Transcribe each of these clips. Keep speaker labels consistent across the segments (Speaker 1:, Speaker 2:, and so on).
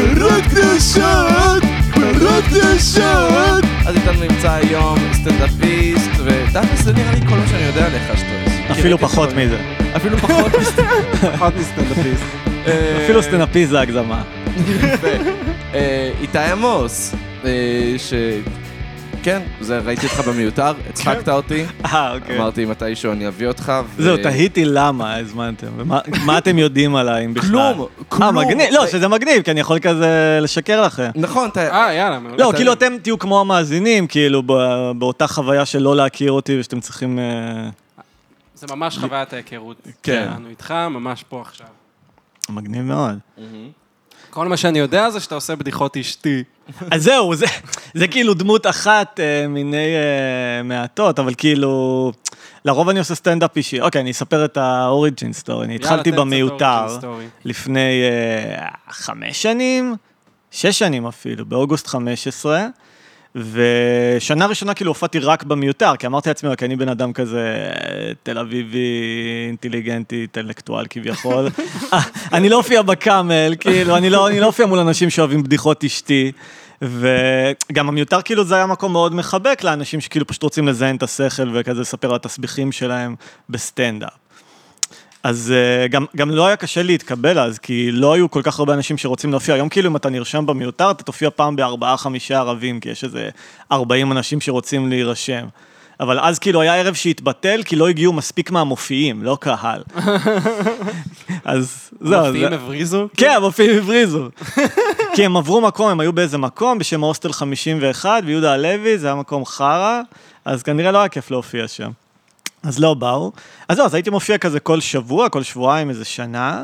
Speaker 1: ורק לשעת, ורק לשעת.
Speaker 2: אז איתנו נמצא היום סטנדאפיסט, ותכלס זה נראה לי כל מה שאני יודע עליך שאתה...
Speaker 3: אפילו פחות מזה.
Speaker 2: אפילו פחות אה, מסתכל.
Speaker 4: פחות מסטנדאפיסט.
Speaker 3: אפילו סטנדאפיסט זה הגזמה.
Speaker 2: אה, איתי עמוס, אה, ש... כן, זה, ראיתי אותך במיותר, הצחקת אותי,
Speaker 3: אה, אוקיי.
Speaker 2: אמרתי מתישהו אני אביא אותך. ו-
Speaker 3: זהו, תהיתי למה הזמנתם, ומה מה אתם יודעים עליי, אם בכלל.
Speaker 2: כלום, כלום.
Speaker 3: אה, מגניב, לא, שזה מגניב, כי אני יכול כזה לשקר לכם.
Speaker 2: נכון, אתה...
Speaker 4: אה, יאללה. מעולה.
Speaker 3: לא,
Speaker 2: אתה-
Speaker 3: כאילו אתם תהיו כמו המאזינים, כאילו, ב- באותה חוויה של לא להכיר אותי ושאתם צריכים... אה,
Speaker 4: זה ממש חוויית ההיכרות
Speaker 2: כן.
Speaker 4: שלנו איתך, ממש פה עכשיו.
Speaker 3: מגניב מאוד.
Speaker 4: כל מה שאני יודע זה שאתה עושה בדיחות אשתי.
Speaker 3: אז זהו, זה, זה כאילו דמות אחת אה, מיני אה, מעטות, אבל כאילו, לרוב אני עושה סטנדאפ אישי. אוקיי, אני אספר את האוריג'ין סטורי. אני התחלתי
Speaker 4: תן קצת
Speaker 5: אוקיי,
Speaker 3: במיותר
Speaker 4: origin story.
Speaker 3: לפני אה, חמש שנים, שש שנים אפילו, באוגוסט 15. ושנה ראשונה כאילו הופעתי רק במיותר, כי אמרתי לעצמי, כי אני בן אדם כזה אה, תל אביבי, אינטליגנטי, אינטלקטואל כביכול. אה, אני לא אופיע בקאמל, כאילו, אני לא אני לא אופיע מול אנשים שאוהבים בדיחות אשתי. וגם המיותר כאילו זה היה מקום מאוד מחבק לאנשים שכאילו פשוט רוצים לזיין את השכל וכזה לספר על התסביכים שלהם בסטנדאפ. אז אה, גם, גם לא היה קשה להתקבל אז, כי לא היו כל כך הרבה אנשים שרוצים להופיע. היום כאילו אם אתה נרשם במיותר, אתה תופיע פעם בארבעה, חמישה ערבים, כי יש איזה 40 אנשים שרוצים להירשם. אבל אז כאילו היה ערב שהתבטל, כי לא הגיעו מספיק מהמופיעים, לא קהל. אז זהו. לא, זה-
Speaker 4: מופיעים הבריזו?
Speaker 3: כן, המופיעים הבריזו. כי הם עברו מקום, הם היו באיזה מקום בשם הוסטל 51, ויהודה הלוי, זה היה מקום חרא, אז כנראה לא היה כיף להופיע שם. אז לא באו. אז לא, אז הייתי מופיע כזה כל שבוע, כל שבועיים, איזה שנה,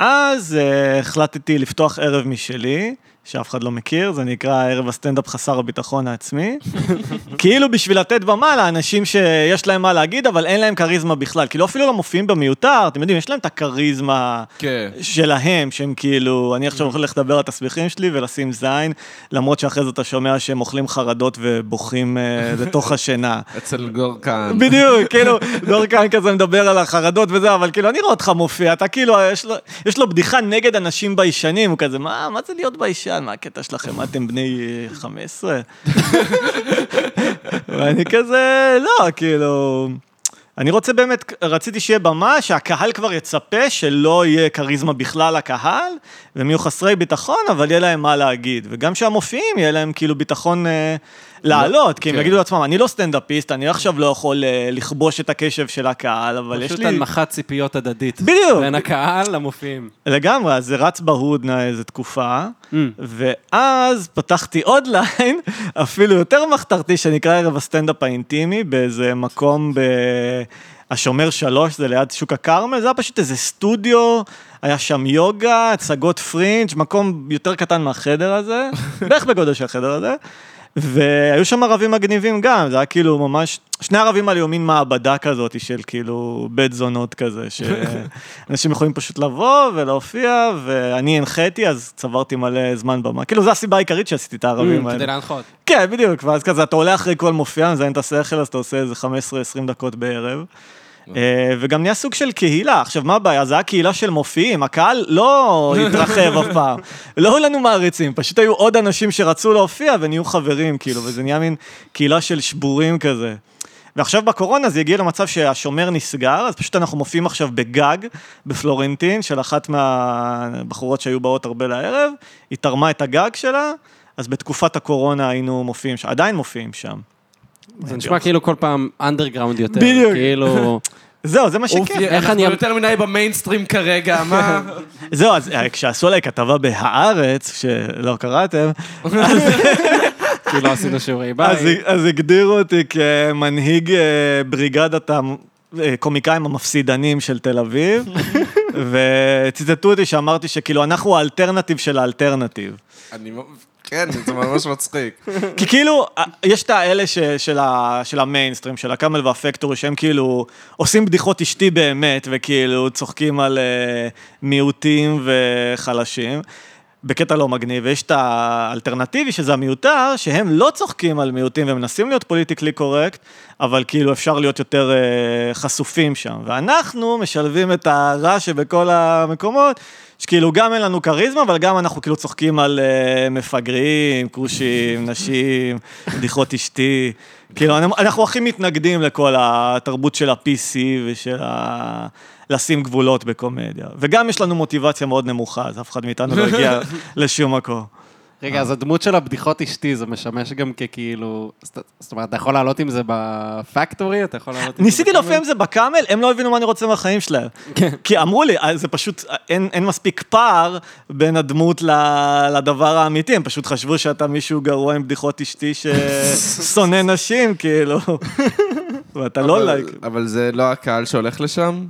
Speaker 3: ואז אה, החלטתי לפתוח ערב משלי, שאף אחד לא מכיר, זה נקרא ערב הסטנדאפ חסר הביטחון העצמי. כאילו בשביל לתת במה לאנשים שיש להם מה להגיד, אבל אין להם כריזמה בכלל. כאילו אפילו לא מופיעים במיותר, אתם יודעים, יש להם את הכריזמה
Speaker 2: כן.
Speaker 3: שלהם, שהם כאילו, אני עכשיו הולך לדבר על התסביכים שלי ולשים זין, למרות שאחרי זה אתה שומע שהם אוכלים חרדות ובוכים אה, לתוך השינה.
Speaker 2: אצל גורקן.
Speaker 3: בדיוק, כאילו, דורקן כזה מדבר על החרדות וזה, אבל כאילו, אני רואה אותך מופיע, אתה כאילו, יש לו, יש לו בדיחה נגד אנשים ביישנים, הוא כזה, מה, מה זה להיות ביישן? מה הקטע שלכם? מה, אתם בני אה, 15? ואני כזה, לא, כאילו... אני רוצה באמת, רציתי שיהיה במה שהקהל כבר יצפה שלא יהיה כריזמה בכלל לקהל, והם יהיו חסרי ביטחון, אבל יהיה להם מה להגיד. וגם שהמופיעים יהיה להם כאילו ביטחון אה, לעלות, כי הם
Speaker 2: כן.
Speaker 3: יגידו לעצמם, אני לא סטנדאפיסט, אני עכשיו לא יכול אה, לכבוש את הקשב של הקהל, אבל יש
Speaker 4: פשוט
Speaker 3: לי...
Speaker 4: הנמכת ציפיות הדדית.
Speaker 3: בדיוק. Mm,
Speaker 4: בין הקהל למופיעים.
Speaker 3: לגמרי, אז זה רץ בהודנה איזה תקופה,
Speaker 4: Mm.
Speaker 3: ואז פתחתי עוד ליין, אפילו יותר מחתרתי, שנקרא ערב הסטנדאפ האינטימי, באיזה מקום ב... השומר שלוש, זה ליד שוק הכרמל, זה היה פשוט איזה סטודיו, היה שם יוגה, הצגות פרינג', מקום יותר קטן מהחדר הזה, בערך בגודל של החדר הזה, והיו שם ערבים מגניבים גם, זה היה כאילו ממש, שני ערבים על יומין מעבדה כזאת של כאילו בית זונות כזה, שאנשים יכולים פשוט לבוא ולהופיע, ואני הנחיתי, אז צברתי מלא זמן במה. כאילו, זו הסיבה העיקרית שעשיתי את הערבים
Speaker 4: כדי
Speaker 3: האלה.
Speaker 4: להנחות.
Speaker 3: כן, בדיוק, ואז כזה, אתה עולה אחרי כל מופיע, מזיין את השכל, אז אתה עושה איזה 15-20 דקות בערב. אה, וגם נהיה סוג של קהילה. עכשיו, מה הבעיה? זה היה קהילה של מופיעים, הקהל לא התרחב אף פעם. לא היו לנו מעריצים, פשוט היו עוד אנשים שרצו להופיע ונהיו חברים, כאילו, וזה נהיה מין קהילה של שבורים כזה. ועכשיו בקורונה זה הגיע למצב שהשומר נסגר, אז פשוט אנחנו מופיעים עכשיו בגג בפלורנטין של אחת מהבחורות שהיו באות הרבה לערב, היא תרמה את הגג שלה, אז בתקופת הקורונה היינו מופיעים, ש- עדיין מופיעים שם.
Speaker 4: זה נשמע כאילו כל פעם אנדרגראונד יותר.
Speaker 3: בדיוק.
Speaker 4: כאילו...
Speaker 3: זהו, זה מה שכיף.
Speaker 4: איך
Speaker 2: כן, אנחנו
Speaker 4: אני...
Speaker 2: יותר מדי במיינסטרים כרגע, מה?
Speaker 3: זהו, אז אה, כשעשו עליי כתבה ב"הארץ", שלא קראתם,
Speaker 4: כי לא עשינו שיעורי
Speaker 3: אז,
Speaker 4: בית.
Speaker 3: אז הגדירו אותי כמנהיג אה, בריגדת הקומיקאים המפסידנים של תל אביב, וציטטו אותי שאמרתי שכאילו אנחנו האלטרנטיב של האלטרנטיב.
Speaker 2: אני... מ- כן, זה ממש מצחיק.
Speaker 3: כי כאילו, אה, יש את האלה ש, של, ה, של המיינסטרים, של הקאמל והפקטורי, שהם כאילו עושים בדיחות אשתי באמת, וכאילו צוחקים על אה, מיעוטים וחלשים. בקטע לא מגניב, ויש את האלטרנטיבי, שזה המיותר, שהם לא צוחקים על מיעוטים ומנסים להיות פוליטיקלי קורקט, אבל כאילו אפשר להיות יותר אה, חשופים שם. ואנחנו משלבים את הרע שבכל המקומות, שכאילו גם אין לנו כריזמה, אבל גם אנחנו כאילו צוחקים על אה, מפגרים, כושים, נשים, בדיחות אשתי. כאילו, אנ- אנחנו הכי מתנגדים לכל התרבות של ה-PC ושל ה... לשים גבולות בקומדיה. וגם יש לנו מוטיבציה מאוד נמוכה, אז אף אחד מאיתנו לא הגיע לשום מקום.
Speaker 5: רגע, אז הדמות של הבדיחות אשתי, זה משמש גם ככאילו... זאת- זאת אומרת, אתה יכול לעלות עם זה בפקטורי? אתה יכול לעלות עם זה...
Speaker 3: ניסיתי
Speaker 5: בקאמל?
Speaker 3: להופיע עם זה בקאמל, הם לא הבינו מה אני רוצה מהחיים שלהם.
Speaker 2: כן.
Speaker 3: כי אמרו לי, "אה, זה פשוט, אה, אין, אין מספיק פער בין הדמות ל- לדבר האמיתי, הם פשוט חשבו שאתה מישהו גרוע עם בדיחות אשתי ששונא נשים, כאילו. ואתה לא לייק.
Speaker 2: אבל זה לא הקהל שהולך לשם?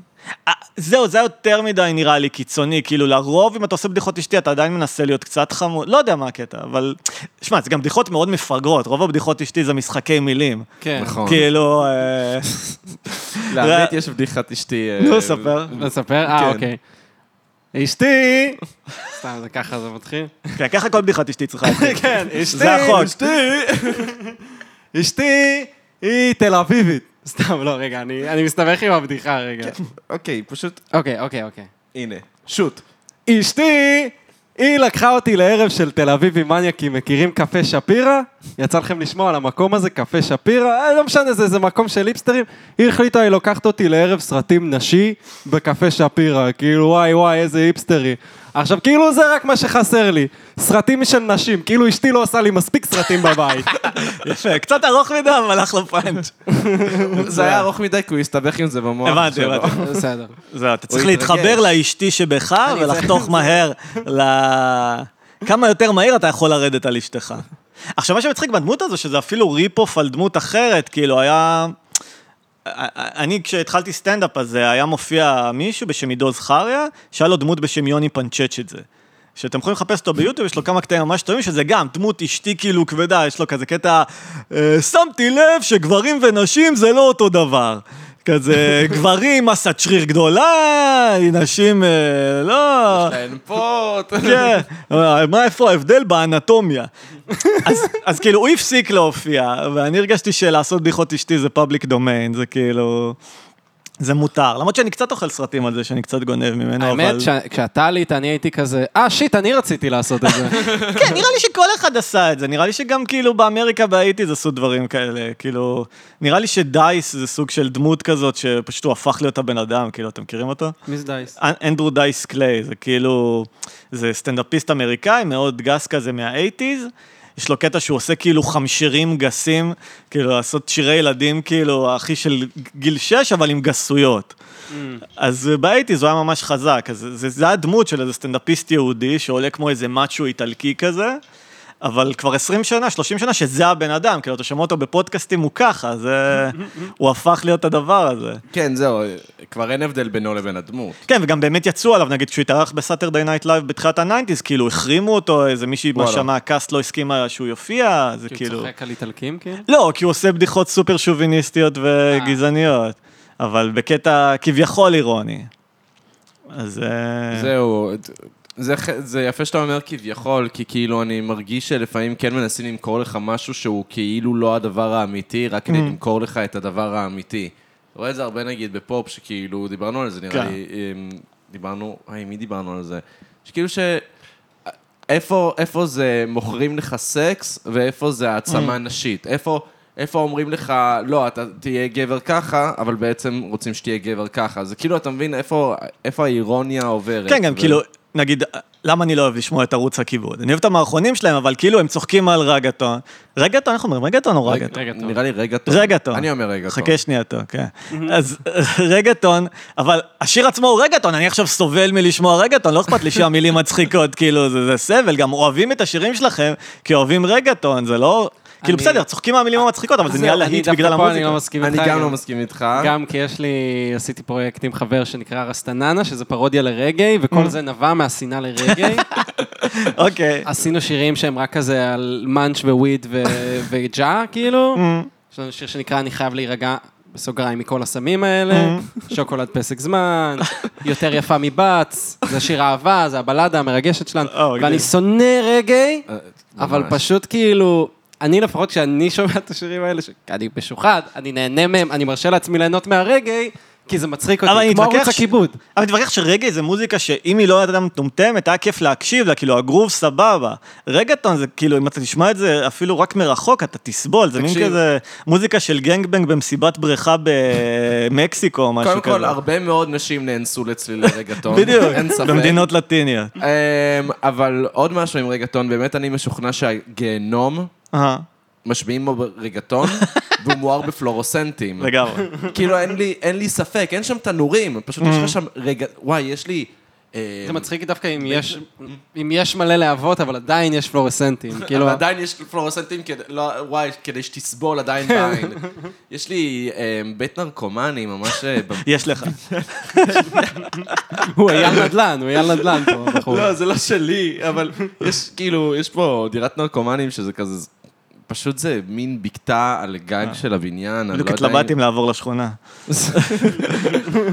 Speaker 3: אה, זהו, זה היה יותר מדי נראה לי קיצוני, כאילו לרוב אם אתה עושה בדיחות אשתי אתה עדיין מנסה להיות קצת חמוד, לא יודע מה הקטע, אבל... שמע, זה גם בדיחות מאוד מפגרות, רוב הבדיחות אשתי זה משחקי מילים.
Speaker 5: כן.
Speaker 2: נכון.
Speaker 3: כאילו, אה,
Speaker 2: לאמת יש בדיחת אשתי. אה,
Speaker 3: נו, ספר.
Speaker 5: לספר? אה,
Speaker 2: כן.
Speaker 5: אוקיי. אשתי! סתם, זה ככה זה מתחיל.
Speaker 2: אה,
Speaker 3: כן, ככה כל בדיחת אשתי צריכה להתחיל.
Speaker 5: כן, אשתי!
Speaker 3: זה החוק.
Speaker 5: אשתי היא תל אביבית. כן. סתם, לא, רגע, אני אני מסתבך עם הבדיחה רגע.
Speaker 2: אוקיי, פשוט,
Speaker 5: אוקיי, אוקיי, אוקיי.
Speaker 2: הנה, שוט.
Speaker 5: אשתי, היא לקחה אותי לערב של תל אביבים מניאקים, מכירים קפה שפירא? יצא לכם לשמוע על המקום הזה, קפה שפירא? אה, לא משנה, זה, זה מקום של היפסטרים. היא החליטה, היא לוקחת אותי לערב סרטים נשי בקפה שפירא. כאילו, וואי וואי, איזה היפסטרי. עכשיו, כאילו זה רק מה שחסר לי. סרטים של נשים. כאילו, אשתי לא עושה לי מספיק סרטים בבית.
Speaker 3: יפה, קצת ארוך מדי, אבל אחלה פאנץ'.
Speaker 2: זה היה ארוך מדי כי הוא הסתבך עם זה במוח.
Speaker 3: הבנתי,
Speaker 2: שלו.
Speaker 3: הבנתי.
Speaker 5: בסדר.
Speaker 3: זהו, אתה צריך
Speaker 2: התרגש.
Speaker 3: להתחבר לאשתי שבך ולחתוך מהר ל... כמה יותר מהיר אתה יכול לרדת על אשתך. עכשיו, מה שמצחיק בדמות הזו, שזה אפילו ריפ-אוף על דמות אחרת, כאילו, היה... אני, כשהתחלתי סטנדאפ, אז אה, היה מופיע מישהו בשם עידו זכריה, שהיה לו דמות בשם יוני פנצ'ץ' את זה. שאתם יכולים לחפש אותו ביוטיוב, יש לו כמה קטעים ממש טובים, שזה גם דמות אשתי כאילו כבדה, יש לו כזה קטע, אה, שמתי לב שגברים ונשים זה לא אותו דבר. כזה, גברים, מסת שריר גדולה, נשים, אה, לא...
Speaker 2: אין פה...
Speaker 3: כן, אבל מה איפה ההבדל באנטומיה? אז- אז כאילו הוא הפסיק להופיע, ואני הרגשתי שלעשות בדיחות אשתי זה פאבליק דומיין, זה כאילו... זה מותר, למרות שאני קצת אוכל סרטים על זה, שאני קצת גונב ממנו, אבל...
Speaker 5: האמת, כשאתה עלית, אני הייתי כזה, אה, שיט, אני רציתי לעשות את זה.
Speaker 3: כן, נראה לי שכל אחד עשה את זה, נראה לי שגם כאילו באמריקה בהאיטיז עשו דברים כאלה, כאילו... נראה לי שדייס זה סוג של דמות כזאת, שפשוט הוא הפך להיות הבן אדם, כאילו, אתם מכירים אותו?
Speaker 5: מיס דייס.
Speaker 3: אנ- אנדרו דייס קליי, זה כאילו, זה סטנדאפיסט אמריקאי, מאוד גס כזה מהאייטיז. יש לו קטע שהוא עושה כאילו חמשירים גסים, כאילו לעשות שירי ילדים כאילו הכי של גיל 6, אבל עם גסויות. אז באייטיז הוא היה ממש חזק, אז זה- זה, זה היה דמות של איזה סטנדאפיסט יהודי שעולה כמו איזה מאצ'ו איטלקי כזה, אבל כבר 20 שנה, 30 שנה שזה הבן אדם, כאילו אתה שומע אותו בפודקאסטים הוא ככה, זה... הוא הפך להיות הדבר הזה.
Speaker 2: כן, זהו, כבר אין הבדל בינו לבין הדמות.
Speaker 3: כן, וגם באמת יצאו עליו, נגיד, כשהוא התארח בסאטרדי נייט לייב בתחילת הניינטיז, כאילו, החרימו אותו, איזה מישהי
Speaker 2: וואלה.
Speaker 3: שם מהקאסט לא הסכימה שהוא יופיע, זה
Speaker 5: כי הוא
Speaker 3: כאילו...
Speaker 5: צוחק על איטלקים, כאילו?
Speaker 3: לא, כי הוא עושה בדיחות סופר שוביניסטיות וגזעניות, אבל בקטע כביכול אירוני. אז... אה,
Speaker 2: זהו, זה, ח- זה יפה שאתה אומר כביכול, כי כאילו אני מרגיש שלפעמים כן מנסים למכור לך משהו שהוא כאילו לא הדבר האמיתי, רק
Speaker 3: Mm.
Speaker 2: כדי למכור לך את הדבר האמיתי. אתה רואה את זה הרבה נגיד בפופ, שכאילו, דיברנו על זה נראה
Speaker 3: כן.
Speaker 2: לי, אמ, דיברנו, היי, מי דיברנו על זה? שכאילו ש... איפה, איפה זה מוכרים לך סקס ואיפה זה
Speaker 3: Mm.
Speaker 2: העצמה נשית? איפה, איפה אומרים לך, לא, אתה תהיה גבר ככה, אבל בעצם רוצים שתהיה גבר ככה. זה כאילו, אתה מבין איפה, איפה האירוניה עוברת.
Speaker 3: כן, גם כאילו, נגיד, למה אני לא אוהב לשמוע את ערוץ הכיבוד? אני אוהב את המערכונים שלהם, אבל כאילו, הם צוחקים על רגטון. רגטון, איך אומרים? רגטון או רגטון?
Speaker 5: רגע, טוב.
Speaker 2: נראה לי רגטון.
Speaker 3: רגטון.
Speaker 2: אני אומר רגטון.
Speaker 3: חכה שנייה, טוב, כן. אז רגטון, אבל השיר עצמו הוא רגטון, אני עכשיו סובל מלשמוע רגטון, לא אכפת לי שהמילים מצחיקות, כאילו, זה, זה סבל, גם אוהבים את השירים שלכם, כי אוהבים רגטון, זה לא... כאילו,
Speaker 5: אני-
Speaker 3: בסדר, צוחקים מהמילים המצחיקות, אבל זה
Speaker 5: זהו,
Speaker 3: נהיה
Speaker 5: אני
Speaker 3: להיט
Speaker 5: דווקא
Speaker 3: בגלל
Speaker 5: פה אני לא
Speaker 3: המוזיקה.
Speaker 5: מסכים
Speaker 2: אני
Speaker 5: איתך.
Speaker 2: גם לא מסכים איתך.
Speaker 5: גם כי יש לי, עשיתי פרויקט עם חבר שנקרא רסטננה, שזה פרודיה לרגעי, וכל זה נבע מהשנאה לרגעי.
Speaker 3: אוקיי.
Speaker 5: עשינו שירים שהם רק כזה על מאנץ' וויד ו- וג'ה, כאילו. יש לנו שיר שנקרא אני חייב להירגע. בסוגריים מכל הסמים האלה, שוקולד פסק זמן, יותר יפה מבץ, זה שיר אהבה, זה הבלדה המרגשת שלנו,
Speaker 3: אה, אוקיי.
Speaker 5: ואני שונא רגעי,
Speaker 2: אה,
Speaker 5: אבל
Speaker 2: ממש.
Speaker 5: פשוט כאילו, אני לפחות כשאני שומע את השירים האלה, ש- אני משוחד, אני נהנה מהם, אני מרשה לעצמי ליהנות מהרגעי, כי זה מצחיק
Speaker 3: אבל אני
Speaker 5: אותי, כמו
Speaker 3: אתווכח
Speaker 5: ערוץ
Speaker 3: ש-
Speaker 5: הכיבוד.
Speaker 3: אבל אני מתווכח שרגע זה מוזיקה שאם היא לא הייתה מטומטמת, היה כיף להקשיב לה, כאילו הגרוב סבבה. רגעטון זה כאילו, אם אתה תשמע את זה אפילו רק מרחוק, אתה תסבול, זה מין
Speaker 2: תקשיב.
Speaker 3: כזה מוזיקה של גנגבנג במסיבת בריכה במקסיקו או משהו
Speaker 2: קודם
Speaker 3: כזה.
Speaker 2: כל, הרבה מאוד נשים נאנסו לצלילי רגטון.
Speaker 3: בדיוק,
Speaker 2: אין ספק.
Speaker 3: במדינות לטיניות.
Speaker 2: אמ, אבל עוד משהו עם רגטון, באמת אני משוכנע שהגיהנום,
Speaker 3: אהה,
Speaker 2: משמיעים בו רגטון, והוא מואר בפלורוסנטים.
Speaker 3: לגמרי.
Speaker 2: כאילו, אין לי- אין לי ספק, אין שם תנורים, פשוט יש
Speaker 3: Mm.
Speaker 2: לך שם רגע... וואי, יש לי... אמ,
Speaker 5: זה מצחיק דווקא אם יש, אם יש מלא להבות, אבל עדיין יש פלורסנטים. כאילו,
Speaker 3: לא-
Speaker 2: אבל עדיין יש פלורסנטים, כדי- לא, וואי, כדי שתסבול עדיין בעין. יש לי אמ, בית נרקומני, ממש... אה, ב-
Speaker 3: יש לך.
Speaker 5: הוא אייל נדל"ן, הוא אייל נדל"ן פה, הבחור.
Speaker 2: לא, זה לא שלי, אבל יש כאילו, יש פה דירת נרקומנים שזה כזה... פשוט זה מין בקתה על גג של הבניין, אני לא
Speaker 3: בדיוק
Speaker 2: יודע אם-
Speaker 3: התלבטתי אם לעבור לשכונה.
Speaker 2: אני באמת,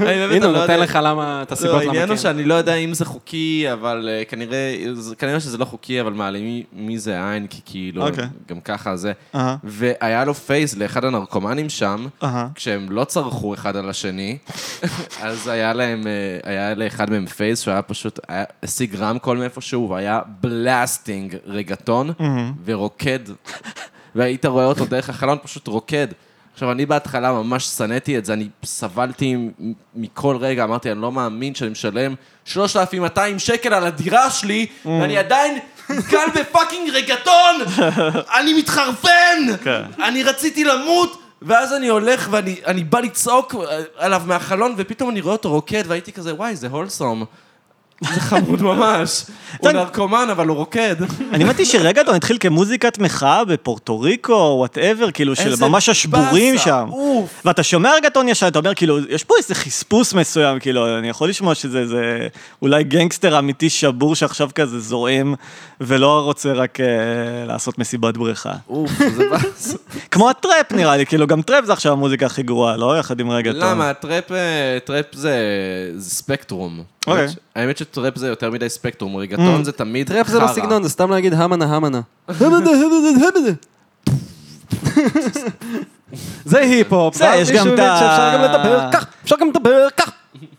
Speaker 5: הנה,
Speaker 2: אני
Speaker 5: הוא
Speaker 2: לא
Speaker 5: נותן
Speaker 2: יודע-
Speaker 5: לך למה, את
Speaker 2: לא,
Speaker 5: הסיבות למה
Speaker 2: העניין
Speaker 5: כן.
Speaker 2: הוא שאני לא יודע אם זה חוקי, אבל אה, כנראה, זה- כנראה שזה לא חוקי, אבל מעלימי מי זה עין, כי כאילו,
Speaker 3: אוקיי.
Speaker 2: גם ככה זה.
Speaker 3: אהה,
Speaker 2: והיה לו פייס לאחד הנרקומנים שם,
Speaker 5: אה.
Speaker 3: אהה.
Speaker 2: כשהם לא צרחו אחד על השני, אז היה להם, אה, היה לאחד מהם פייס שהיה פשוט, היה- השיג רמקול מאיפשהו, והיה בלאסטינג רגטון, ורוקד. והיית רואה אותו דרך החלון, פשוט רוקד. עכשיו, אני בהתחלה ממש שנאתי את זה, אני סבלתי מ- מכל רגע, אמרתי, אני לא מאמין שאני משלם 3,200 שקל על הדירה שלי,
Speaker 3: Mm.
Speaker 2: ואני עדיין כאן בפאקינג רגטון! אני מתחרפן!
Speaker 3: כן.
Speaker 2: אני רציתי למות! ואז אני הולך ואני אני בא לצעוק עליו מהחלון, ופתאום אני רואה אותו רוקד, והייתי כזה, וואי, זה הולסום. זה חמוד ממש. הוא נרקומן, אבל הוא רוקד.
Speaker 3: אני האמת היא שרגעטון התחיל כמוזיקת מחאה בפורטו ריקו, וואטאבר, כאילו, של
Speaker 2: איזה
Speaker 3: ממש השבורים
Speaker 2: באסה,
Speaker 3: שם.
Speaker 2: אוף.
Speaker 3: ואתה שומע רגעטון ישר, אתה אומר, כאילו, יש פה איזה חספוס מסוים, כאילו, אני יכול לשמוע שזה איזה אולי גנגסטר אמיתי שבור שעכשיו כזה זועם, ולא רוצה רק אה, לעשות מסיבת בריכה.
Speaker 2: אוף, זה באס.
Speaker 3: כמו הטראפ נראה לי, כאילו, גם טראפ זה עכשיו המוזיקה הכי גרועה, לא? יחד עם רגעטון.
Speaker 2: למה? טראפ, אה, טראפ זה, זה ספקטרום.
Speaker 3: אוקיי. Mm.
Speaker 2: האמת ש- האמת שטראפ זה יותר מדי ספקטרום, רגטון זה תמיד
Speaker 5: טראפ זה לא
Speaker 2: חרא.
Speaker 5: סגנון, זה סתם להגיד המנה המנה. זה היפ-הופ,
Speaker 3: בסדר,
Speaker 5: ואז
Speaker 3: יש גם
Speaker 5: מישהו
Speaker 3: את
Speaker 5: מבין
Speaker 3: ה-
Speaker 5: שאפשר גם לדבר כך, אפשר גם לדבר כך.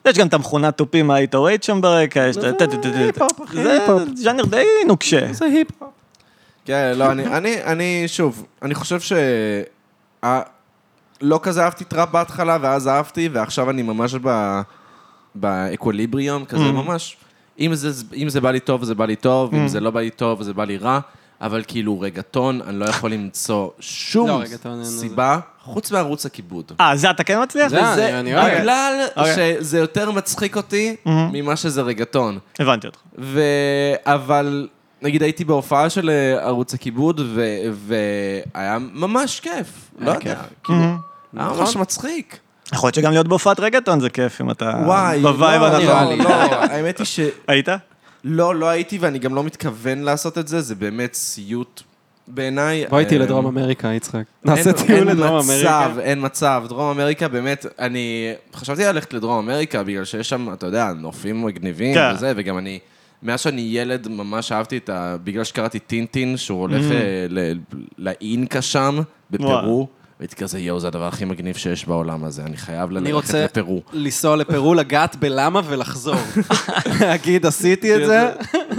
Speaker 3: יש גם את המכונת תופים ה-808 שם ברקע, יש את ה...
Speaker 5: היפ-הופ, אחי,
Speaker 3: זה
Speaker 5: היפ-הופ.
Speaker 3: ז'אנר די נוקשה.
Speaker 5: זה היפ-הופ.
Speaker 2: כן, לא, אני, אני, אני, שוב, אני חושב ש... ה- לא כזה אהבתי טראפ בהתחלה, ואז אהבתי, ועכשיו אני ממש ב... באקווליבריום, כזה
Speaker 5: Mm.
Speaker 2: ממש. אם זה, אם זה בא לי טוב, זה בא לי טוב, אם זה לא בא לי טוב, זה בא לי רע, אבל כאילו רגטון, אני לא יכול למצוא שום
Speaker 5: לא, רגטון, אין
Speaker 2: סיבה, חוץ מערוץ הכיבוד.
Speaker 3: אה, זה אתה כן מצליח?
Speaker 5: זה-
Speaker 2: וזה
Speaker 5: אני אוהב. Mm-hmm.
Speaker 2: בגלל
Speaker 3: אוקיי.
Speaker 2: שזה יותר מצחיק אותי ממה שזה רגטון.
Speaker 3: הבנתי אותך.
Speaker 2: ו... אבל נגיד הייתי בהופעה של אה, ערוץ הכיבוד, ו... והיה ממש כיף. לא יודע, כאילו, היה ממש מצחיק.
Speaker 3: יכול להיות שגם להיות בהופעת רגטון זה כיף, אם אתה
Speaker 2: וואי,
Speaker 3: בווייב
Speaker 2: אה, לא,
Speaker 3: הנכון.
Speaker 2: לא, לא, האמת היא שלא,
Speaker 3: היית?
Speaker 2: לא הייתי ואני גם לא מתכוון לעשות את זה, זה באמת סיוט בעיניי.
Speaker 5: בוא איתי
Speaker 2: אה,
Speaker 5: לדרום אמריקה, יצחק.
Speaker 2: אין-
Speaker 5: נעשה טיול
Speaker 2: אין
Speaker 5: לדרום אמריקה.
Speaker 2: מצב, אין מצב. דרום אמריקה, באמת, אני חשבתי ללכת לדרום אמריקה, בגלל שיש שם, אתה יודע, נופים מגניבים
Speaker 3: כן.
Speaker 2: וזה, וגם אני, מאז שאני ילד, ממש אהבתי את ה... בגלל שקראתי טינטין, שהוא הולך
Speaker 5: Mm.
Speaker 2: אה, ל- לאינקה שם, בפרו, והייתי כזה, יואו, זה הדבר הכי מגניב שיש בעולם הזה, אני חייב
Speaker 5: אני
Speaker 2: ללכת
Speaker 5: רוצה
Speaker 2: לפרו.
Speaker 5: לנסוע לפרו, לגעת בלמה ולחזור. להגיד, עשיתי את זה.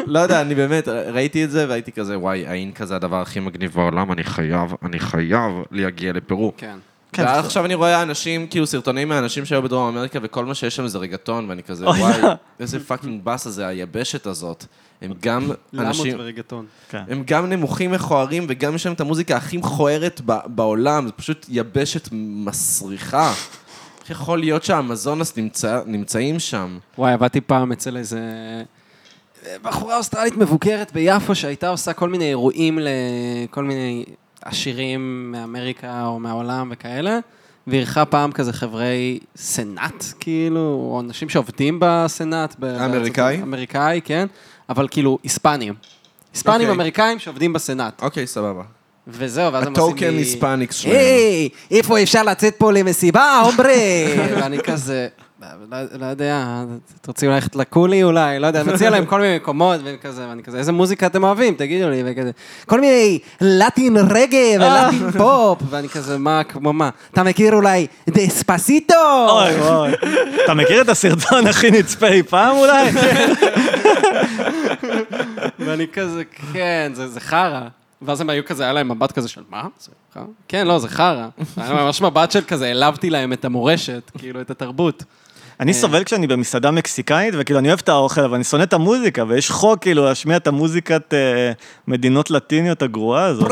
Speaker 2: לא יודע, אני באמת, ראיתי את זה והייתי כזה, וואי, האינקה זה הדבר הכי מגניב בעולם, אני חייב, אני חייב להגיע לפרו.
Speaker 5: כן.
Speaker 3: כן, זה-
Speaker 2: ועכשיו אני רואה אנשים, כאילו סרטונים מהאנשים שהיו בדרום אמריקה, וכל מה שיש שם זה רגטון, ואני כזה,
Speaker 3: אוי,
Speaker 2: וואי,
Speaker 3: לא.
Speaker 2: איזה פאקינג באסה זה היבשת הזאת. הם גם
Speaker 5: למות
Speaker 2: אנשים,
Speaker 5: ורגטון.
Speaker 3: כן.
Speaker 2: הם גם נמוכים מכוערים, וגם יש להם את המוזיקה הכי מכוערת ב- בעולם, זה פשוט יבשת מסריחה. איך יכול להיות שהאמזונס נמצא, נמצאים שם?
Speaker 5: וואי, עבדתי פעם אצל איזה בחורה אוסטרלית מבוגרת ביפו שהייתה עושה כל מיני אירועים לכל מיני עשירים מאמריקה או מהעולם וכאלה, ואירחה פעם כזה חברי סנאט, כאילו, או אנשים שעובדים בסנאט. ב-
Speaker 2: אמריקאי?
Speaker 5: בארצות- אמריקאי, כן, אבל כאילו היספנים. היספנים
Speaker 2: אוקיי.
Speaker 5: אמריקאים שעובדים בסנאט.
Speaker 2: אוקיי, סבבה.
Speaker 5: וזהו, ואז הם עושים לי...
Speaker 2: הטוקן היספניק שלהם.
Speaker 5: היי, איפה אפשר לצאת פה למסיבה, הומברה? ואני כזה, לא- לא יודע, תרצי ללכת לקולי אולי, לא יודע, מציע להם כל מיני מקומות וכזה, ואני כזה, איזה מוזיקה אתם אוהבים, תגידו לי, וכזה, כל מיני לטין רגע
Speaker 2: אה."
Speaker 5: ולטין פופ, ואני כזה, מה, כמו מה, אתה מכיר אולי דספסיטו?
Speaker 3: אוי אוי. אתה מכיר את הסרטון הכי נצפה אי פעם אולי?
Speaker 5: ואני כזה, כן, זה, זה חרא. ואז הם היו כזה, היה להם מבט כזה של, מה? זה חרא? כן, לא, זה חרא. היה להם ממש מבט של כזה, העלבתי להם את המורשת, כאילו, את התרבות.
Speaker 3: אני סובל כשאני במסעדה מקסיקנית, וכאילו אני אוהב את האוכל, אבל אני שונא את המוזיקה, ויש חוק כאילו להשמיע את המוזיקת אה, מדינות לטיניות הגרועה הזאת.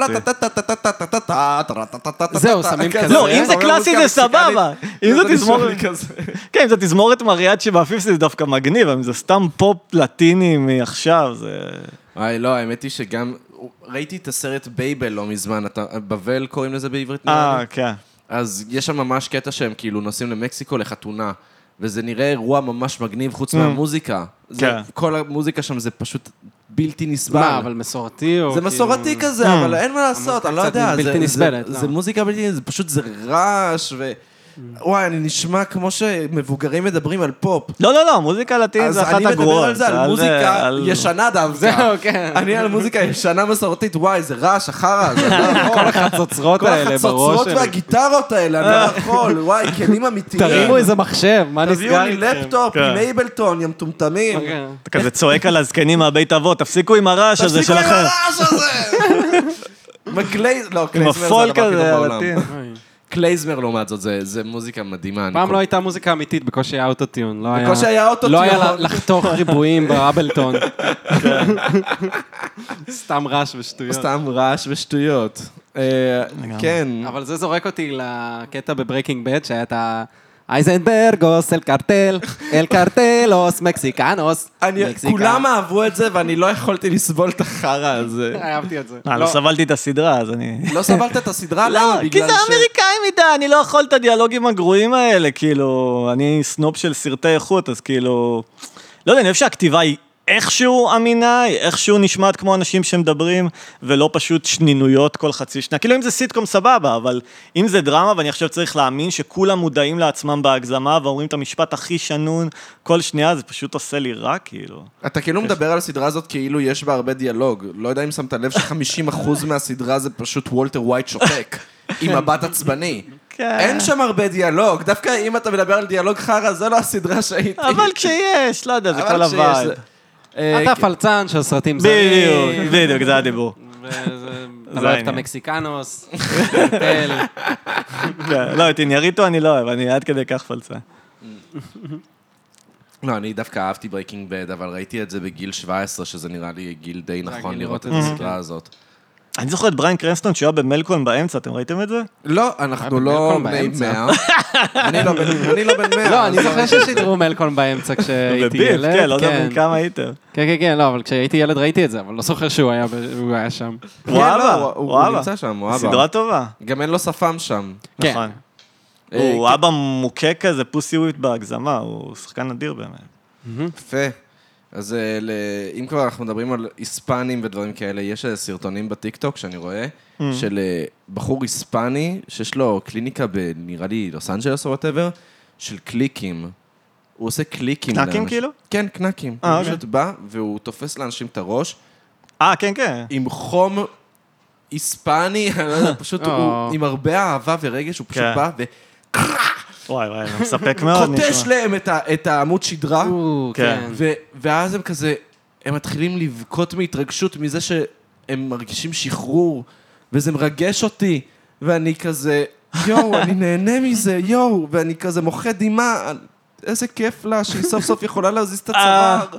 Speaker 5: זהו, שמים כזה.
Speaker 3: לא, אם זה
Speaker 2: אומר
Speaker 3: קלאסי
Speaker 2: מוזיקה
Speaker 3: זה סבבה. אם זה
Speaker 2: זה נשמע
Speaker 3: תזמורת...
Speaker 2: לי כזה.
Speaker 3: כן, אם זה תזמורת מריאצ'י בעפיף זה דווקא מגניב, אבל אם זה סתם פופ לטיני מעכשיו, זה...
Speaker 2: וואי, לא, האמת היא שגם... ראיתי את הסרט בייבל לא מזמן, אתה- בבל קוראים לזה בעברית נראה לי?
Speaker 3: אה, כן.
Speaker 2: אז יש שם ממש קטע שהם כאילו נוסעים למקסיקו לחתונה, וזה נראה אירוע ממש מגניב חוץ מהמוזיקה. זה-
Speaker 3: Mm. כן.
Speaker 2: כל המוזיקה שם זה פשוט בלתי נסבל.
Speaker 5: מה, לא, אבל מסורתי או...
Speaker 2: זה
Speaker 5: כאילו-
Speaker 2: מסורתי
Speaker 3: Mm.
Speaker 2: כזה, אבל אין מה לעשות, אני לא
Speaker 5: קצת
Speaker 2: יודע.
Speaker 5: בלתי
Speaker 2: זה-
Speaker 5: נסבלת,
Speaker 2: זה-
Speaker 5: לא.
Speaker 2: זה מוזיקה בלתי נסבלת, פשוט זה רעש, ו...
Speaker 3: Mm.
Speaker 2: וואי, אני נשמע כמו שמבוגרים מדברים על פופ.
Speaker 3: לא, לא, לא, מוזיקה לטינית
Speaker 2: אז
Speaker 3: זה אחת
Speaker 2: אני מדבר
Speaker 3: הגרועות.
Speaker 2: על זה, על מוזיקה ישנה דווקא.
Speaker 5: זהו, כן.
Speaker 2: אני על מוזיקה ישנה מסורתית, וואי, זה רעש, החרא הזה.
Speaker 5: כל החצוצרות
Speaker 2: כל
Speaker 5: האלה בראש
Speaker 2: החצוצרות
Speaker 5: שלי.
Speaker 2: והגיטרות האלה, אני לא יכול, וואי, כלים אמיתיים.
Speaker 5: תרימו איזה מחשב, מה
Speaker 2: תביאו
Speaker 5: נסגר
Speaker 2: לי
Speaker 5: איתכם?
Speaker 2: לפטופ,
Speaker 3: כן.
Speaker 2: עם אייבלטון, יא מטומטמים.
Speaker 5: כן.
Speaker 3: אתה כזה צועק על הזקנים מהבית אבות, תפסיקו עם הרעש הזה
Speaker 2: תפסיקו עם
Speaker 3: שלכם.
Speaker 2: הרעש הזה! מה, גלייז- לא,
Speaker 3: עם
Speaker 2: קלייזמר זה
Speaker 3: הפולק
Speaker 2: הדבר הכי
Speaker 3: הזה,
Speaker 2: טוב בעולם.
Speaker 3: הלטין.
Speaker 2: קלייזמר לעומת זאת, זה זה מוזיקה מדהימה. אני
Speaker 5: פעם
Speaker 2: כל-
Speaker 5: לא הייתה מוזיקה אמיתית, בקושי היה אוטוטיון. לא היה-
Speaker 2: בקושי היה אוטוטיון.
Speaker 5: לא היה לה- לחתוך ריבועים באבלטון.
Speaker 2: כן.
Speaker 5: סתם רעש ושטויות.
Speaker 2: סתם רעש ושטויות. אה, כן.
Speaker 5: אבל זה זורק אותי לקטע בברייקינג בד, שהיה את ה... אייזנברגוס, אל קרטל, אל קרטלוס, מקסיקנוס.
Speaker 2: אני-
Speaker 5: מקסיקה.
Speaker 2: כולם אהבו את זה, ואני לא יכולתי לסבול את החרא הזה.
Speaker 5: אהבתי את זה.
Speaker 3: אה, לא סבלתי את הסדרה, אז אני...
Speaker 2: לא סבלת את הסדרה?
Speaker 3: לא,
Speaker 2: למה?
Speaker 3: כי
Speaker 2: בגלל
Speaker 3: זה
Speaker 2: ש-
Speaker 3: אמריקאי מדי, אני לא יכול את הדיאלוגים הגרועים האלה, כאילו, אני סנופ של סרטי איכות, אז כאילו... לא יודע, אני חושב שהכתיבה היא איכשהו אמינה, היא איכשהו נשמעת כמו אנשים שמדברים, ולא פשוט שנינויות כל חצי שנה. כאילו, אם זה סיטקום, סבבה, אבל אם זה דרמה, ואני עכשיו צריך להאמין שכולם מודעים לעצמם בהגזמה, ואומרים את המשפט הכי שנון כל שנייה, זה פשוט עושה לי רע, כאילו.
Speaker 2: אתה כאילו מדבר על הסדרה הזאת כאילו יש בה הרבה דיאלוג. לא יודע אם שמת לב ש-50% מהסדרה זה פשוט וולטר ווייט שותק, עם מבט עצבני.
Speaker 3: כן.
Speaker 2: אין שם הרבה דיאלוג, דווקא אם אתה מדבר על דיאלוג חרא, זה לא הסדרה שהייתי.
Speaker 3: אבל כשיש, לא יודע, זה
Speaker 2: אבל
Speaker 3: כל
Speaker 2: כשיש,
Speaker 3: הווייב.
Speaker 2: זה- אה,
Speaker 5: אתה פלצן של סרטים זרים.
Speaker 3: בדיוק, בדיוק, זה הדיבור.
Speaker 5: וזה- אתה
Speaker 3: זה
Speaker 5: לא אוהב את
Speaker 3: העניין.
Speaker 5: המקסיקנוס, קרטל.
Speaker 3: כן, לא, את ענייריטו אני לא אוהב, אני עד כדי כך פלצן.
Speaker 2: לא, אני דווקא אהבתי ברייקינג בד, אבל ראיתי את זה בגיל 17, שזה נראה לי גיל די נכון
Speaker 5: הגיל
Speaker 2: לראות את
Speaker 5: לראות את זה,
Speaker 2: הסדרה הזאת.
Speaker 3: אני זוכר את בריין קרנסטון שהיה במלקולם באמצע, אתם ראיתם את זה?
Speaker 2: לא, אנחנו לא
Speaker 5: במלקום
Speaker 2: בני
Speaker 5: באמצע.
Speaker 2: 100. אני לא בן- אני לא בן 100.
Speaker 5: לא, אני
Speaker 2: אז
Speaker 5: זוכר ששידרו מלקון באמצע כשהייתי
Speaker 3: בביף,
Speaker 5: ילד.
Speaker 3: כן, לא יודע בן כמה הייתם.
Speaker 5: כן, כן, כן, לא, אבל כשהייתי ילד ראיתי את זה, אבל לא זוכר שהוא היה ב- הוא היה שם.
Speaker 2: כן, לא,
Speaker 3: וואבה,
Speaker 2: הוא- הוא
Speaker 3: וואבה.
Speaker 2: נמצא שם, הוא אבא.
Speaker 3: סדרה טובה.
Speaker 2: גם אין לו שפם שם.
Speaker 5: כן.
Speaker 3: נכון.
Speaker 2: אה,
Speaker 3: הוא אבא מוכה כזה, פוסי וויט בהגזמה, הוא שחקן אדיר באמת.
Speaker 2: יפה. אז אה, ל- אם כבר אנחנו מדברים על היספנים ודברים כאלה, יש אה, סרטונים בטיקטוק שאני רואה, של אה, בחור היספני, שיש לו קליניקה בנראה לי לוס אנג'לס או וואטאבר, של קליקים. הוא עושה קליקים.
Speaker 3: קנקים
Speaker 2: לאנשים.
Speaker 3: כאילו?
Speaker 2: כן, קנקים.
Speaker 3: אה,
Speaker 2: הוא
Speaker 3: אוקיי.
Speaker 2: פשוט בא והוא תופס לאנשים את הראש
Speaker 3: אה, כן, כן.
Speaker 2: עם חום היספני, אני לא יודע, פשוט
Speaker 5: או.
Speaker 2: הוא עם הרבה אהבה ורגש, הוא פשוט
Speaker 3: כן.
Speaker 2: בא
Speaker 3: וואי, וואי, זה מספק מאוד.
Speaker 2: וקוטש
Speaker 3: נשמע.
Speaker 2: להם את ה- את העמוד שדרה.
Speaker 5: או,
Speaker 3: כן.
Speaker 5: כן.
Speaker 2: ו- ואז הם כזה, הם מתחילים לבכות מהתרגשות מזה שהם מרגישים שחרור, וזה מרגש אותי, ואני כזה, יואו, אני נהנה מזה, יואו, ואני כזה מוחה דמעה, איזה כיף לה שהיא סוף סוף יכולה להזיז את
Speaker 3: אה,
Speaker 2: הצוואר.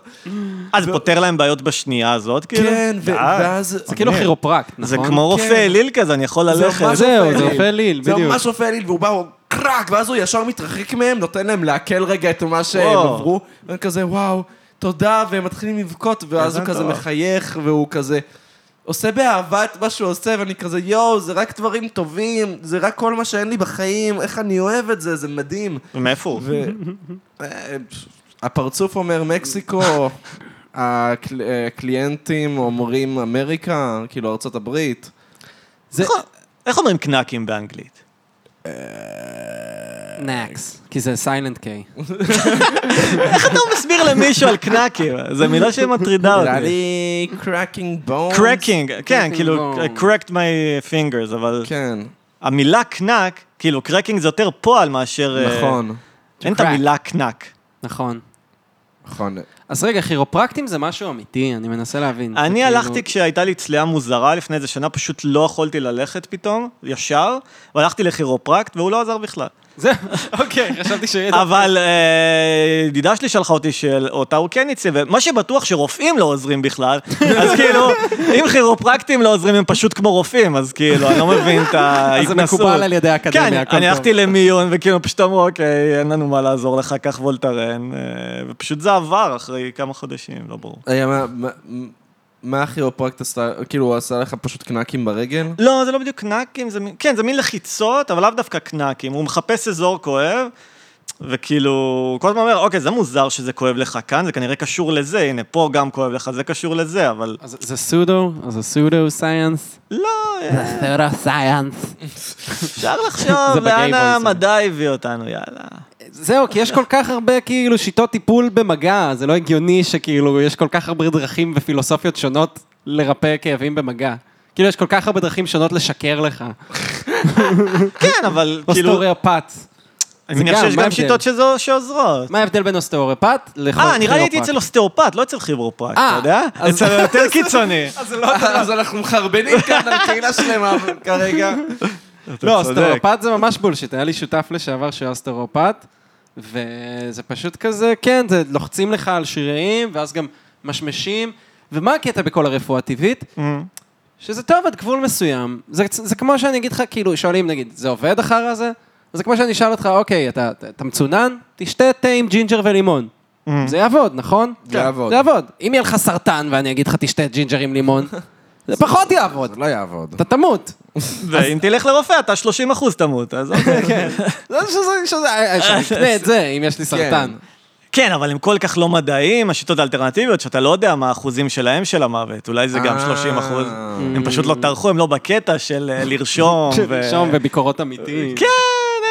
Speaker 3: אה, זה פותר להם בעיות בשנייה הזאת, כאילו?
Speaker 2: כן, ו- כן.
Speaker 3: אה,
Speaker 2: ואז...
Speaker 5: זה כאילו כירופרקט, נכון?
Speaker 3: זה כמו רופא אליל כזה, אני יכול ללכת.
Speaker 2: ממש
Speaker 5: זהו,
Speaker 2: רופא
Speaker 5: זה
Speaker 2: אליל.
Speaker 5: רופא אליל,
Speaker 2: זה
Speaker 5: בדיוק.
Speaker 2: ממש רופא אליל, והוא בא, הוא קרק, ואז הוא ישר מתרחק מהם, נותן להם לעכל רגע את מה שהם
Speaker 3: וואו.
Speaker 2: עברו, והם כזה, וואו, תודה, והם מתחילים לבכות, ואז
Speaker 3: איזה
Speaker 2: הוא כזה
Speaker 3: מטורף.
Speaker 2: מחייך, והוא כזה... עושה באהבה את מה שהוא עושה, ואני כזה, יואו, זה רק דברים טובים, זה רק כל מה שאין לי בחיים, איך אני אוהב את זה, זה מדהים.
Speaker 3: מאיפה הוא?
Speaker 2: ו... אה, הפרצוף אומר מקסיקו, הקל- אה, הקליינטים אומרים אמריקה, כאילו ארצות הברית.
Speaker 5: זה-
Speaker 3: נכון. איך- איך אומרים קנקים באנגלית?
Speaker 2: אה,
Speaker 5: נקס, כי זה סיילנט קיי.
Speaker 3: איך אתה לא מסביר למישהו על קנאקים? זו מילה שמטרידה
Speaker 2: נראה
Speaker 3: אותי.
Speaker 2: לי קראקינג בונס.
Speaker 3: קרקינג, כן,
Speaker 5: Cracking לא.
Speaker 3: כאילו, I
Speaker 5: bone.
Speaker 3: cracked my fingers, אבל
Speaker 2: כן,
Speaker 3: המילה קנאק, כאילו, קרקינג זה יותר פועל מאשר... אה,
Speaker 2: נכון.
Speaker 3: אין את
Speaker 5: crack.
Speaker 3: המילה קנאק.
Speaker 5: נכון.
Speaker 2: נכון.
Speaker 5: אז רגע, כירופרקטים זה משהו אמיתי, אני מנסה להבין. זה
Speaker 3: אני
Speaker 5: כאילו-
Speaker 3: הלכתי כשהייתה לי צליעה מוזרה לפני איזה שנה, פשוט לא יכולתי ללכת פתאום, ישר, והלכתי לכירופרקט, והוא לא עזר בכלל.
Speaker 5: זהו, אוקיי, חשבתי שיהיה...
Speaker 3: אבל אה, ידידה שלי שלחה אותי שאותה הוא כן הציע, ומה שבטוח שרופאים לא עוזרים בכלל, אז כאילו, אם כירופרקטים לא עוזרים, הם פשוט כמו רופאים, אז כאילו, אני לא מבין את
Speaker 5: אז זה
Speaker 3: ההתנסות.
Speaker 5: מקובל על ידי האקדמיה,
Speaker 3: כן,
Speaker 5: הכל
Speaker 3: אני
Speaker 5: טוב.
Speaker 3: הלכתי למיון, וכאילו פשוט אמרו, אוקיי, אין לנו מה לעזור לך, קח וולטרן, אה, ופשוט זה עבר אחרי כמה חודשים, לא ברור.
Speaker 2: היה, אה, מה- מה- מה הכירופרקט עשתה, כאילו הוא עשה לך פשוט קנקים ברגל?
Speaker 3: לא, זה לא בדיוק קנאקים, זה מין, כן, זה מין לחיצות, אבל לאו דווקא קנאקים. הוא מחפש אזור כואב, וכאילו, הוא כל הזמן אומר, אוקיי, זה מוזר שזה כואב לך כאן, זה כנראה קשור לזה, הנה, פה גם כואב לך, זה קשור לזה, אבל
Speaker 5: אז זה סודו, אז זה סודו סיינס.
Speaker 3: לא, אה,
Speaker 5: סודו סיינס.
Speaker 3: אפשר לחשוב לאן
Speaker 5: בגייבוי,
Speaker 3: המדע הביא אותנו, יאללה.
Speaker 5: זהו, כי יש כל כך הרבה כאילו שיטות טיפול במגע, זה לא הגיוני שכאילו יש כל כך הרבה דרכים ופילוסופיות שונות לרפא כאבים במגע. כאילו יש כל כך הרבה דרכים שונות לשקר לך.
Speaker 3: כאילו- כן, אבל כאילו,
Speaker 5: אוסטאורפט.
Speaker 3: אני מניח
Speaker 5: גם,
Speaker 3: שיש
Speaker 5: מה כן?
Speaker 3: גם
Speaker 5: ההבדל?
Speaker 3: שיטות שזו- שעוזרות.
Speaker 5: מה ההבדל בין אוסטאורפט לכל
Speaker 3: אה, נראה לי הייתי
Speaker 5: נכון, כירופרקט?
Speaker 3: אצל אוסטאופט, לא אצל כירופרקט, אתה
Speaker 5: אה,
Speaker 3: יודע?
Speaker 5: אז-
Speaker 3: אצל היותר קיצוני.
Speaker 2: אז אנחנו מחרבנים כאן על קהילה שלמה כרגע.
Speaker 5: לא,
Speaker 3: צודק.
Speaker 5: אוסטאורפט זה ממש בולשיט, היה לי שותף לשעבר שהיה אוסטאורפט, וזה פשוט כזה, כן, זה לוחצים לך על שרירים, ואז גם משמשים, ומה הקטע בכל הרפואה הטבעית? שזה טוב עד גבול מסוים. זה, זה כמו שאני אגיד לך, כאילו, שואלים, נגיד, זה עובד אחר הזה? אז זה כמו שאני אשאל אותך, אוקיי, אתה, אתה מצונן? תשתה תה עם ג'ינג'ר ולימון. זה יעבוד, נכון?
Speaker 2: זה יעבוד.
Speaker 5: זה יעבוד. אם יהיה לך סרטן ואני אגיד לך, תשתה ג'ינג'ר עם לימון, זה פחות
Speaker 2: זה
Speaker 5: יעבוד.
Speaker 2: לא יעבוד.
Speaker 5: אתה תמות.
Speaker 3: ואם תלך לרופא, אתה 30 אחוז תמות, אז אוקיי.
Speaker 5: כן. לא,
Speaker 2: זה שזה, שזה, אה,
Speaker 5: שאני אקנה את זה, אם יש לי סרטן.
Speaker 3: כן, אבל הם כל כך לא מדעיים, השיטות האלטרנטיביות, שאתה לא יודע מה האחוזים שלהם של המוות, אולי זה גם
Speaker 2: אה.
Speaker 3: 30 אחוז. הם פשוט לא טרחו, הם לא בקטע של אה, לרשום. ו-
Speaker 5: שם וביקורות אמיתיים.
Speaker 3: כן,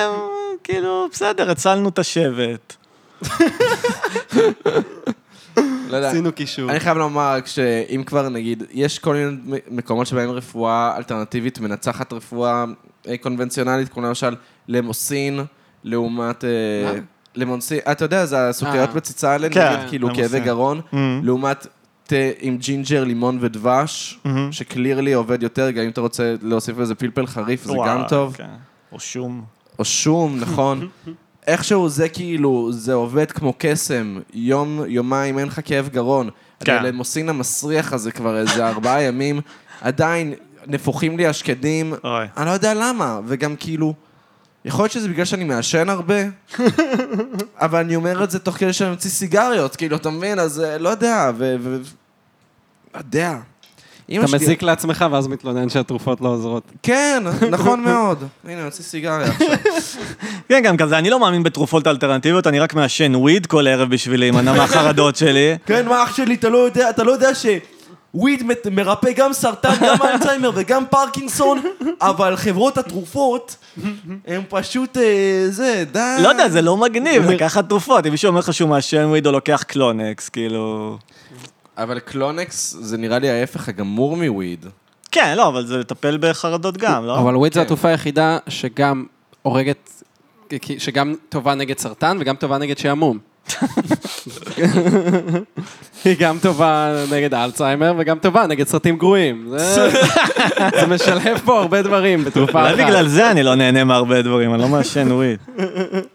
Speaker 3: הם כאילו, בסדר, הצלנו את השבט.
Speaker 2: לא יודע.
Speaker 5: קישור.
Speaker 2: אני חייב לומר, שאם כבר נגיד, יש כל מיני מ- מקומות שבהם רפואה אלטרנטיבית מנצחת רפואה אה, קונבנציונלית, כמו למשל למוסין, לעומת... אה,
Speaker 5: מה?
Speaker 2: למונסין, אתה יודע, זה הסוכריות
Speaker 5: אה.
Speaker 2: בציצה האלה,
Speaker 3: כן,
Speaker 2: נגיד כאילו
Speaker 3: למוסין. Mm-hmm.
Speaker 2: כאבי גרון, לעומת תה עם ג'ינג'ר, לימון ודבש,
Speaker 3: Mm-hmm.
Speaker 2: שקלירלי עובד יותר, גם אם אתה רוצה להוסיף לזה פלפל חריף, זה
Speaker 3: וואו,
Speaker 2: גם טוב.
Speaker 3: כן. או שום.
Speaker 2: או שום, נכון. איכשהו זה כאילו, זה עובד כמו קסם, יום, יומיים, אין לך כאב גרון.
Speaker 3: כן.
Speaker 2: כן. למוסין המסריח הזה כבר איזה ארבעה ימים, עדיין נפוחים לי השקדים,
Speaker 3: אוי.
Speaker 2: אני לא יודע למה, וגם כאילו, יכול להיות שזה בגלל שאני מעשן הרבה, אבל אני אומר את זה תוך כדי שאני מוציא סיגריות, כאילו, אתה מבין? אז אה, לא יודע, ו... ו- לא יודע. אמא
Speaker 5: אתה
Speaker 2: שלי-
Speaker 5: מזיק לעצמך ואז מתלונן שהתרופות לא עוזרות.
Speaker 2: כן, נכון מאוד. הנה, אני מוציא סיגריה עכשיו.
Speaker 3: כן, גם כזה, אני לא מאמין בתרופות אלטרנטיביות, אני רק מעשן וויד כל ערב בשביל להימנע מהחרדות שלי.
Speaker 2: כן, מה אח שלי, אתה לא יודע, אתה לא יודע שוויד מ- מרפא גם סרטן, גם אלצהיימר וגם פרקינסון, אבל חברות התרופות, הם פשוט, אה, זה, די.
Speaker 3: לא יודע, זה לא מגניב, לקחת תרופות. אם מישהו אומר לך שהוא מעשן וויד או לוקח קלונקס, כאילו...
Speaker 2: אבל קלונקס זה נראה לי ההפך הגמור מוויד.
Speaker 3: כן, לא, אבל זה לטפל בחרדות גם, לא?
Speaker 5: אבל וויד זו
Speaker 2: כן.
Speaker 5: התרופה היחידה שגם הורגת, כי- שגם טובה נגד סרטן וגם טובה נגד שעמום. היא גם טובה נגד אלצהיימר וגם טובה נגד סרטים גרועים. זה זה משלב פה הרבה דברים בתרופה
Speaker 3: אולי
Speaker 5: אחת.
Speaker 3: בגלל זה אני לא נהנה מהרבה דברים, אני לא מעשן וויד.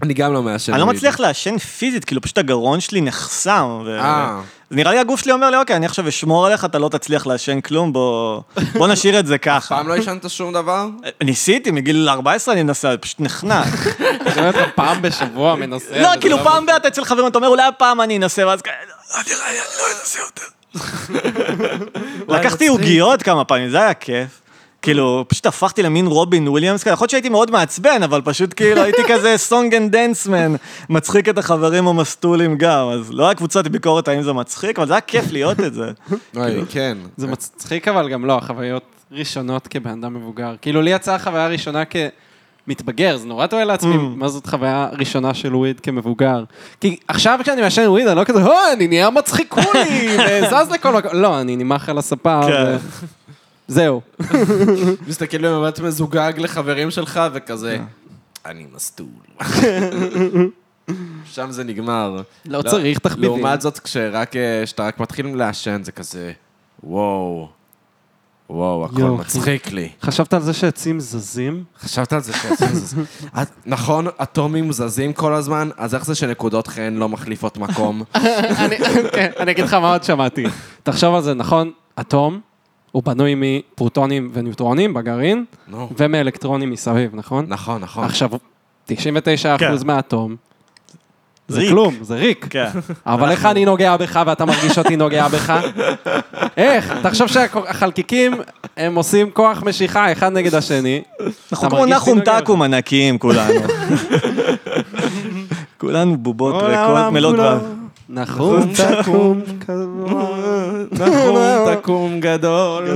Speaker 2: אני גם לא מעשן
Speaker 3: אני לא מצליח לעשן פיזית, כאילו פשוט הגרון שלי נחסם. ו-
Speaker 2: אה.
Speaker 3: אז נראה לי הגוף שלי אומר לי, אוקיי, אני עכשיו אשמור עליך, אתה לא תצליח לעשן כלום, בוא בוא נשאיר את זה ככה.
Speaker 2: פעם לא עישנת שום דבר?
Speaker 3: ניסיתי, מגיל 14 אני מנסה, פשוט נחנק.
Speaker 5: אני אומר לך, פעם בשבוע מנסה.
Speaker 3: לא,
Speaker 5: וזה
Speaker 3: כאילו פעם באה אתה אצל חברים, אתה אומר, אולי הפעם אני אנסה, ואז כזה, "לא, נראה לי, אני לא אנסה יותר. לקחתי עוגיות כמה פעמים, זה היה כיף. כאילו, פשוט הפכתי למין רובין וויליאמס כזה, יכול להיות שהייתי מאוד מעצבן, אבל פשוט כאילו הייתי כזה סונג אנד דנסמן, מצחיק את החברים המסטולים גם, אז לא היה קבוצת ביקורת האם זה מצחיק, אבל זה היה כיף להיות את זה.
Speaker 2: אוי, כן.
Speaker 5: זה כאילו, מצחיק אבל גם לא, חוויות ראשונות כבן אדם מבוגר. כאילו לי יצאה החוויה הראשונה כ... מתבגר, זה נורא טועה לעצמי, מה זאת חוויה ראשונה של וויד כמבוגר. כי עכשיו כשאני מעשן וויד, אני לא כזה, או, אני נהיה מצחיקולי, וזז לכל מקום. לא, אני נמח על הספה,
Speaker 3: כן.
Speaker 5: ו- זהו.
Speaker 2: מסתכל במבט מזוגג לחברים שלך וכזה, אני מסטול. שם זה נגמר.
Speaker 5: לא צריך תחביבים.
Speaker 2: לעומת זאת, כשרק, אה, כשאתה רק מתחיל לעשן, זה כזה, וואו, וואו, הכל
Speaker 5: יואו,
Speaker 2: מצחיק לי.
Speaker 5: חשבת על זה שעצים זזים?
Speaker 2: חשבת על זה שעצים זזים. את- נכון, אטומים זזים כל הזמן, אז איך זה שנקודות חן לא מחליפות מקום?
Speaker 5: אני- כן, אני אגיד לך מה עוד שמעתי. תחשוב על זה, נכון, אטום הוא בנוי מפרוטונים וניוטרונים בגרעין,
Speaker 2: נו,
Speaker 5: ומאלקטרונים מסביב, נכון?
Speaker 2: נכון, נכון.
Speaker 5: עכשיו, 99%
Speaker 3: כן.
Speaker 5: מהאטום,
Speaker 3: זה
Speaker 5: זה
Speaker 3: ריק.
Speaker 5: כלום, זה ריק.
Speaker 3: כן.
Speaker 5: אבל איך אני נוגע בך ואתה מרגיש אותי נוגע בך? איך? תחשוב שהחלקיקים, הם עושים כוח משיכה אחד נגד השני.
Speaker 3: אנחנו
Speaker 5: אתה
Speaker 3: נכון. כמו
Speaker 5: מרגיש
Speaker 3: נחום
Speaker 5: סינרגיה?
Speaker 3: טקום ענקיים כולנו. כולנו בובות
Speaker 5: כל
Speaker 3: ריקות
Speaker 5: העולם כולו.
Speaker 3: מלודרם.
Speaker 5: נחום, תקום,
Speaker 2: תקום, תקום גדול.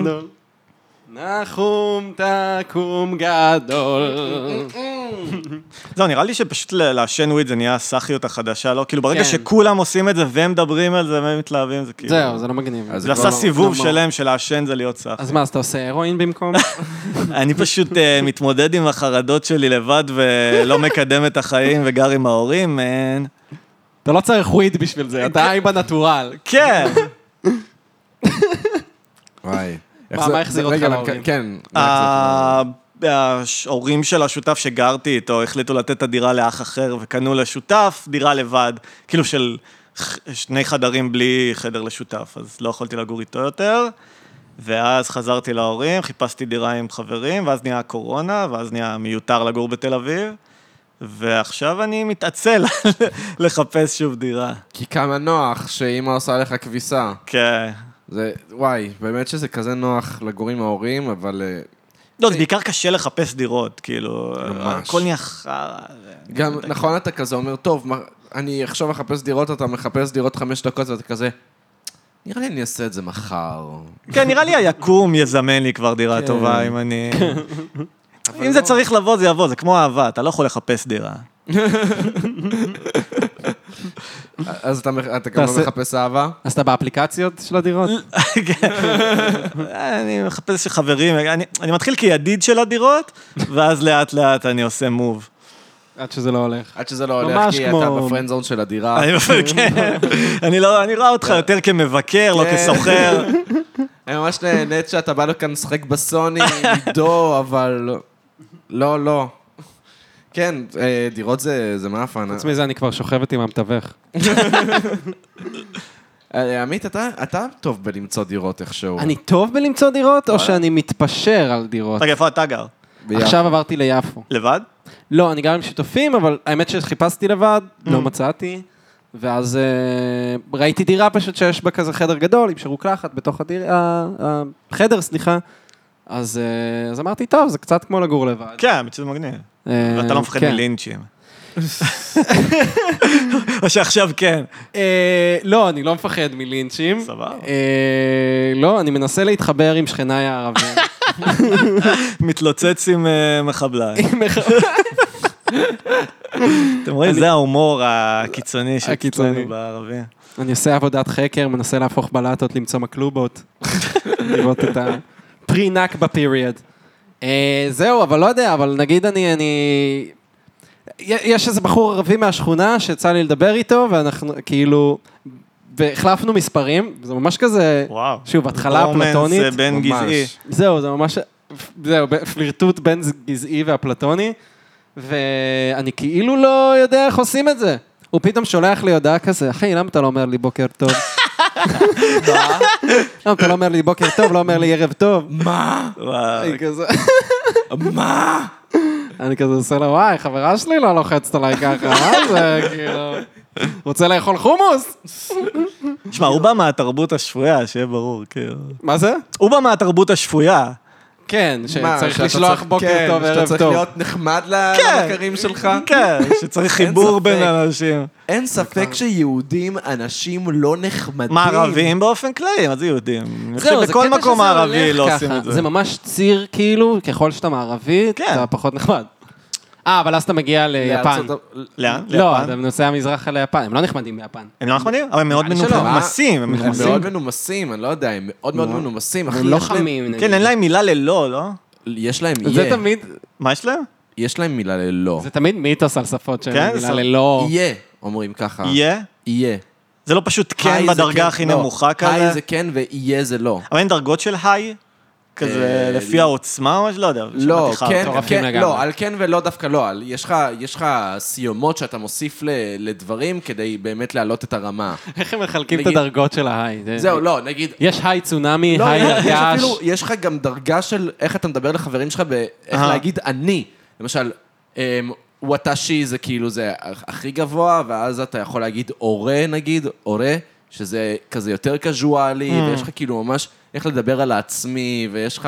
Speaker 5: נחום, תקום גדול.
Speaker 3: זהו, לא, נראה לי שפשוט ל- לעשן וויד זה נהיה הסאחיות החדשה, לא? כאילו ברגע
Speaker 5: כן.
Speaker 3: שכולם עושים את זה והם מדברים על זה והם מתלהבים, זה כאילו...
Speaker 5: זהו, זה לא מגניב.
Speaker 2: אז
Speaker 3: זה
Speaker 2: כבר
Speaker 3: עשה
Speaker 2: לא-
Speaker 3: סיבוב
Speaker 5: לא
Speaker 3: שלם של לעשן זה להיות סאחי.
Speaker 5: אז מה, אז אתה עושה הרואין במקום?
Speaker 3: אני פשוט אה, מתמודד עם החרדות שלי לבד ולא מקדם את החיים וגר עם ההורים, מן.
Speaker 5: אתה לא צריך וויד בשביל זה, אתה אי בנטורל.
Speaker 3: כן.
Speaker 2: וואי.
Speaker 5: מה,
Speaker 2: זה-
Speaker 5: מה החזיר אותך
Speaker 2: רגע,
Speaker 5: להורים? אה,
Speaker 2: כן. מה החזיר
Speaker 3: ה- ההורים של השותף שגרתי איתו החליטו לתת את הדירה לאח אחר וקנו לשותף דירה לבד, כאילו של ח- שני חדרים בלי חדר לשותף, אז לא יכולתי לגור איתו יותר. ואז חזרתי להורים, חיפשתי דירה עם חברים, ואז נהיה הקורונה, ואז נהיה מיותר לגור בתל אביב, ועכשיו אני מתעצל לחפש שוב דירה.
Speaker 2: כי כמה נוח שאימא עושה לך כביסה.
Speaker 3: כן.
Speaker 2: זה, וואי, באמת שזה כזה נוח לגור עם ההורים, אבל אה,
Speaker 3: לא, זה בעיקר קשה לחפש דירות, כאילו,
Speaker 2: ממש.
Speaker 3: הכל נהיה חרא. זה-
Speaker 2: גם, נכון, אתה כזה אומר, טוב, מה- אני עכשיו אחפש דירות, אתה מחפש דירות חמש דקות, ואתה כזה, נראה לי אני אעשה את זה מחר.
Speaker 3: כן, נראה לי היקום יזמן לי כבר דירה
Speaker 5: כן.
Speaker 3: טובה, אם אני...
Speaker 2: אבל
Speaker 3: אם זה
Speaker 2: לא.
Speaker 3: צריך לבוא, זה יבוא, זה כמו אהבה, אתה לא יכול לחפש דירה.
Speaker 2: אז אתה מח- אתה גם לא
Speaker 5: תעשה-
Speaker 2: מחפש אהבה?
Speaker 5: אז אתה באפליקציות של הדירות?
Speaker 3: כן. אני מחפש חברים, אני אני מתחיל כידיד של הדירות, ואז לאט-לאט אני עושה מוב.
Speaker 5: עד שזה לא הולך.
Speaker 2: עד שזה לא הולך,
Speaker 5: ממש
Speaker 2: כי
Speaker 5: כמו-
Speaker 2: אתה בפרנד זון של הדירה.
Speaker 3: אני כן. אני לא- אני רואה אותך יותר כמבקר, לא
Speaker 2: כן.
Speaker 3: כסוחר.
Speaker 2: אני ממש נהנית שאתה בא לכאן לשחק בסוני, עידו, אבל... לא, לא. כן, אה, דירות זה זה מאפן.
Speaker 5: חוץ מזה, אני כבר שוכבת עם המתווך.
Speaker 2: אה, עמית, אתה אתה טוב בלמצוא דירות איכשהו.
Speaker 5: אני טוב בלמצוא דירות, או שאני מתפשר על דירות?
Speaker 3: רגע, איפה אתה גר?
Speaker 2: ביחד.
Speaker 5: עכשיו עברתי ליפו.
Speaker 3: לבד?
Speaker 5: לא, אני גר עם שותפים, אבל האמת שחיפשתי לבד,
Speaker 3: Mm.
Speaker 5: לא מצאתי. ואז אה, ראיתי דירה פשוט שיש בה כזה חדר גדול, עם שרוקלחת בתוך הדיר- ה- החדר, סליחה. אז אה, אז אמרתי, טוב, זה קצת כמו לגור לבד.
Speaker 3: כן, האמת שזה מגניב.
Speaker 5: אה,
Speaker 3: ואתה לא מפחד
Speaker 5: כן.
Speaker 3: מלינצ'ים. או שעכשיו כן.
Speaker 5: אה, לא, אני לא מפחד מלינצ'ים.
Speaker 3: סבבה.
Speaker 5: אה, לא, אני מנסה להתחבר עם שכניי הערבים.
Speaker 3: מתלוצץ עם אה, מחבליים.
Speaker 5: עם איך-
Speaker 3: אתם רואים, זה ההומור הקיצוני
Speaker 5: הקיצוני.
Speaker 3: שאצלנו בערבים.
Speaker 5: אני עושה עבודת חקר, מנסה להפוך בלטות, למצוא מקלובות, לראות את ה... פרי-נכבה פיריוד. אה, זהו, אבל לא יודע, אבל נגיד אני... אני... י- יש איזה בחור ערבי מהשכונה שיצא לי לדבר איתו, ואנחנו כאילו... והחלפנו מספרים, זה ממש כזה...
Speaker 3: וואו.
Speaker 5: שוב, התחלה
Speaker 3: רומנס,
Speaker 5: אפלטונית.
Speaker 3: אה, בין
Speaker 2: ממש.
Speaker 3: גזעי.
Speaker 5: זהו, זה ממש... זהו, ב- פלירטוט בין גזעי ואפלטוני, ואני כאילו לא יודע איך עושים את זה. הוא פתאום שולח לי הודעה כזה, אחי, למה אתה לא אומר לי בוקר טוב? למה אתה לא אומר לי בוקר טוב, לא אומר לי ערב טוב?
Speaker 2: מה?
Speaker 3: וואו.
Speaker 5: אני כזה-
Speaker 2: מה?
Speaker 5: אני כזה עושה לו, וואי, חברה שלי לא לוחצת עליי ככה, מה זה כאילו... רוצה לאכול חומוס?
Speaker 3: שמע, הוא בא מהתרבות השפויה, שיהיה ברור, כאילו.
Speaker 5: מה זה?
Speaker 3: הוא בא מהתרבות השפויה.
Speaker 5: כן,
Speaker 2: מה,
Speaker 5: שצריך
Speaker 2: שאתה
Speaker 5: לשלוח
Speaker 2: צריך-
Speaker 5: בוקר
Speaker 2: כן,
Speaker 5: טוב,
Speaker 2: שאתה
Speaker 5: ערב
Speaker 2: צריך
Speaker 5: טוב.
Speaker 2: להיות נחמד ל-
Speaker 3: כן.
Speaker 2: לבקרים שלך.
Speaker 3: כן, שצריך חיבור
Speaker 2: ספק.
Speaker 3: בין אנשים.
Speaker 2: אין ספק שיהודים אנשים לא נחמדים.
Speaker 3: מה ערבים באופן כללי, מה זה יהודים? אני חושב
Speaker 5: זהו, זה
Speaker 3: שבכל
Speaker 5: קטע
Speaker 3: מקום
Speaker 5: שזה
Speaker 3: הערבי
Speaker 5: הולך
Speaker 3: לא
Speaker 5: ככה.
Speaker 3: עושים את זה.
Speaker 5: זה ממש ציר, כאילו, ככל שאתה מערבי,
Speaker 3: כן.
Speaker 5: אתה פחות נחמד. אה, אבל אז אתה מגיע ליפן.
Speaker 2: לארצות ה-
Speaker 3: לאן?
Speaker 5: לא,
Speaker 3: ליפן?
Speaker 5: אתה נוסע מזרחה ליפן, הם לא נחמדים ביפן.
Speaker 3: הם לא נחמדים? אבל הם מאוד
Speaker 5: נראה לי שלא.
Speaker 3: מנומסים. הם
Speaker 2: לא, הם
Speaker 3: מנומסים.
Speaker 2: מאוד מנומסים, אני לא יודע, הם מאוד מאוד מנומסים, אחי.
Speaker 5: הם לא
Speaker 2: יש להם-
Speaker 5: חמים. נגיד.
Speaker 3: כן, אין להם מילה ללא, לא?
Speaker 2: יש להם
Speaker 5: זה
Speaker 2: יהיה.
Speaker 5: תמיד,
Speaker 3: מה יש להם?
Speaker 2: יש להם מילה ללא.
Speaker 5: זה תמיד מיתוס על שפות
Speaker 3: כן,
Speaker 5: שהם מילה
Speaker 3: ס-
Speaker 5: ללא...
Speaker 2: יהיה, אומרים ככה.
Speaker 3: יהיה?
Speaker 2: יהיה.
Speaker 3: זה לא פשוט כן
Speaker 2: אה. היי זה
Speaker 3: בדרגה הכי
Speaker 2: לא.
Speaker 3: נמוכה
Speaker 2: היי
Speaker 3: כזה?
Speaker 2: זה כן ויהיה זה לא.
Speaker 3: אבל אין דרגות של היי? כזה
Speaker 2: אה,
Speaker 3: לפי
Speaker 2: לא.
Speaker 3: העוצמה או משהו? לא יודע.
Speaker 2: לא,
Speaker 3: שמעתי חרטא.
Speaker 2: כן,
Speaker 5: מטורפים
Speaker 2: כן,
Speaker 5: לגמרי.
Speaker 2: לא, על כן ולא דווקא לא, על, יש, לך, יש לך סיומות שאתה מוסיף ל, לדברים כדי באמת להעלות את הרמה.
Speaker 5: איך הם מחלקים את
Speaker 2: נגיד-
Speaker 5: הדרגות של ההיי? זה-
Speaker 2: זהו, לא, נגיד...
Speaker 5: יש היי צונאמי,
Speaker 2: לא,
Speaker 5: היי
Speaker 2: יש
Speaker 5: הרגש.
Speaker 2: אפילו, יש לך גם דרגה של איך אתה מדבר לחברים שלך, באיך
Speaker 3: אהה.
Speaker 2: להגיד אני. למשל, אמ, וואטאשי זה כאילו זה הכ- הכי גבוה, ואז אתה יכול להגיד אורה נגיד, אורה, שזה כזה יותר קזואלי,
Speaker 5: Mm.
Speaker 2: ויש לך כאילו ממש איך לדבר על העצמי, ויש לך...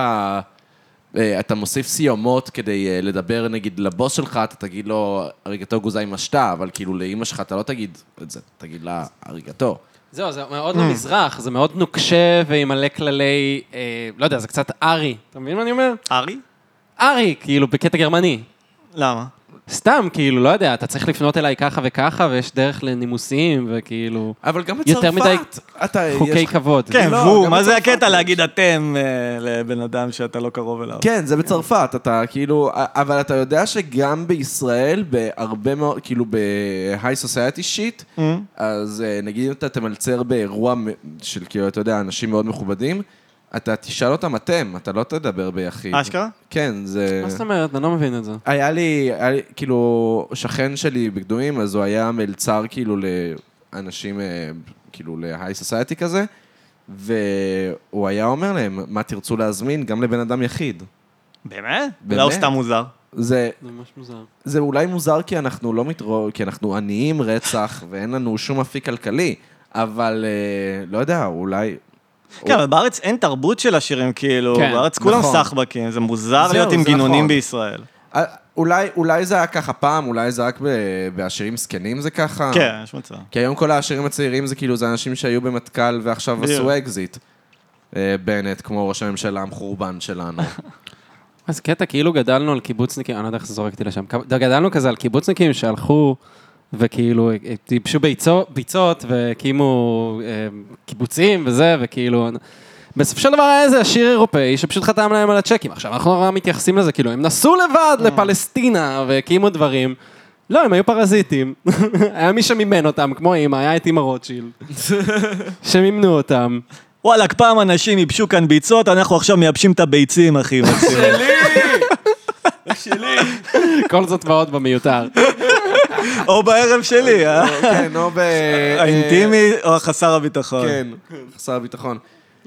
Speaker 2: אה, אתה מוסיף סיומות כדי אה, לדבר, נגיד, לבוס שלך, אתה תגיד לו, הריגתו גוזה עם השתה, אבל כאילו לאימא שלך אתה לא תגיד את זה, תגיד לה, הריגתו.
Speaker 5: זהו, זה מאוד
Speaker 3: Mm.
Speaker 5: במזרח, זה מאוד נוקשה ועם מלא כללי, אה, לא יודע, זה קצת ארי. אתה מבין מה אני אומר?
Speaker 3: ארי?
Speaker 5: ארי, כאילו, בקטע גרמני.
Speaker 3: למה?
Speaker 5: סתם, כאילו, לא יודע, אתה צריך לפנות אליי ככה וככה, ויש דרך לנימוסים, וכאילו,
Speaker 2: אבל גם בצרפת,
Speaker 5: יותר מדי
Speaker 2: אתה, אה, יש
Speaker 5: חוקי
Speaker 2: לך-
Speaker 5: כבוד.
Speaker 3: כן,
Speaker 2: לא,
Speaker 3: והוא,
Speaker 2: גם
Speaker 3: מה זה
Speaker 2: בצרפת
Speaker 3: הקטע
Speaker 2: יש.
Speaker 3: להגיד אתם אה, לבן אדם שאתה לא קרוב אליו?
Speaker 2: כן, זה בצרפת, אתה כאילו, אבל אתה יודע שגם בישראל, בהרבה מאוד, כאילו ב-high society shit, אז אה, נגיד אם אתה תמלצר באירוע מ- של כאילו, אתה יודע, אנשים מאוד מכובדים, אתה תשאל אותם אתם, אתה לא תדבר ביחיד.
Speaker 3: אשכרה?
Speaker 2: כן, זה...
Speaker 5: מה זאת אומרת? אני לא מבין את זה.
Speaker 2: היה לי, היה לי, כאילו, שכן שלי בקדומים, אז הוא היה מלצר כאילו לאנשים, אה, כאילו להיי סוסייטי כזה, והוא היה אומר להם, מה תרצו להזמין גם לבן אדם יחיד.
Speaker 3: באמת?
Speaker 2: באמת.
Speaker 3: לא, הוא סתם מוזר.
Speaker 2: זה,
Speaker 5: זה ממש מוזר.
Speaker 2: זה אולי מוזר כי אנחנו לא מתרוא... כי אנחנו עניים רצח ואין לנו שום אפיק כלכלי, אבל אה, לא יודע, אולי...
Speaker 3: כן, אבל בארץ אין תרבות של עשירים, כאילו,
Speaker 5: כן,
Speaker 3: בארץ כולם
Speaker 2: נכון.
Speaker 3: סחבקים, זה מוזר
Speaker 2: זהו,
Speaker 3: להיות עם
Speaker 2: זה נכון.
Speaker 3: גינונים בישראל.
Speaker 2: אה, אולי, אולי זה היה ככה פעם, אולי זה רק ב... בעשירים זקנים זה ככה.
Speaker 3: כן, יש מצב.
Speaker 2: כי היום כל העשירים הצעירים זה כאילו, זה אנשים שהיו במטכ"ל ועכשיו
Speaker 3: בדיוק.
Speaker 2: עשו אקזיט. אה, בנט, כמו ראש הממשלה המחורבן שלנו.
Speaker 3: אוקיי.
Speaker 5: אז קטע, כאילו גדלנו על קיבוצניקים, אני לא יודע איך זה זורק אותי לשם, כב- גדלנו כזה על קיבוצניקים שהלכו וכאילו אה, ייבשו ביצו- ביצות והקימו אה, קיבוצים וזה, וכאילו... בסופו של דבר היה איזה עשיר אירופאי שפשוט חתם להם על הצ'קים. עכשיו, אנחנו נורא מתייחסים לזה, כאילו, הם נסעו לבד לפלסטינה והקימו דברים. לא, הם היו פרזיטים. היה מי שמימן אותם, כמו אמא, היה את אמא רוטשילד. שמימנו אותם.
Speaker 3: וואלכ, פעם אנשים ייבשו כאן ביצות, אנחנו עכשיו מייבשים את הביצים, אחי. מקסימום.
Speaker 5: כל זאת ועוד במיותר.
Speaker 3: או בערב שלי, אה?
Speaker 2: כן, או ב...
Speaker 3: האינטימי או חסר הביטחון.
Speaker 2: כן, חסר הביטחון.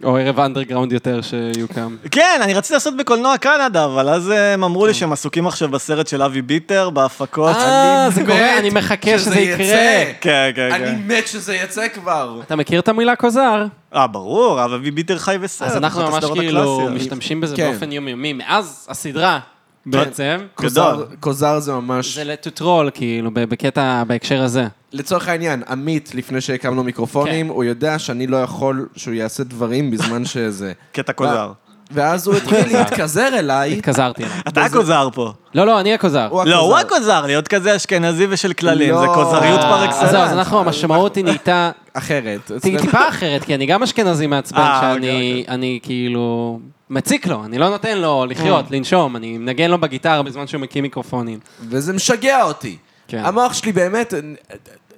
Speaker 5: או ערב אנדרגראונד יותר שיוקם.
Speaker 3: כן, אני רציתי לעשות בקולנוע קנדה, אבל אז אה, הם אמרו לי שהם עסוקים עכשיו בסרט של אבי ביטר, בהפקות.
Speaker 5: אה, זה קורה,
Speaker 2: מת
Speaker 5: אני מחכה שזה
Speaker 2: יצא.
Speaker 5: יקרה.
Speaker 3: כן, כן,
Speaker 2: אני
Speaker 3: כן.
Speaker 2: מת שזה יצא כבר.
Speaker 5: אתה מכיר את המילה כוזר?
Speaker 3: אה, ברור, אבל אבי ביטר חי בסרט.
Speaker 5: אז אנחנו
Speaker 3: אחת
Speaker 5: ממש
Speaker 3: הסדרות
Speaker 5: כאילו
Speaker 3: הקלאסיות.
Speaker 5: משתמשים בזה
Speaker 2: כן.
Speaker 5: באופן יומיומי, מאז הסדרה בעצם.
Speaker 2: כוזר-
Speaker 3: גדול.
Speaker 2: כוזר זה ממש...
Speaker 5: זה to troll, כאילו, ב- בקטע, בהקשר הזה.
Speaker 2: לצורך העניין, עמית, לפני שהקמנו מיקרופונים,
Speaker 5: כן.
Speaker 2: הוא יודע שאני לא יכול שהוא יעשה דברים בזמן שזה.
Speaker 3: קטע כוזר.
Speaker 5: אה,
Speaker 2: ואז הוא התחיל להתכזר אליי.
Speaker 5: התכזרתי אליו.
Speaker 3: אתה הכוזר פה.
Speaker 5: לא, לא, אני הכוזר.
Speaker 2: הוא
Speaker 3: לא, הוא
Speaker 2: הכוזר.
Speaker 3: הכוזר, להיות כזה אשכנזי ושל כללים,
Speaker 2: לא.
Speaker 3: זה כוזריות
Speaker 5: אה,
Speaker 3: פר
Speaker 5: אז זהו, אז
Speaker 3: אקסלנס.
Speaker 5: אנחנו, המשמעות היא נהייתה
Speaker 2: אחרת.
Speaker 5: טיפ-
Speaker 2: אצלנו-
Speaker 5: טיפה אחרת, כי אני גם אשכנזי מעצבן,
Speaker 3: אה,
Speaker 5: שאני אני כאילו מציק לו, אני לא נותן לו לחיות, לנשום, אני מנגן לו בגיטרה בזמן שהוא מקים מיקרופונים.
Speaker 2: וזה משגע אותי.
Speaker 5: כן.
Speaker 2: המוח שלי באמת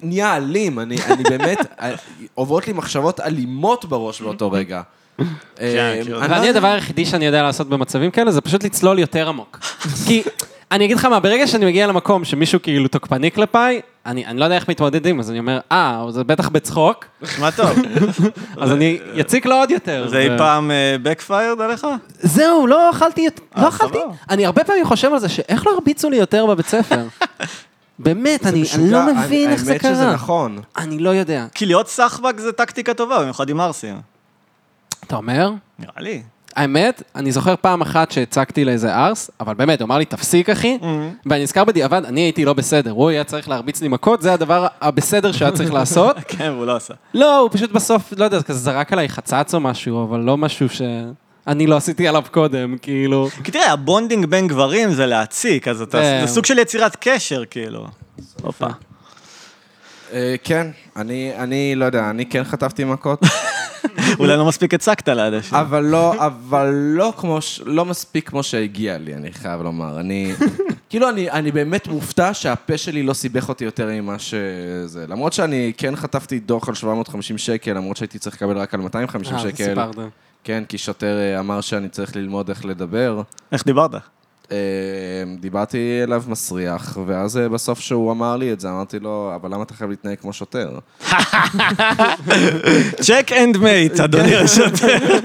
Speaker 2: נהיה אלים, אני אני באמת, אה, עוברות לי מחשבות אלימות בראש באותו רגע. אה,
Speaker 3: כן.
Speaker 2: אני לא
Speaker 5: כן, ואני
Speaker 2: יודע-
Speaker 5: הדבר היחידי שאני יודע לעשות במצבים כאלה, זה פשוט לצלול יותר עמוק. כי אני אגיד לך מה, ברגע שאני מגיע למקום שמישהו כאילו תוקפני כלפיי, אני, אני לא יודע איך מתמודדים, אז אני אומר, אה, זה בטח בצחוק,
Speaker 3: נשמע טוב.
Speaker 5: אז אני יציק לו עוד יותר.
Speaker 3: זה אי
Speaker 5: ו-
Speaker 3: פעם בקפיירד עליך?
Speaker 5: זהו, לא אכלתי, את-
Speaker 2: אה,
Speaker 5: לא אכלתי,
Speaker 3: סבבה.
Speaker 5: אני הרבה פעמים חושב על זה, שאיך לא הרביצו לי יותר בבית ספר. באמת, אני אני
Speaker 2: משוגע,
Speaker 5: לא מבין איך זה
Speaker 2: האמת שזה
Speaker 5: קרה.
Speaker 2: נכון.
Speaker 5: אני לא יודע.
Speaker 3: כי להיות סחבק זה טקטיקה טובה, במיוחד עם ערסים.
Speaker 5: אתה אומר?
Speaker 3: נראה לי.
Speaker 5: האמת, אני זוכר פעם אחת שהצגתי לאיזה ארס, אבל באמת, הוא אמר לי, תפסיק אחי,
Speaker 2: Mm-hmm.
Speaker 5: ואני נזכר בדיעבד, אני הייתי לא בסדר, הוא היה צריך להרביץ לי מכות, זה הדבר הבסדר שהיה צריך לעשות.
Speaker 3: כן, והוא לא עשה.
Speaker 5: לא, הוא פשוט בסוף, לא יודע, כזה זרק עליי חצץ או משהו, אבל לא משהו ש... אני לא עשיתי עליו קודם, כאילו.
Speaker 3: כי תראה, הבונדינג בין גברים זה להציק, אז אתה...
Speaker 5: אה.
Speaker 3: זה סוג של יצירת קשר, כאילו. הופה.
Speaker 2: אה, כן, אני, אני לא יודע, אני כן חטפתי מכות,
Speaker 3: אולי לא מספיק הצקת ליד
Speaker 5: כן.
Speaker 3: השני.
Speaker 2: אבל לא, אבל לא כמו, ש- לא מספיק כמו שהגיע לי, אני חייב לומר. אני, כאילו, אני, אני באמת מופתע שהפה שלי לא סיבך אותי יותר ממה שזה. למרות שאני כן חטפתי דוח על 750 שקל, למרות שהייתי צריך לקבל רק על 250
Speaker 5: אה,
Speaker 2: שקל.
Speaker 5: סיפרת.
Speaker 2: כן, כי שוטר אה, אמר שאני צריך ללמוד איך לדבר.
Speaker 3: איך דיברת?
Speaker 2: אה, דיברתי אליו מסריח, ואז אה, בסוף שהוא אמר לי את זה, אמרתי לו, אבל למה אתה חייב להתנהג כמו שוטר?
Speaker 3: צ'ק אנד מייט, אדוני השוטר.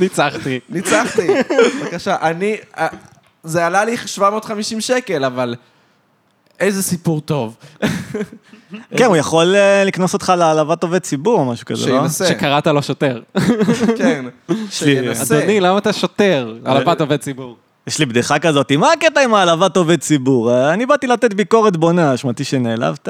Speaker 5: ניצחתי.
Speaker 2: ניצחתי, בבקשה. אני, אה, זה עלה לי 750 שקל, אבל איזה סיפור טוב.
Speaker 3: כן, הוא יכול אה, לקנוס אותך להעלבת עובד ציבור או משהו כזה, לא?
Speaker 2: שינסה,
Speaker 5: שקראת לו שוטר.
Speaker 2: כן. שינסה.
Speaker 5: אדוני, למה אתה שוטר? על הפת עובד ציבור.
Speaker 3: יש לי בדיחה כזאת, מה הקטע עם העלבת עובד ציבור? אה, אני באתי לתת ביקורת בונה, שמעתי שנעלבת.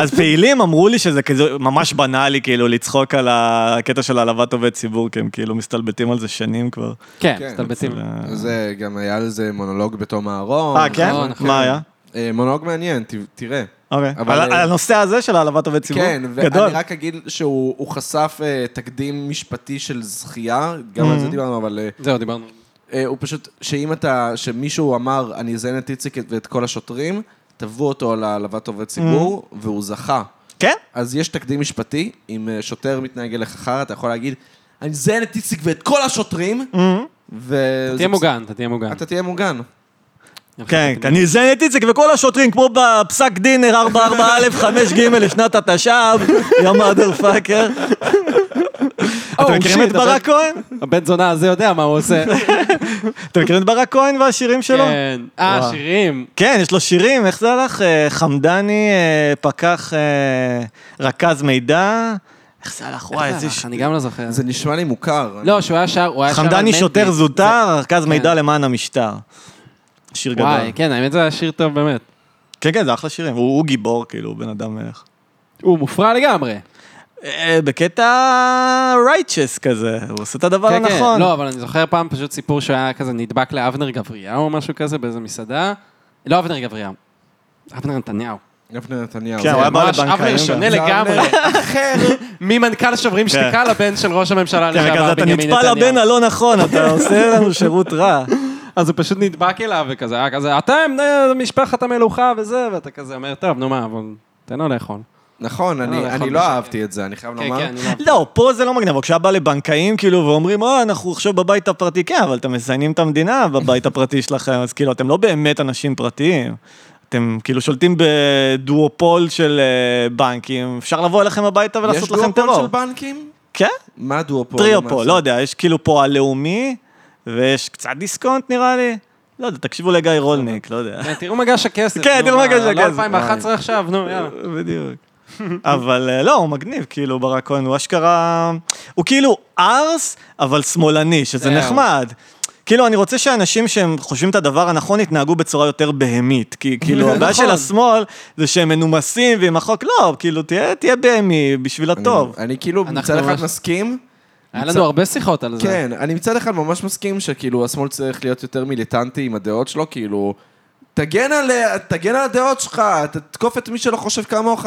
Speaker 3: אז פעילים אמרו לי שזה כזה ממש בנאלי, כאילו, לצחוק על הקטע של העלבת עובד ציבור, כי הם כאילו מסתלבטים על זה שנים כבר.
Speaker 5: כן,
Speaker 2: כן.
Speaker 5: מסתלבטים.
Speaker 2: זה, גם היה לזה מונולוג בתום אהרון.
Speaker 3: אה, כן?
Speaker 5: נכון, נכון.
Speaker 3: מה היה?
Speaker 2: אה, מונולוג מעניין, ת- תראה.
Speaker 3: אוקיי.
Speaker 2: אבל,
Speaker 3: על-
Speaker 2: אה,
Speaker 3: על הנושא הזה של העלבת עובד ציבור?
Speaker 2: כן,
Speaker 3: גדול.
Speaker 2: ואני רק אגיד שהוא הוא חשף אה, תקדים משפטי של זכייה, גם
Speaker 3: Mm-hmm.
Speaker 2: על זה דיברנו, אבל אה,
Speaker 5: זהו, דיברנו.
Speaker 2: אה, הוא פשוט, שאם אתה, שמישהו אמר, אני אזיין את איציק ואת כל השוטרים, תבעו אותו על העלבת עובד ציבור,
Speaker 3: Mm-hmm.
Speaker 2: והוא זכה.
Speaker 3: כן?
Speaker 2: אז יש תקדים משפטי, אם אה, שוטר מתנהג אליך חרא, אתה יכול להגיד, אני אזיין את איציק ואת כל השוטרים,
Speaker 3: Mm-hmm.
Speaker 2: ו...
Speaker 5: תהיה מוגן, אתה תהיה מוגן.
Speaker 2: אתה תהיה מוגן.
Speaker 3: כן, אני אזיין את איציק וכל השוטרים, כמו בפסק דין 44א 5ג לשנת התש"ב, יא מאדר פאקר. אתם
Speaker 5: Oh,
Speaker 3: מכירים
Speaker 5: shit,
Speaker 3: את ברק כהן?
Speaker 5: הבן זונה הזה יודע מה הוא עושה.
Speaker 3: אתם מכירים את ברק כהן והשירים שלו?
Speaker 5: כן. אה,
Speaker 3: וואו.
Speaker 5: שירים.
Speaker 3: כן, יש לו שירים, איך זה הלך? אה, חמדני, אה, פקח, אה, רכז מידע. איך זה הלך? וואי, איזה... ש-
Speaker 5: אני גם לא זוכר.
Speaker 2: זה נשמע לי מוכר.
Speaker 5: לא, שהוא היה שר, הוא היה שר על
Speaker 3: חמדני
Speaker 5: מנדי.
Speaker 3: שוטר זוטר, רכז
Speaker 5: כן.
Speaker 3: מידע למען המשטר. שיר גדול.
Speaker 5: וואי, כן, האמת זה היה שיר טוב באמת.
Speaker 3: כן, כן, זה אחלה שירים. הוא הוא גיבור, כאילו, הוא בן אדם מלך.
Speaker 5: הוא מופרע לגמרי.
Speaker 3: אה, בקטע righteous כזה, הוא עושה את הדבר
Speaker 5: כן, כן.
Speaker 3: הנכון.
Speaker 5: לא, אבל אני זוכר פעם פשוט סיפור שהיה כזה נדבק לאבנר גבריה או משהו כזה באיזה מסעדה. לא אבנר גבריה, אבנר נתניהו.
Speaker 2: יפנה נתניהו.
Speaker 3: כן,
Speaker 2: זה
Speaker 3: הוא היה בא
Speaker 5: ממש
Speaker 3: לבנקאים
Speaker 5: אבנר
Speaker 3: גם.
Speaker 5: שונה
Speaker 2: זה
Speaker 5: לגמרי.
Speaker 2: אבנר.
Speaker 5: אחר ממנכ"ל שוברים שתיקה לבן של ראש הממשלה
Speaker 3: כן, וכזה,
Speaker 5: לשעבר
Speaker 3: אתה
Speaker 5: בנימין
Speaker 3: נטפל לבן
Speaker 5: נתניהו.
Speaker 3: הלא נכון, אתה עושה לנו שירות רע.
Speaker 5: אז הוא פשוט נדבק אליו וכזה, היה כזה, אתם אה, משפחת המלוכה וזה, ואתה כזה אומר, טוב, נו מה, אבל תן לו לאכול.
Speaker 2: נכון, אני-
Speaker 5: אה,
Speaker 2: אני
Speaker 5: נכון,
Speaker 2: לא
Speaker 5: כן.
Speaker 2: אהבתי את זה, אני חייב
Speaker 5: כן,
Speaker 2: לומר.
Speaker 5: כן, אני לא...
Speaker 3: לא, פה זה לא מגניב, אבל כשהיה בא לבנקאים, כאילו, ואומרים, אה, אנחנו עכשיו בבית הפרטי, כן, אבל אתם מזיינים את המדינה בבית הפרטי שלכם, אז כאילו, אתם לא באמת אנשים פרטיים. אתם כאילו שולטים בדואופול של אה, בנקים, אפשר לבוא אליכם הביתה
Speaker 2: יש
Speaker 3: ולעשות לכם
Speaker 2: דואופול של
Speaker 3: טרור.
Speaker 2: בנקים?
Speaker 3: כן,
Speaker 2: מה דואופול?
Speaker 3: טריופול,
Speaker 2: למעשה?
Speaker 3: לא יודע, יש כאילו פה הלאומי, ויש קצת דיסקונט נראה לי. לא יודע, תקשיבו לגיא רולניק, לא יודע.
Speaker 5: כן, תראו מגש הכסף.
Speaker 3: כן,
Speaker 5: נו,
Speaker 3: תראו
Speaker 5: מה,
Speaker 3: מגש הכסף.
Speaker 5: לא 2011 עכשיו, נו, יאללה.
Speaker 3: בדיוק. אבל אה, לא, הוא מגניב, כאילו, ברק כהן, הוא אשכרה... הוא כאילו ארס, אבל שמאלני, שזה
Speaker 5: זהו.
Speaker 3: נחמד. כאילו, אני רוצה שאנשים שהם חושבים את הדבר הנכון, יתנהגו בצורה יותר בהמית. כי כאילו, הבעיה של השמאל זה שהם מנומסים ועם החוק, לא, כאילו, תהיה תהיה בהמי בשביל
Speaker 2: אני-
Speaker 3: הטוב.
Speaker 2: אני כאילו
Speaker 5: אנחנו
Speaker 2: מצד אחד
Speaker 5: ממש-
Speaker 2: מסכים,
Speaker 5: היה לנו הרבה שיחות על זה.
Speaker 2: כן, אני מצד אחד ממש מסכים שכאילו השמאל צריך להיות יותר מיליטנטי עם הדעות שלו, כאילו, תגן על, תגן על הדעות שלך, תתקוף את מי שלא חושב כמוך,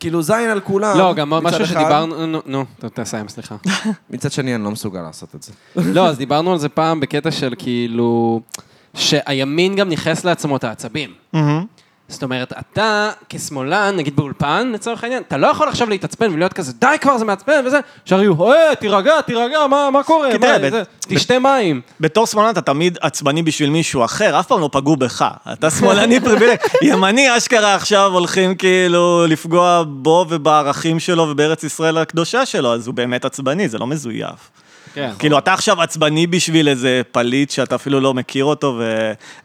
Speaker 2: כאילו זין על כולם.
Speaker 5: לא, גם
Speaker 2: מצד
Speaker 5: משהו
Speaker 2: אחד.
Speaker 5: שדיברנו, נו, נו, ת- תסיים, סליחה.
Speaker 2: מצד שני, אני לא מסוגל לעשות את זה.
Speaker 5: לא, אז דיברנו על זה פעם בקטע של כאילו, שהימין גם ניכס לעצמו את העצבים.
Speaker 3: מהמם.
Speaker 5: זאת אומרת, אתה כשמאלן, נגיד באולפן, לצורך העניין, אתה לא יכול עכשיו להתעצבן ולהיות כזה, די כבר, זה מעצבן וזה, עכשיו יהיו, אה, תירגע, תירגע, מה מה קורה?
Speaker 3: כי
Speaker 5: מה,
Speaker 3: תראה,
Speaker 5: זה?
Speaker 3: בת-
Speaker 5: תשתה מים.
Speaker 3: בתור שמאלן אתה תמיד עצבני בשביל מישהו אחר, אף פעם לא פגעו בך. אתה שמאלני פריבילג. ימני אשכרה עכשיו הולכים כאילו לפגוע בו ובערכים שלו ובארץ ישראל הקדושה שלו, אז הוא באמת עצבני, זה לא מזויף.
Speaker 5: כן.
Speaker 3: כאילו, אתה עכשיו עצבני בשביל איזה פליט שאתה אפילו לא מכיר אותו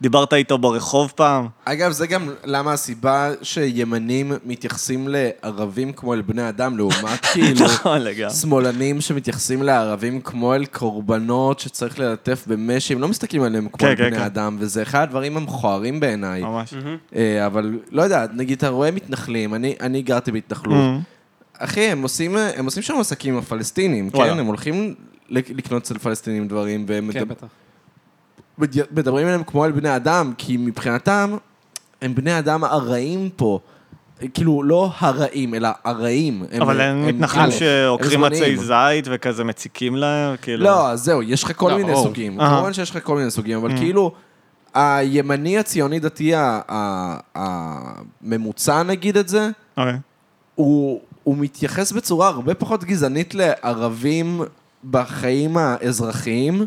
Speaker 3: ודיברת איתו ברחוב פעם.
Speaker 2: אגב, זה גם למה הסיבה שימנים מתייחסים לערבים כמו אל בני אדם, לעומת כאילו...
Speaker 3: נכון לגמרי.
Speaker 2: שמאלנים שמתייחסים לערבים כמו אל קורבנות שצריך ללטף במשי, הם לא מסתכלים עליהם כמו
Speaker 3: כן,
Speaker 2: על
Speaker 3: כן, כן.
Speaker 2: בני אדם, וזה אחד הדברים המכוערים בעיניי.
Speaker 3: ממש.
Speaker 5: Mm-hmm.
Speaker 2: אה, אבל לא יודע, נגיד אתה רואה מתנחלים, אני, אני
Speaker 3: Mm.
Speaker 2: אה, גרתי בהתנחלות. אחי, הם עושים, הם עושים שם עסקים עם הפלסטינים,
Speaker 3: וואלה.
Speaker 2: כן? הם הולכים לק- לקנות אצל פלסטינים דברים, והם
Speaker 5: כן,
Speaker 2: מדבר-
Speaker 5: בטח.
Speaker 2: מד- מדברים עליהם כמו על בני אדם, כי מבחינתם, הם בני אדם הרעים פה. כאילו, לא הרעים, אלא הרעים.
Speaker 3: אבל הם מתנחלים
Speaker 2: א',
Speaker 3: שעוקרים
Speaker 2: הם זמניים.
Speaker 3: עצי זית וכזה מציקים להם, כאילו...
Speaker 2: לא, אז זהו, יש לך כל
Speaker 5: לא,
Speaker 2: מיני
Speaker 5: ברור.
Speaker 2: סוגים.
Speaker 3: אהה. Mm.
Speaker 2: כמובן שיש לך כל מיני סוגים, אבל כאילו, הימני הציוני דתי ה- ה- הממוצע, נגיד את זה,
Speaker 3: אוקיי.
Speaker 2: הוא, הוא מתייחס בצורה הרבה פחות גזענית לערבים בחיים האזרחיים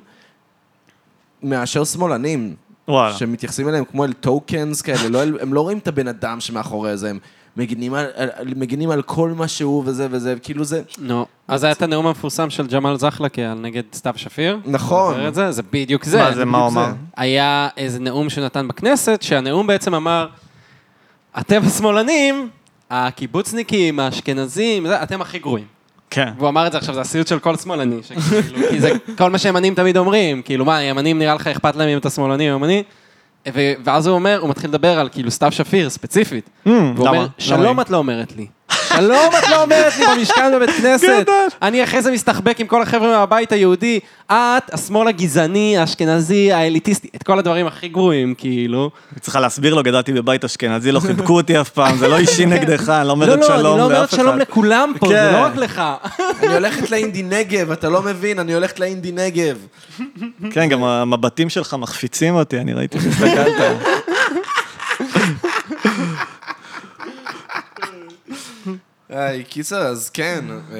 Speaker 2: מאשר שמאלנים,
Speaker 3: וואלה.
Speaker 2: שמתייחסים אליהם כמו אל טוקנס כאלה, לא, אל- הם לא רואים את הבן אדם שמאחורי זה, הם מגינים על, על, על- מגינים על כל מה שהוא וזה וזה, כאילו זה...
Speaker 5: נו, אז היה את הנאום המפורסם של ג'מאל זחלקי על נגד סתיו שפיר.
Speaker 2: נכון.
Speaker 5: זוכר את זה? זה בדיוק זה.
Speaker 3: מה זה, מה הוא
Speaker 2: בדיוק
Speaker 3: אמר?
Speaker 2: זה.
Speaker 5: היה איזה נאום שהוא נתן בכנסת, שהנאום בעצם אמר, אתם השמאלנים, הקיבוצניקים, האשכנזים, זה, אתם הכי גרועים.
Speaker 3: כן.
Speaker 5: והוא אמר את זה עכשיו, זה הסיוט של כל שמאלני, שכאילו, כי זה כל מה שימנים תמיד אומרים, כאילו מה, ימנים נראה לך אכפת להם אם אתה שמאלני או ימני? ו- ואז הוא אומר, הוא מתחיל לדבר על כאילו סתיו שפיר ספציפית.
Speaker 3: Mm,
Speaker 5: והוא
Speaker 3: למה?
Speaker 5: אומר, שלום
Speaker 3: למה?
Speaker 5: את לא אומרת לי. שלום את לא אומרת לי במשכן בבית כנסת. אני אחרי זה מסתחבק עם כל החבר'ה מהבית היהודי. את, השמאל הגזעני, האשכנזי, האליטיסטי, את כל הדברים הכי גרועים, כאילו.
Speaker 3: היא צריכה להסביר לו, גדלתי בבית אשכנזי, לא חיבקו אותי אף פעם, זה לא אישי נגדך, אני לא
Speaker 5: לא,
Speaker 3: אומרת
Speaker 5: לא, אני לא
Speaker 3: שלום
Speaker 5: אומרת
Speaker 3: לאף אחד.
Speaker 5: שלום לכולם פה, זה
Speaker 3: כן.
Speaker 5: לא רק לך.
Speaker 2: אני הולכת לאינדי נגב, אתה לא מבין, אני הולכת לאינדי נגב.
Speaker 3: כן, גם המבטים שלך מחפיצים אותי, אני ראיתי שהסתכלת.
Speaker 2: היי, קיצר, אז כן, אה,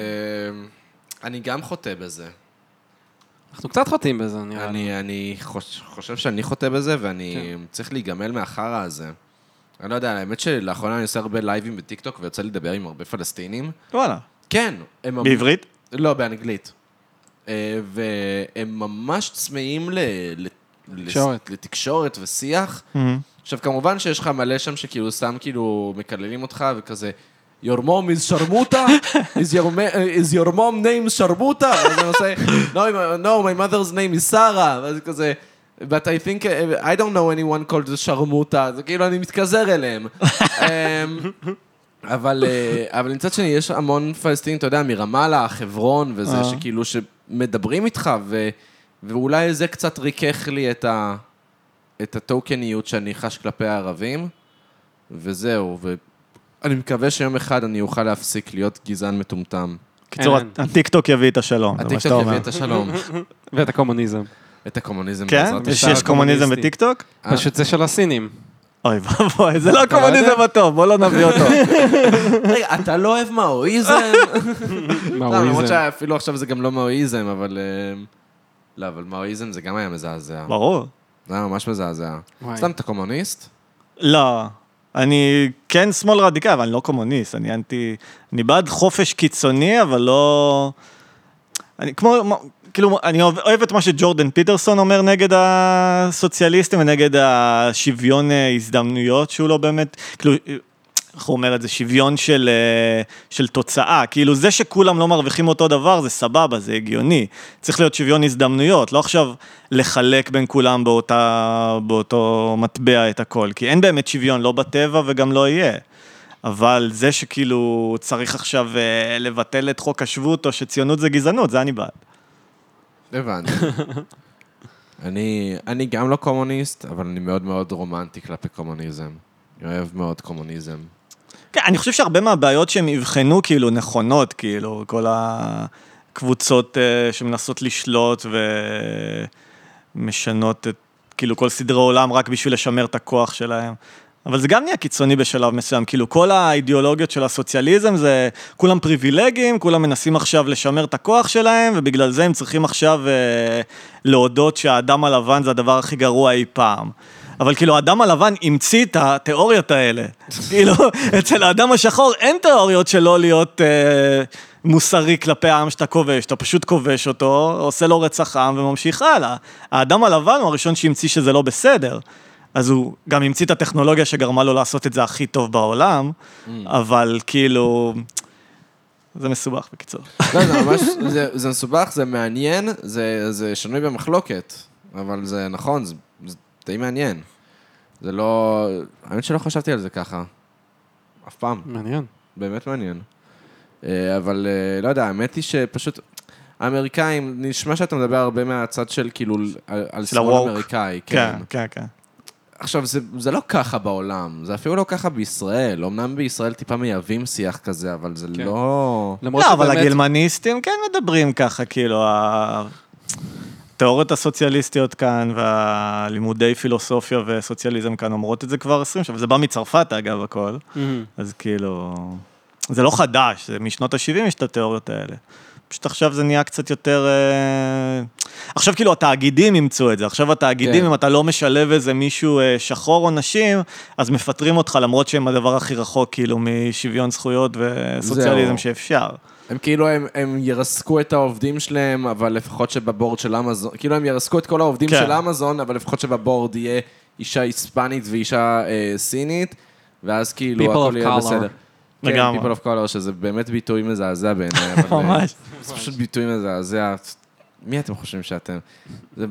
Speaker 2: אני גם חוטא בזה.
Speaker 5: אנחנו קצת חוטאים בזה, נראה לי.
Speaker 2: אני, אני חוש, חושב שאני חוטא בזה, ואני צריך להיגמל מהחרא הזה. אני לא יודע, האמת שלאחרונה אני עושה הרבה לייבים בטיקטוק, ויוצא לי לדבר עם הרבה פלסטינים.
Speaker 3: וואלה.
Speaker 2: כן, הם... ממ-
Speaker 3: בעברית?
Speaker 2: לא, באנגלית. אה, והם ממש צמאים ל... ל-
Speaker 5: לתקשורת.
Speaker 2: לס- לתקשורת ושיח. עכשיו, כמובן שיש לך מלא שם שכאילו סתם כאילו מקללים אותך וכזה, your mom is שרמוטה? is, your ma- אה, is your mom name שרמוטה? ואז אני עושה, no, my- no, my mother's name is שרה, ואז כזה... But I think, uh, I don't know anyone called שרמוטה, זה כאילו אני מתכזר אליהם. אמ, אבל, אה, אבל מצד שני, יש המון פלסטינים, אתה יודע, מרמאללה, חברון וזה,
Speaker 3: אה.
Speaker 2: שכאילו, שמדברים איתך, ו, ואולי זה קצת ריכך לי את, ה, את הטוקניות שאני חש כלפי הערבים, וזהו, ואני מקווה שיום אחד אני אוכל להפסיק להיות גזען מטומטם.
Speaker 3: קיצור,
Speaker 5: אין.
Speaker 3: הטיקטוק יביא את השלום, זה מה שאתה
Speaker 2: הטיקטוק
Speaker 3: אומר.
Speaker 2: יביא את השלום,
Speaker 5: ואת הקומוניזם.
Speaker 2: את הקומוניזם
Speaker 3: כן?
Speaker 2: בעזרת
Speaker 3: יש
Speaker 2: השם.
Speaker 3: יש קומוניזם
Speaker 5: הקומוניסטי.
Speaker 3: בטיקטוק?
Speaker 5: פשוט זה של הסינים.
Speaker 3: אוי ואבוי, זה לא
Speaker 2: לא
Speaker 3: הקומוניזם
Speaker 2: יודע?
Speaker 3: הטוב, בוא לא נביא אותו.
Speaker 2: רגע, אתה לא אוהב מאואיזם? לא, למרות
Speaker 5: מאואיזם.
Speaker 2: שאפילו עכשיו זה גם לא מאואיזם, אבל... אה, לא, אבל מאואיזם זה גם היה מזעזע.
Speaker 3: ברור.
Speaker 2: זה היה ממש מזעזע.
Speaker 5: וואי.
Speaker 2: סתם, אתה קומוניסט?
Speaker 3: לא. אני כן שמאל רדיקל, אבל אני לא קומוניסט, אני אנטי... אני בעד חופש קיצוני, אבל לא... אני כמו... מ- כאילו, אני אוהב, אוהב את מה שג'ורדן פיטרסון אומר נגד הסוציאליסטים ונגד השוויון אה, הזדמנויות, שהוא לא באמת... כאילו, אה, איך הוא אומר את זה? שוויון של, אה, של תוצאה. כאילו, זה שכולם לא מרוויחים אותו דבר, זה סבבה, זה הגיוני. צריך להיות שוויון הזדמנויות, לא עכשיו לחלק בין כולם באותה, באותו מטבע את הכל, כי אין באמת שוויון, לא בטבע וגם לא יהיה. אבל זה שכאילו צריך עכשיו אה, לבטל את חוק השבות, או שציונות זה גזענות, זה אני בעד.
Speaker 2: הבנתי. אני, אני גם לא קומוניסט, אבל אני מאוד מאוד רומנטי כלפי קומוניזם. אני אוהב מאוד קומוניזם.
Speaker 3: כן, אני חושב שהרבה מהבעיות שהם אבחנו כאילו נכונות, כאילו, כל הקבוצות אה, שמנסות לשלוט ומשנות את, כאילו, כל סדרי עולם רק בשביל לשמר את הכוח שלהם. אבל זה גם נהיה קיצוני בשלב מסוים, כאילו כל האידיאולוגיות של הסוציאליזם זה כולם פריבילגים, כולם מנסים עכשיו לשמר את הכוח שלהם, ובגלל זה הם צריכים עכשיו אה, להודות שהאדם הלבן זה הדבר הכי גרוע אי פעם. אבל כאילו, האדם הלבן המציא את התיאוריות האלה. כאילו, אצל האדם השחור אין תיאוריות שלא להיות אה, מוסרי כלפי העם שאתה כובש. אתה פשוט כובש אותו, עושה לו רצח עם וממשיך הלאה. האדם הלבן הוא הראשון שהמציא שזה לא בסדר. אז הוא גם המציא את הטכנולוגיה שגרמה לו לעשות את זה הכי טוב בעולם, אבל כאילו... זה מסובך בקיצור.
Speaker 2: לא, זה ממש, זה, זה מסובך, זה מעניין, זה, זה שנוי במחלוקת, אבל זה נכון, זה, זה די מעניין. זה לא... האמת שלא חשבתי על זה ככה. אף פעם.
Speaker 5: מעניין.
Speaker 2: באמת מעניין. אה, אבל אה, לא יודע, האמת היא שפשוט... האמריקאים, נשמע שאתה מדבר הרבה מהצד של כאילו, על על
Speaker 3: של
Speaker 2: שמאל
Speaker 3: ה-woke.
Speaker 2: אמריקאי, כן.
Speaker 3: כן, כן, כן.
Speaker 2: עכשיו, זה, זה לא ככה בעולם, זה אפילו לא ככה בישראל. אמנם בישראל טיפה מייבאים שיח כזה, אבל זה
Speaker 5: כן.
Speaker 2: לא...
Speaker 5: למרות
Speaker 3: לא, אבל
Speaker 5: שבאמת-
Speaker 3: הגרמניסטים כן מדברים ככה, כאילו, ה- התיאוריות הסוציאליסטיות כאן והלימודי פילוסופיה וסוציאליזם כאן אומרות את זה כבר 20 שנה, וזה בא מצרפת אגב הכל,
Speaker 5: Mhm.
Speaker 3: אז כאילו, זה לא חדש, זה משנות ה-70 יש את התיאוריות האלה. פשוט עכשיו זה נהיה קצת יותר... אה, עכשיו כאילו התאגידים אימצו את זה, עכשיו התאגידים,
Speaker 5: כן.
Speaker 3: אם אתה לא משלב איזה מישהו אה, שחור או נשים, אז מפטרים אותך למרות שהם הדבר הכי רחוק כאילו משוויון זכויות וסוציאליזם
Speaker 2: זהו.
Speaker 3: שאפשר.
Speaker 2: הם כאילו, הם, הם ירסקו את העובדים שלהם, אבל לפחות שבבורד של אמזון, כאילו הם ירסקו את כל העובדים
Speaker 3: כן.
Speaker 2: של אמזון, אבל לפחות שבבורד יהיה אישה היספנית ואישה אה, סינית, ואז כאילו
Speaker 5: People
Speaker 2: הכל
Speaker 5: of
Speaker 2: יהיה
Speaker 5: color.
Speaker 2: בסדר.
Speaker 3: לגמרי.
Speaker 2: כן, people of color, שזה באמת ביטוי מזעזע בעיניי. אבל, אה,
Speaker 3: ממש.
Speaker 2: זה פשוט ביטוי מזעזע. מי אתם חושבים שאתם? זה,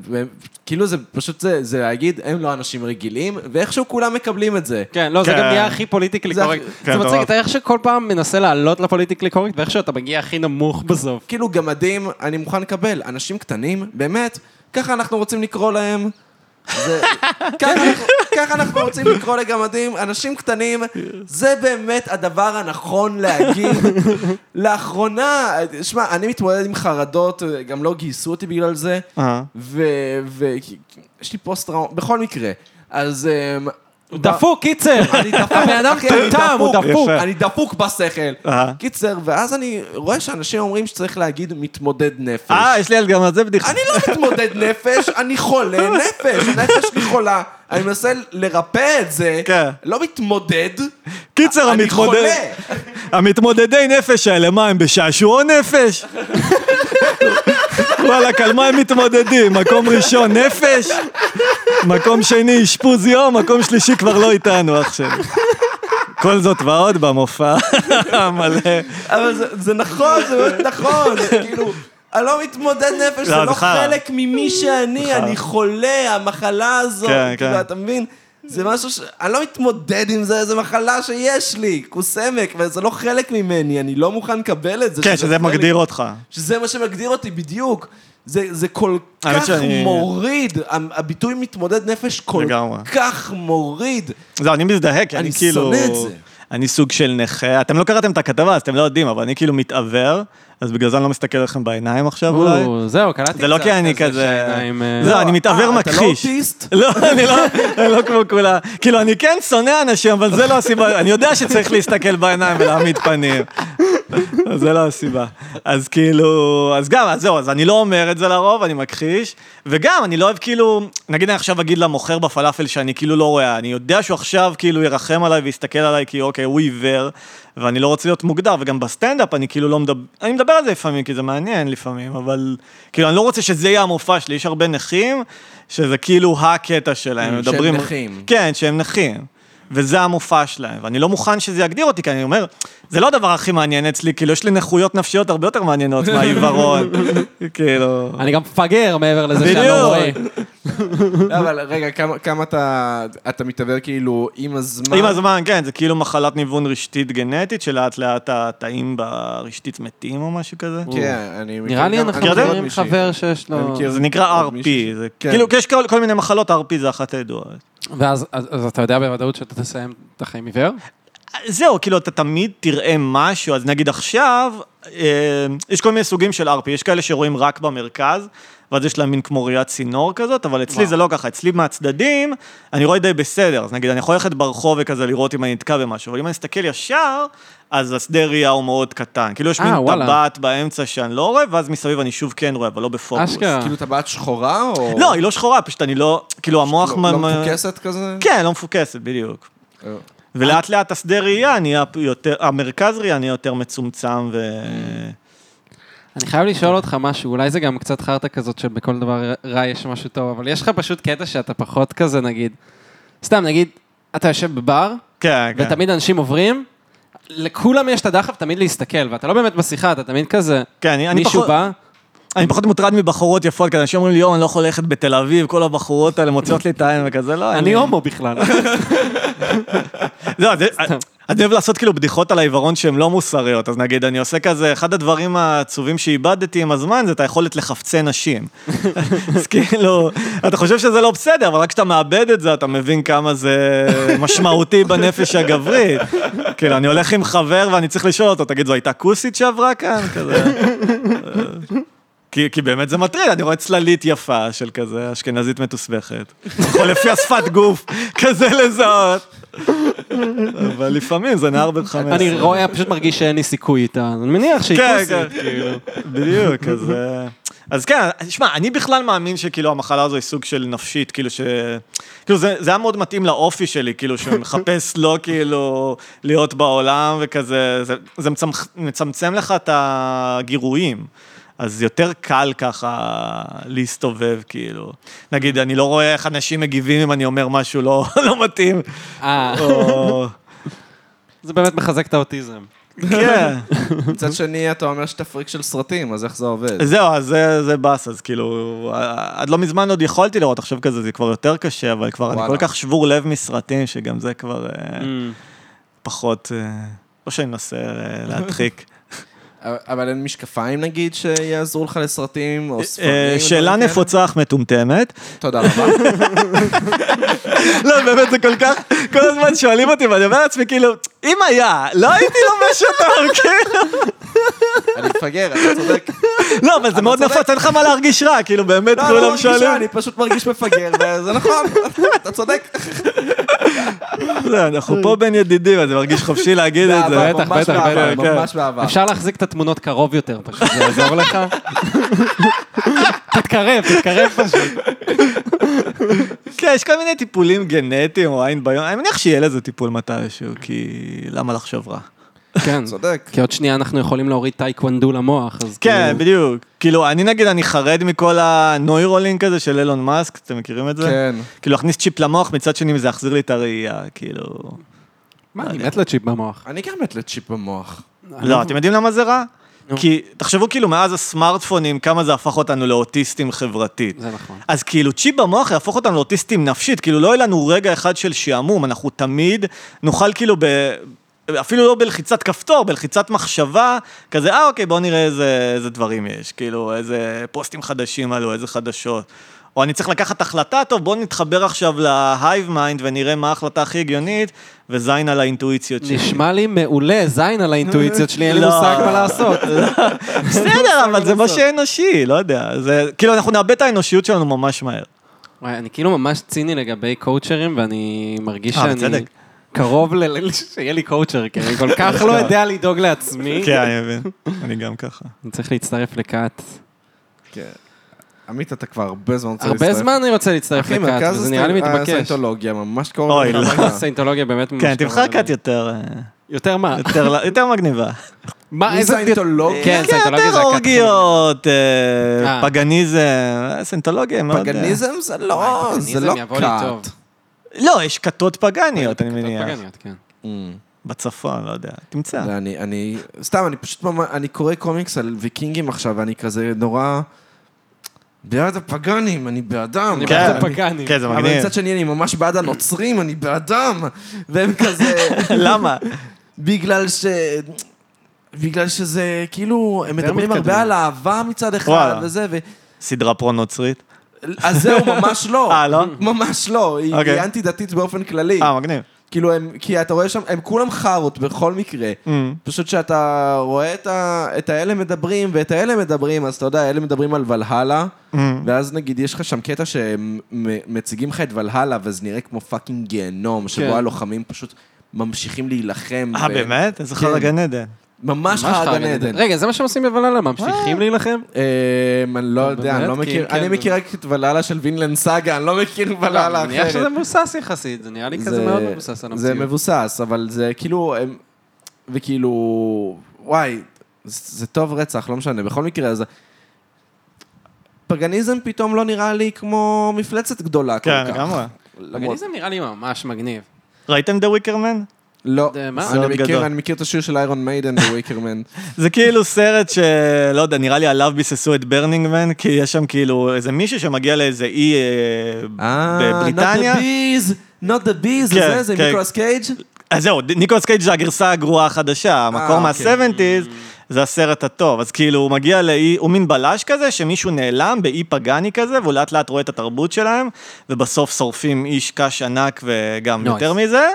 Speaker 2: כאילו זה פשוט זה, זה להגיד, הם לא אנשים רגילים, ואיכשהו כולם מקבלים את זה.
Speaker 5: כן, לא, זה
Speaker 3: כן.
Speaker 5: גם נהיה הכי פוליטיקלי
Speaker 2: זה הכי-
Speaker 5: קורקט.
Speaker 3: כן,
Speaker 5: זה מצחיק,
Speaker 3: מטורף.
Speaker 5: אתה איך שכל פעם מנסה לעלות לפוליטיקלי קורקט, ואיך שאתה מגיע הכי נמוך בסוף.
Speaker 2: כאילו גמדים, אני מוכן לקבל. אנשים קטנים, באמת, ככה אנחנו רוצים לקרוא להם. זה, ככה, אנחנו, ככה אנחנו רוצים לקרוא לגמדים, אנשים קטנים, זה באמת הדבר הנכון להגיד. לאחרונה, שמע, אני מתמודד עם חרדות, גם לא גייסו אותי בגלל זה.
Speaker 3: אהה.
Speaker 2: ויש לי פוסט טראומה, בכל מקרה. אז... אמ,
Speaker 5: דפוק, קיצר!
Speaker 2: אני דפוק, הבן אדם
Speaker 5: טמטם, הוא
Speaker 3: דפוק.
Speaker 2: אני דפוק בשכל.
Speaker 3: אהה.
Speaker 2: קיצר, ואז אני רואה שאנשים אומרים שצריך להגיד מתמודד נפש.
Speaker 3: אה, יש לי על גם על זה בדיחה.
Speaker 2: אני לא מתמודד נפש, אני חולה נפש, הנפש שלי חולה. אני מנסה לרפא את זה,
Speaker 3: כן.
Speaker 2: לא מתמודד,
Speaker 3: קיצר,
Speaker 2: אני
Speaker 3: המתמודד...
Speaker 2: חולה.
Speaker 3: המתמודדי נפש האלה, מה, הם בשעשועון נפש? וואלכ, על מה הם מתמודדים? מקום ראשון, נפש? מקום שני, אשפוז יום? מקום שלישי כבר לא איתנו, אח שלי. כל זאת ועוד במופע המלא.
Speaker 2: אבל זה- זה נכון, זה באמת נכון, זה כאילו... אני לא מתמודד נפש, זה
Speaker 3: לא,
Speaker 2: לא
Speaker 3: זה חרא.
Speaker 2: חלק ממי שאני, אני חולה, המחלה הזאת,
Speaker 3: כן,
Speaker 2: כאילו,
Speaker 3: כן.
Speaker 2: אתה מבין? זה משהו ש... אני לא מתמודד עם זה, זו מחלה שיש לי, כוס עמק, וזה לא חלק ממני, אני לא מוכן לקבל את זה.
Speaker 3: כן, שזה
Speaker 2: חלק-
Speaker 3: מגדיר אותך.
Speaker 2: שזה מה שמגדיר אותי בדיוק. זה, זה כל
Speaker 3: האמת
Speaker 2: כך
Speaker 3: שאני-
Speaker 2: מוריד, המ- הביטוי מתמודד נפש כל
Speaker 3: לגמרי.
Speaker 2: כך מוריד.
Speaker 3: זהו, אני מזדהה, כי אני
Speaker 2: אני
Speaker 3: כאילו...
Speaker 2: שונא את זה.
Speaker 3: אני סוג של נכה, אתם לא קראתם את הכתבה, אז אתם לא יודעים, אבל אני כאילו מתעוור, אז בגלל זה אני לא מסתכל לכם בעיניים עכשיו אולי.
Speaker 5: או, זהו, קלטתי קצת.
Speaker 3: זה לא כי אני כזה...
Speaker 5: שהעיניים, אה,
Speaker 3: לא, אני מתעוור
Speaker 2: אה,
Speaker 3: מכחיש.
Speaker 2: אתה לא אוטיסט?
Speaker 3: לא, אני לא, אני לא כמו כולם. כאילו, אני כן שונא אנשים, אבל זה לא הסיבה. אני יודע שצריך להסתכל בעיניים ולהעמיד פנים. אז זה לא הסיבה. אז כאילו, אז גם, אז זהו, אז אני לא אומר את זה לרוב, אני מכחיש. וגם, אני לא אוהב כאילו, נגיד אני עכשיו אגיד למוכר בפלאפל שאני כאילו לא רואה, אני יודע שהוא עכשיו כאילו ירחם עליי ויסתכל עליי, כי אוקיי, הוא עיוור, ואני לא רוצה להיות מוגדר, וגם בסטנדאפ אני כאילו לא מדבר, אני מדבר על זה לפעמים, כי זה מעניין לפעמים, אבל כאילו, אני לא רוצה שזה יהיה המופע שלי, יש הרבה נכים, שזה כאילו הקטע שלהם, הם
Speaker 2: שהם
Speaker 3: מדברים...
Speaker 2: נכים.
Speaker 3: כן, שהם נכים. וזה המופע שלהם, ואני לא מוכן שזה יגדיר אותי, כי אני אומר, זה לא הדבר הכי מעניין אצלי, כאילו, יש לי נכויות נפשיות הרבה יותר מעניינות מהעיוורון. כאילו...
Speaker 5: אני גם מפגר מעבר לזה שאני לא
Speaker 3: בדיוק.
Speaker 5: רואה.
Speaker 2: לא, אבל רגע, כמה, כמה אתה, אתה מתעוור כאילו עם הזמן?
Speaker 3: עם הזמן, כן, זה כאילו מחלת ניוון רשתית גנטית, שלאט לאט התאים ברשתית מתים או משהו כזה.
Speaker 2: כן, אני מכיר
Speaker 5: נראה לי
Speaker 2: גם-
Speaker 5: אנחנו
Speaker 2: אני מכיר עוד
Speaker 5: מכירים
Speaker 2: מישהי.
Speaker 5: חבר שיש
Speaker 2: אני
Speaker 5: לו...
Speaker 2: מכיר-
Speaker 3: זה נקרא
Speaker 2: עוד מישהו
Speaker 3: RP,
Speaker 2: ש-
Speaker 3: זה
Speaker 2: כן.
Speaker 3: כאילו, יש כל כל מיני מחלות, RP זה אחת הידועות.
Speaker 5: ואז אז- אז אתה יודע בוודאות שאתה תסיים את החיים עיוור?
Speaker 3: זהו, כאילו, אתה תמיד תראה משהו, אז נגיד עכשיו, אה, יש כל מיני סוגים של RP, יש כאלה שרואים רק במרכז, ואז יש להם מין כמו ראיית צינור כזאת, אבל אצלי
Speaker 5: וואו.
Speaker 3: זה לא ככה, אצלי מהצדדים, אני רואה די בסדר, אז נגיד, אני יכול ללכת ברחוב וכזה לראות אם אני נתקע במשהו, אבל אם אני אסתכל ישר, אז השדה ראייה הוא מאוד קטן. כאילו, יש
Speaker 5: אה,
Speaker 3: מין
Speaker 5: וואלה.
Speaker 3: טבעת באמצע שאני לא רואה, ואז מסביב אני שוב כן רואה, אבל לא בפוקוס.
Speaker 5: אשכרה.
Speaker 2: כאילו, אתה בת שחורה או...
Speaker 3: לא, היא לא שחורה, פשוט אני לא, כאילו, המוח...
Speaker 2: לא, לא
Speaker 3: מ- מ-
Speaker 2: מפוקסת כזה?
Speaker 3: כן, לא מפוקסת, בדיוק.
Speaker 2: אה.
Speaker 3: ולאט לאט השדה ראייה נהיה יותר, המרכז ראייה נהיה יותר מצומצם ו...
Speaker 5: אני חייב לשאול אותך משהו, אולי זה גם קצת חרטא כזאת שבכל דבר רע יש משהו טוב, אבל יש לך פשוט קטע שאתה פחות כזה, נגיד. סתם, נגיד, אתה יושב בבר,
Speaker 3: כן, כן.
Speaker 5: ותמיד אנשים עוברים, לכולם יש את הדחף תמיד להסתכל, ואתה לא באמת בשיחה, אתה תמיד כזה,
Speaker 3: כן, אני, אני,
Speaker 5: מישהו
Speaker 3: פחות,
Speaker 5: בא,
Speaker 3: אני פחות מוטרד מבחורות יפות, כי אנשים אומרים לי, יואו, אני לא יכול ללכת בתל אביב, כל הבחורות האלה מוציאות לי את העין וכזה, לא,
Speaker 5: אני הומו בכלל.
Speaker 3: לא, זה, אני אוהב לעשות כאילו בדיחות על העיוורון שהן לא מוסריות, אז נגיד, אני עושה כזה, אחד הדברים העצובים שאיבדתי עם הזמן זה את היכולת לחפצי נשים. אז כאילו, אתה חושב שזה לא בסדר, אבל רק כשאתה מאבד את זה, אתה מבין כמה זה משמעותי בנפש הגברית. כאילו, אני הולך עם חבר ואני צריך לשאול אותו, תגיד, זו הייתה כוסית שעברה כאן? כזה. כי, כי באמת זה מטריד, אני רואה צללית יפה של כזה אשכנזית מתוסבכת. או לפי השפת גוף, כזה לזהות. אבל לפעמים זה נער בן 15.
Speaker 5: אני רואה, פשוט מרגיש שאין לי סיכוי איתה. אני מניח שהיא
Speaker 3: כן,
Speaker 5: כוסית,
Speaker 3: כן.
Speaker 5: כאילו.
Speaker 3: בדיוק, אז... אה, אז כן, שמע, אני בכלל מאמין שכאילו המחלה הזו היא סוג של נפשית, כאילו ש... כאילו זה, זה היה מאוד מתאים לאופי שלי, כאילו שמחפש לא כאילו להיות בעולם וכזה, זה, זה מצמצ, מצמצם לך את הגירויים. אז יותר קל ככה להסתובב, כאילו. נגיד, אני לא רואה איך אנשים מגיבים אם אני אומר משהו לא, לא מתאים.
Speaker 5: אה,
Speaker 3: או...
Speaker 5: זה באמת מחזק את האוטיזם.
Speaker 3: כן.
Speaker 2: מצד שני, אתה אומר שאתה פריק של סרטים, אז איך זה עובד?
Speaker 3: זהו, אז זה, זה באס, אז כאילו, עד לא מזמן עוד יכולתי לראות, עכשיו כזה זה כבר יותר קשה, אבל כבר אני
Speaker 2: וואלה. Mm.
Speaker 3: כל כך שבור לב מסרטים, שגם זה כבר אה, פחות, אה, לא שאני מנסה אה, להדחיק.
Speaker 2: אבל אין משקפיים, נגיד, שיעזרו לך לסרטים, או ספרים? לא
Speaker 3: אה,
Speaker 2: או
Speaker 3: שאלה
Speaker 2: דברים כאלה?
Speaker 3: נפוצה אך מטומטמת.
Speaker 2: תודה רבה.
Speaker 3: לא, באמת, זה כל כך, כל הזמן שואלים אותי, ואני אומר לעצמי, כאילו, אם היה, לא הייתי לובש אותו, כאילו.
Speaker 2: אני מפגר, אתה צודק.
Speaker 3: לא, אבל זה מאוד נפוץ, אין לך מה להרגיש רע, כאילו, באמת,
Speaker 2: לא, לא
Speaker 3: כולם
Speaker 2: מרגיש רע,
Speaker 3: שואלים.
Speaker 2: אני פשוט מרגיש מפגר, וזה נכון, אתה צודק.
Speaker 3: לא, אנחנו פה בין ידידים, אז זה מרגיש חופשי להגיד את זה.
Speaker 2: באהבה,
Speaker 5: בטח,
Speaker 2: ממש
Speaker 5: בטח,
Speaker 2: באהבה,
Speaker 5: בטח,
Speaker 3: כן.
Speaker 2: ממש באהבה.
Speaker 5: אפשר להחזיק את התמונות קרוב יותר פשוט, זה יעזור לך? תתקרב, תתקרב פשוט.
Speaker 3: כן, יש כל מיני טיפולים גנטיים או עין ביום, אני מניח שיהיה לזה טיפול מתישהו, כי למה לחשוב רע?
Speaker 5: כן,
Speaker 2: צודק.
Speaker 5: כי עוד שנייה אנחנו יכולים להוריד טייקוונדו למוח, אז
Speaker 3: כן,
Speaker 5: כאילו-
Speaker 3: בדיוק. כאילו, אני נגיד, אני חרד מכל הנוירולינק הזה של אילון מאסק, אתם מכירים את זה?
Speaker 2: כן.
Speaker 3: כאילו, להכניס צ'יפ למוח, מצד שני זה יחזיר לי את הראייה, כאילו...
Speaker 5: מה, אני מת לצ'יפ במוח.
Speaker 2: אני גם מת לצ'יפ במוח.
Speaker 3: לא, אתם יודעים למה זה רע?
Speaker 5: נו.
Speaker 3: כי תחשבו כאילו מאז הסמארטפונים, כמה זה הפך אותנו לאוטיסטים חברתית.
Speaker 5: זה נכון.
Speaker 3: אז כאילו צ'יפ במוח יהפוך אותנו לאוטיסטים נפשית, כאילו לא יהיה לנו רגע אחד של שעמום, אנחנו תמיד נוכל כאילו ב... אפילו לא בלחיצת כפתור, בלחיצת מחשבה, כזה, אה אוקיי, בואו נראה איזה, איזה דברים יש, כאילו איזה פוסטים חדשים עלו, איזה חדשות. או אני צריך לקחת החלטה, טוב, בואו נתחבר עכשיו להייב מיינד ונראה מה ההחלטה הכי הגיונית, וזין על האינטואיציות שלי.
Speaker 5: נשמע לי מעולה, זין על האינטואיציות שלי, אין לי
Speaker 3: לא.
Speaker 5: מושג מה לעשות.
Speaker 3: בסדר, אבל זה מה שאנושי, לא יודע. זה, כאילו, אנחנו נאבד את האנושיות שלנו ממש מהר.
Speaker 5: וואי, אני כאילו ממש ציני לגבי קואוצ'רים, ואני מרגיש
Speaker 3: אה,
Speaker 5: שאני...
Speaker 3: בצדק.
Speaker 5: קרוב ל... ל- שיהיה לי קואוצ'ר, כי אני כל כך לא יודע לדאוג לעצמי.
Speaker 3: כן, אני מבין. אני גם ככה.
Speaker 5: אני צריך להצטרף לכת.
Speaker 2: כן. עמית, אתה כבר הרבה זמן רוצה
Speaker 5: הרבה זמן אני רוצה להצטרף
Speaker 2: אחי,
Speaker 5: לכת,
Speaker 2: מרכז
Speaker 5: וזה נראה לי מתבקש.
Speaker 2: הסטנטולוגיה, ממש קרוב.
Speaker 3: אוי,
Speaker 2: לך
Speaker 3: לא.
Speaker 2: הביתה.
Speaker 5: סיינטולוגיה באמת ממש
Speaker 3: אה, כן, תבחר
Speaker 5: קרוב
Speaker 3: כת
Speaker 5: אליי.
Speaker 3: יותר... אה,
Speaker 5: יותר מה?
Speaker 3: יותר- לא, יותר מגניבה.
Speaker 5: מה,
Speaker 2: מי
Speaker 5: אה, איזה...
Speaker 2: סיינטולוגיה?
Speaker 5: כן, סיינטולוגיה
Speaker 3: יותר
Speaker 5: זה הכת.
Speaker 3: אורגיות, אה,
Speaker 5: אה.
Speaker 3: פגניזם, אה, סינטולוגיה מאוד... אה,
Speaker 2: פגניזם זה
Speaker 5: לא וואי,
Speaker 2: לא,
Speaker 5: פגניזם
Speaker 2: זה לא
Speaker 5: יבוא לי טוב.
Speaker 2: קאט.
Speaker 3: לא, יש כתות פגניות, אני מניח.
Speaker 5: פגניות, כן.
Speaker 2: אמ.
Speaker 3: בצפון, לא יודע. תמצא.
Speaker 2: לא, אני, אני, סתם, אני פשוט, ממש, אני קורא קומיקס על ויקינגים עכשיו, ואני כזה נורא... בעד הפגאנים, אני בעדם.
Speaker 5: אני
Speaker 2: אבל-
Speaker 5: בעד
Speaker 3: כן.
Speaker 5: הפגאנים.
Speaker 3: כן, זה
Speaker 2: אבל
Speaker 3: מגניב.
Speaker 2: מצד שני, אני ממש בעד הנוצרים, אני בעדם. והם כזה,
Speaker 3: למה?
Speaker 2: בגלל ש... בגלל שזה, כאילו, הם מדברים
Speaker 5: מתקדמים.
Speaker 2: הרבה על אהבה מצד אחד,
Speaker 3: וואלה.
Speaker 2: וזה, ו...
Speaker 3: סדרה פרו-נוצרית.
Speaker 2: אז זהו, ממש לא.
Speaker 3: אה, לא?
Speaker 2: ממש לא. היא
Speaker 3: אוקיי.
Speaker 2: היא אנטי-דתית באופן כללי.
Speaker 3: אה, מגניב.
Speaker 2: כאילו, הם, כי אתה רואה שם, הם כולם חארות בכל מקרה.
Speaker 3: Mm,
Speaker 2: פשוט שאתה רואה את, ה, את האלה מדברים ואת האלה מדברים, אז אתה יודע, האלה מדברים על ולהלה,
Speaker 3: mm.
Speaker 2: ואז נגיד יש לך שם קטע שמציגים לך את ולהלה, וזה נראה כמו פאקינג גיהנום, שבו
Speaker 5: כן.
Speaker 2: הלוחמים פשוט ממשיכים להילחם.
Speaker 3: אה,
Speaker 2: ו-
Speaker 3: באמת? איזה
Speaker 2: כן.
Speaker 3: חרא גן עדן.
Speaker 2: ממש
Speaker 5: ממש
Speaker 2: חרא גן עדן.
Speaker 5: אה, רגע, זה מה שהם עושים בוולאלה, ממשיכים להילחם?
Speaker 2: אמ, אני לא יודע, אני
Speaker 5: באמת?
Speaker 2: לא
Speaker 5: כי-
Speaker 2: מכיר,
Speaker 5: כן,
Speaker 2: אני
Speaker 5: זה-
Speaker 2: מכיר רק את ולהלה של וינלנד סאגה, אני לא מכיר ולהלה
Speaker 5: אני מניח
Speaker 2: אחרת.
Speaker 5: שזה מבוסס יחסית, זה נראה לי כזה מאוד מבוסס על
Speaker 2: זה
Speaker 5: המציאות.
Speaker 2: מבוסס, אבל זה כאילו... הם, וכאילו... וואי, זה, זה טוב רצח, לא משנה. בכל מקרה, אז... פגניזם פתאום לא נראה לי כמו מפלצת גדולה
Speaker 3: כן,
Speaker 2: כל כך.
Speaker 3: לגמרי.
Speaker 2: למרות...
Speaker 5: פגניזם נראה לי ממש מגניב.
Speaker 3: ראיתם דה ויקרמן?
Speaker 2: לא,
Speaker 5: זה מה?
Speaker 2: אני
Speaker 3: סרט גדול.
Speaker 2: מכיר, אני מכיר את השיר של איירון מיידן וויקרמן.
Speaker 3: זה כאילו סרט שלא יודע, נראה לי עליו ביססו את ברנינגמן, כי יש שם כאילו איזה מישהו שמגיע לאיזה אי אה,
Speaker 2: אה,
Speaker 3: בבריטניה.
Speaker 2: Not the Ah, bees, not the bees,
Speaker 3: כן,
Speaker 2: זה זה,
Speaker 3: כן.
Speaker 2: מיקרוס קייג'?
Speaker 3: אז זהו, ניקולס קייג' זה הגרסה הגרועה החדשה, המקור
Speaker 2: אוקיי.
Speaker 3: מה-70's זה הסרט הטוב. אז כאילו, הוא מגיע לאי, הוא מין בלש כזה, שמישהו נעלם באי פגאני כזה, והוא לאט לאט רואה את התרבות שלהם, ובסוף שורפים איש קש ענק וגם
Speaker 5: Nice.
Speaker 3: יותר מזה.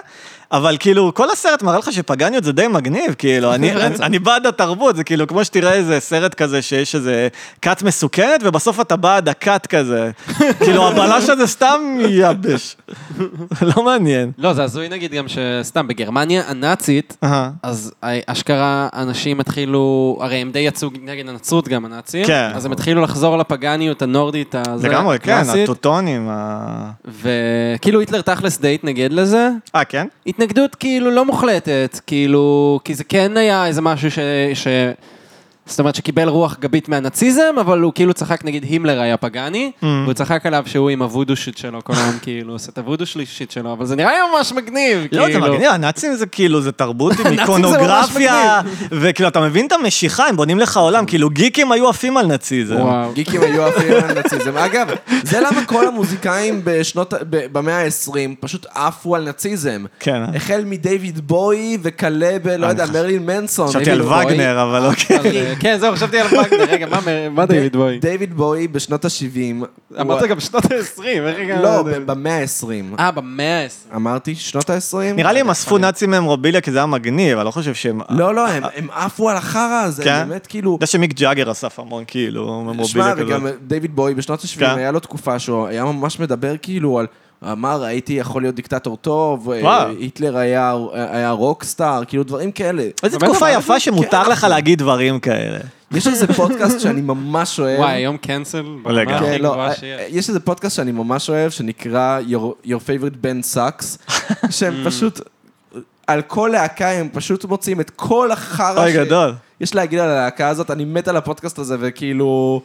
Speaker 3: אבל כאילו, כל הסרט מראה לך שפגניות זה די מגניב, כאילו, אני, אני, אני בעד התרבות, זה כאילו, כמו שתראה איזה סרט כזה שיש איזה כת מסוכנת, ובסוף אתה בעד הכת כזה. כאילו, הבלש הזה סתם יבש. לא מעניין.
Speaker 5: לא, זה הזוי נגיד גם שסתם, בגרמניה הנאצית,
Speaker 3: אהה.
Speaker 5: אז אשכרה אנשים התחילו, הרי הם די יצאו נגד הנצרות גם הנאצים,
Speaker 3: כן.
Speaker 5: אז הם התחילו לחזור לפגניות הנורדית, הזה,
Speaker 3: לגמרי, כן,
Speaker 5: הקלאסית,
Speaker 3: הטוטונים. ה-
Speaker 5: וכאילו היטלר תכלס די התנגד לזה,
Speaker 3: אה, כן?
Speaker 5: התנגדות כאילו לא מוחלטת, כאילו, כי זה כן היה איזה משהו ש... ש... זאת אומרת שקיבל רוח גבית מהנאציזם, אבל הוא כאילו צחק, נגיד הימלר היה פגאני,
Speaker 2: Mm.
Speaker 5: והוא צחק עליו שהוא עם הוודו שיט שלו, כל היום כאילו עושה את הוודו שיט שלו, אבל זה נראה לי ממש מגניב,
Speaker 3: לא, זה
Speaker 5: כאילו.
Speaker 3: מגניב, הנאצים זה כאילו, זה תרבות עם
Speaker 5: הנאצים זה ממש
Speaker 3: איקונוגרפיה, וכאילו, אתה מבין את המשיכה, הם בונים לך עולם, כאילו, גיקים היו עפים על נאציזם.
Speaker 5: וואו.
Speaker 2: גיקים היו עפים על נאציזם. אגב, זה למה כל המוזיקאים בשנות, ה- ב- במאה ה-20 פשוט עפו על נאציזם.
Speaker 3: כן.
Speaker 2: החל מדייוויד בוי וכלה ב... לא יודע, מרלין מנסון.
Speaker 3: חשבתי על
Speaker 2: דייוויד בוי.
Speaker 3: וגנר, אבל אוקיי.
Speaker 5: כן, זהו, חשבתי על וגנר, רגע, מה- מה דיוויד בוי?
Speaker 2: דייוויד בוי בשנות ה-70.
Speaker 5: אמרת גם שנות ה-20, איך הגענו?
Speaker 2: לא,
Speaker 5: לזה?
Speaker 2: ב- במאה ה-20.
Speaker 5: אה, במאה ה-20.
Speaker 2: אמרתי שנות ה-20?
Speaker 3: נראה לי הם אספו נאצים ממרוביליה, כי זה היה מגניב, אני לא חושב שהם... אתה
Speaker 2: לא, לא, הם- הם עפו על החרא הזה,
Speaker 3: כן?
Speaker 2: באמת כאילו...
Speaker 3: יודע שמיק ג'אגר אסף המון, כאילו,
Speaker 2: שמע,
Speaker 3: ממרוביליה
Speaker 2: וגם אה,
Speaker 3: כזאת.
Speaker 2: דיוויד בוי בשנות ה-70
Speaker 3: כן.
Speaker 2: היה לו תקופה שהוא היה ממש מדבר כאילו על... אמר, הייתי יכול להיות דיקטטור טוב, אה,
Speaker 3: וואו.
Speaker 2: היטלר היה, היה רוקסטאר, כאילו דברים כאלה.
Speaker 3: איזה
Speaker 5: באמת
Speaker 3: תקופה
Speaker 5: אמר
Speaker 3: יפה שמותר לך להגיד דברים כאלה.
Speaker 2: יש איזה פודקאסט שאני ממש אוהב.
Speaker 5: וואי, היום קאנסל?
Speaker 3: לגמרי.
Speaker 5: ברמה
Speaker 2: כן,
Speaker 5: הכי
Speaker 2: לא,
Speaker 5: גבוהה
Speaker 2: אה,
Speaker 5: שיש.
Speaker 2: אה, יש איזה פודקאסט שאני ממש אוהב, שנקרא Your, Your Favorite Band Sucks, שהם
Speaker 3: Mm.
Speaker 2: פשוט, על כל להקה הם פשוט מוצאים את כל החרא
Speaker 3: אוי,
Speaker 2: ש-
Speaker 3: גדול.
Speaker 2: יש להגיד על הלהקה הזאת, אני מת על הפודקאסט הזה, וכאילו...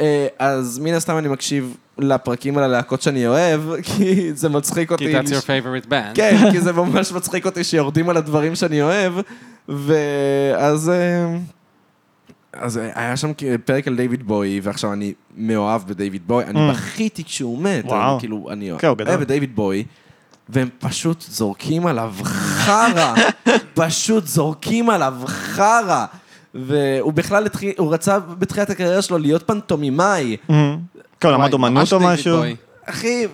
Speaker 2: אה, אז מן הסתם אני מקשיב לפרקים על הלהקות שאני אוהב, כי זה מצחיק אותי.
Speaker 5: כי that's your favorite band.
Speaker 2: כן, כי זה ממש מצחיק אותי שיורדים על הדברים שאני אוהב, ואז... אה, אז אה, היה שם כ- פרק על דיוויד בוי, ועכשיו אני מאוהב בדיוויד בוי, אני בכיתי כשהוא מת,
Speaker 3: Mm. וואו.
Speaker 2: אני כאילו, אני
Speaker 3: כן, הוא גדול.
Speaker 2: אוהב את דיוויד בוי, והם פשוט זורקים עליו חרא, פשוט זורקים עליו חרא. והוא בכלל התחיל, הוא רצה בתחילת הקריירה שלו להיות פנטומימאי.
Speaker 3: כאילו,
Speaker 5: וואי,
Speaker 3: למד אומנות
Speaker 5: ממש
Speaker 3: או
Speaker 5: דיוויד
Speaker 3: משהו?
Speaker 5: בוי.
Speaker 2: אחי,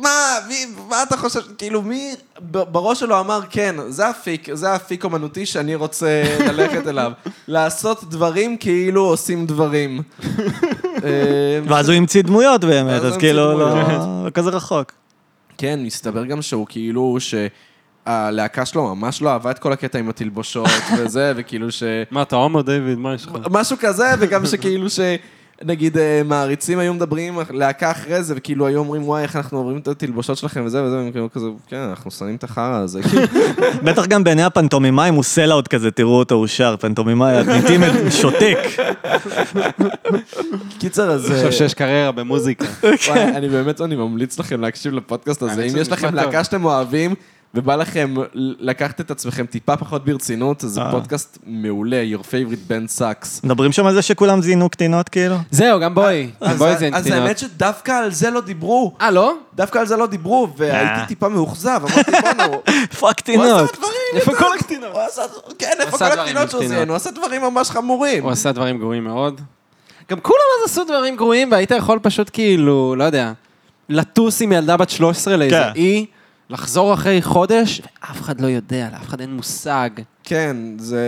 Speaker 2: מה, מי, מה אתה חושב, כאילו מי, ב- בראש שלו אמר כן, זה אפיק, זה אפיק אומנותי שאני רוצה ללכת אליו. לעשות דברים כאילו עושים דברים. אה,
Speaker 3: ואז הוא המציא דמויות באמת,
Speaker 2: ואז הוא
Speaker 3: אז
Speaker 2: המציא
Speaker 3: כאילו, לא
Speaker 2: דמויות.
Speaker 3: לא כזה רחוק.
Speaker 2: כן, מסתבר גם שהוא כאילו, שהלהקה שלו ממש לא אהבה את כל הקטע עם התלבושות וזה, וכאילו ש...
Speaker 5: מה, אתה הומו דיוויד? מה יש לך?
Speaker 2: משהו כזה, וגם שכאילו ש... נגיד אה, מעריצים היו מדברים, להקה אחרי זה, וכאילו היו אומרים, וואי, איך אנחנו עוברים את התלבושות שלכם וזה וזה, והם כאילו כזה, כן, אנחנו שמים את החרא הזה, כאילו,
Speaker 3: בטח גם בעיני הפנטומימאים הוא סלאוט כזה, תראו אותו, הוא שר, פנטומימאי, לעיתים שותק.
Speaker 2: קיצר, אז...
Speaker 4: אני
Speaker 2: אה,
Speaker 4: חושב שיש קריירה במוזיקה.
Speaker 2: וואי, אני באמת, אני ממליץ לכם להקשיב לפודקאסט הזה. אם
Speaker 5: האמת כן. שזה
Speaker 2: יש לכם
Speaker 5: נשמע טוב.
Speaker 2: להקה שאתם אוהבים, ובא לכם לקחת את עצמכם טיפה פחות ברצינות, זה
Speaker 3: אה.
Speaker 2: פודקאסט מעולה, Your favorite band sucks.
Speaker 3: מדברים שם על זה שכולם זיינו קטינות, כאילו?
Speaker 5: זהו, גם בואי.
Speaker 2: אז
Speaker 5: בואי זה
Speaker 2: אז
Speaker 5: קטינות.
Speaker 2: האמת שדווקא על זה לא דיברו.
Speaker 5: אה, לא?
Speaker 2: דווקא על זה לא דיברו, והייתי
Speaker 3: אה.
Speaker 2: טיפה מאוכזב, אמרתי, בואנה, הוא-
Speaker 3: פאק
Speaker 2: הוא
Speaker 3: קטינות.
Speaker 2: עשה דברים...
Speaker 5: איפה
Speaker 2: כל הקטינות? כן, איפה
Speaker 5: עשה
Speaker 2: כל
Speaker 5: דברים
Speaker 2: הקטינות שהוא
Speaker 5: עם
Speaker 2: זיין? הוא עשה דברים ממש חמורים.
Speaker 5: הוא עשה דברים גרועים מאוד. גם כולם אז עשו דברים גרועים, והיית יכול פשוט כאילו, לא יודע, לטוס עם ילדה בת 13 לאיזה
Speaker 3: כן.
Speaker 5: אי, לחזור אחרי חודש, ואף אחד לא יודע, לאף אחד אין מושג.
Speaker 2: כן, זה...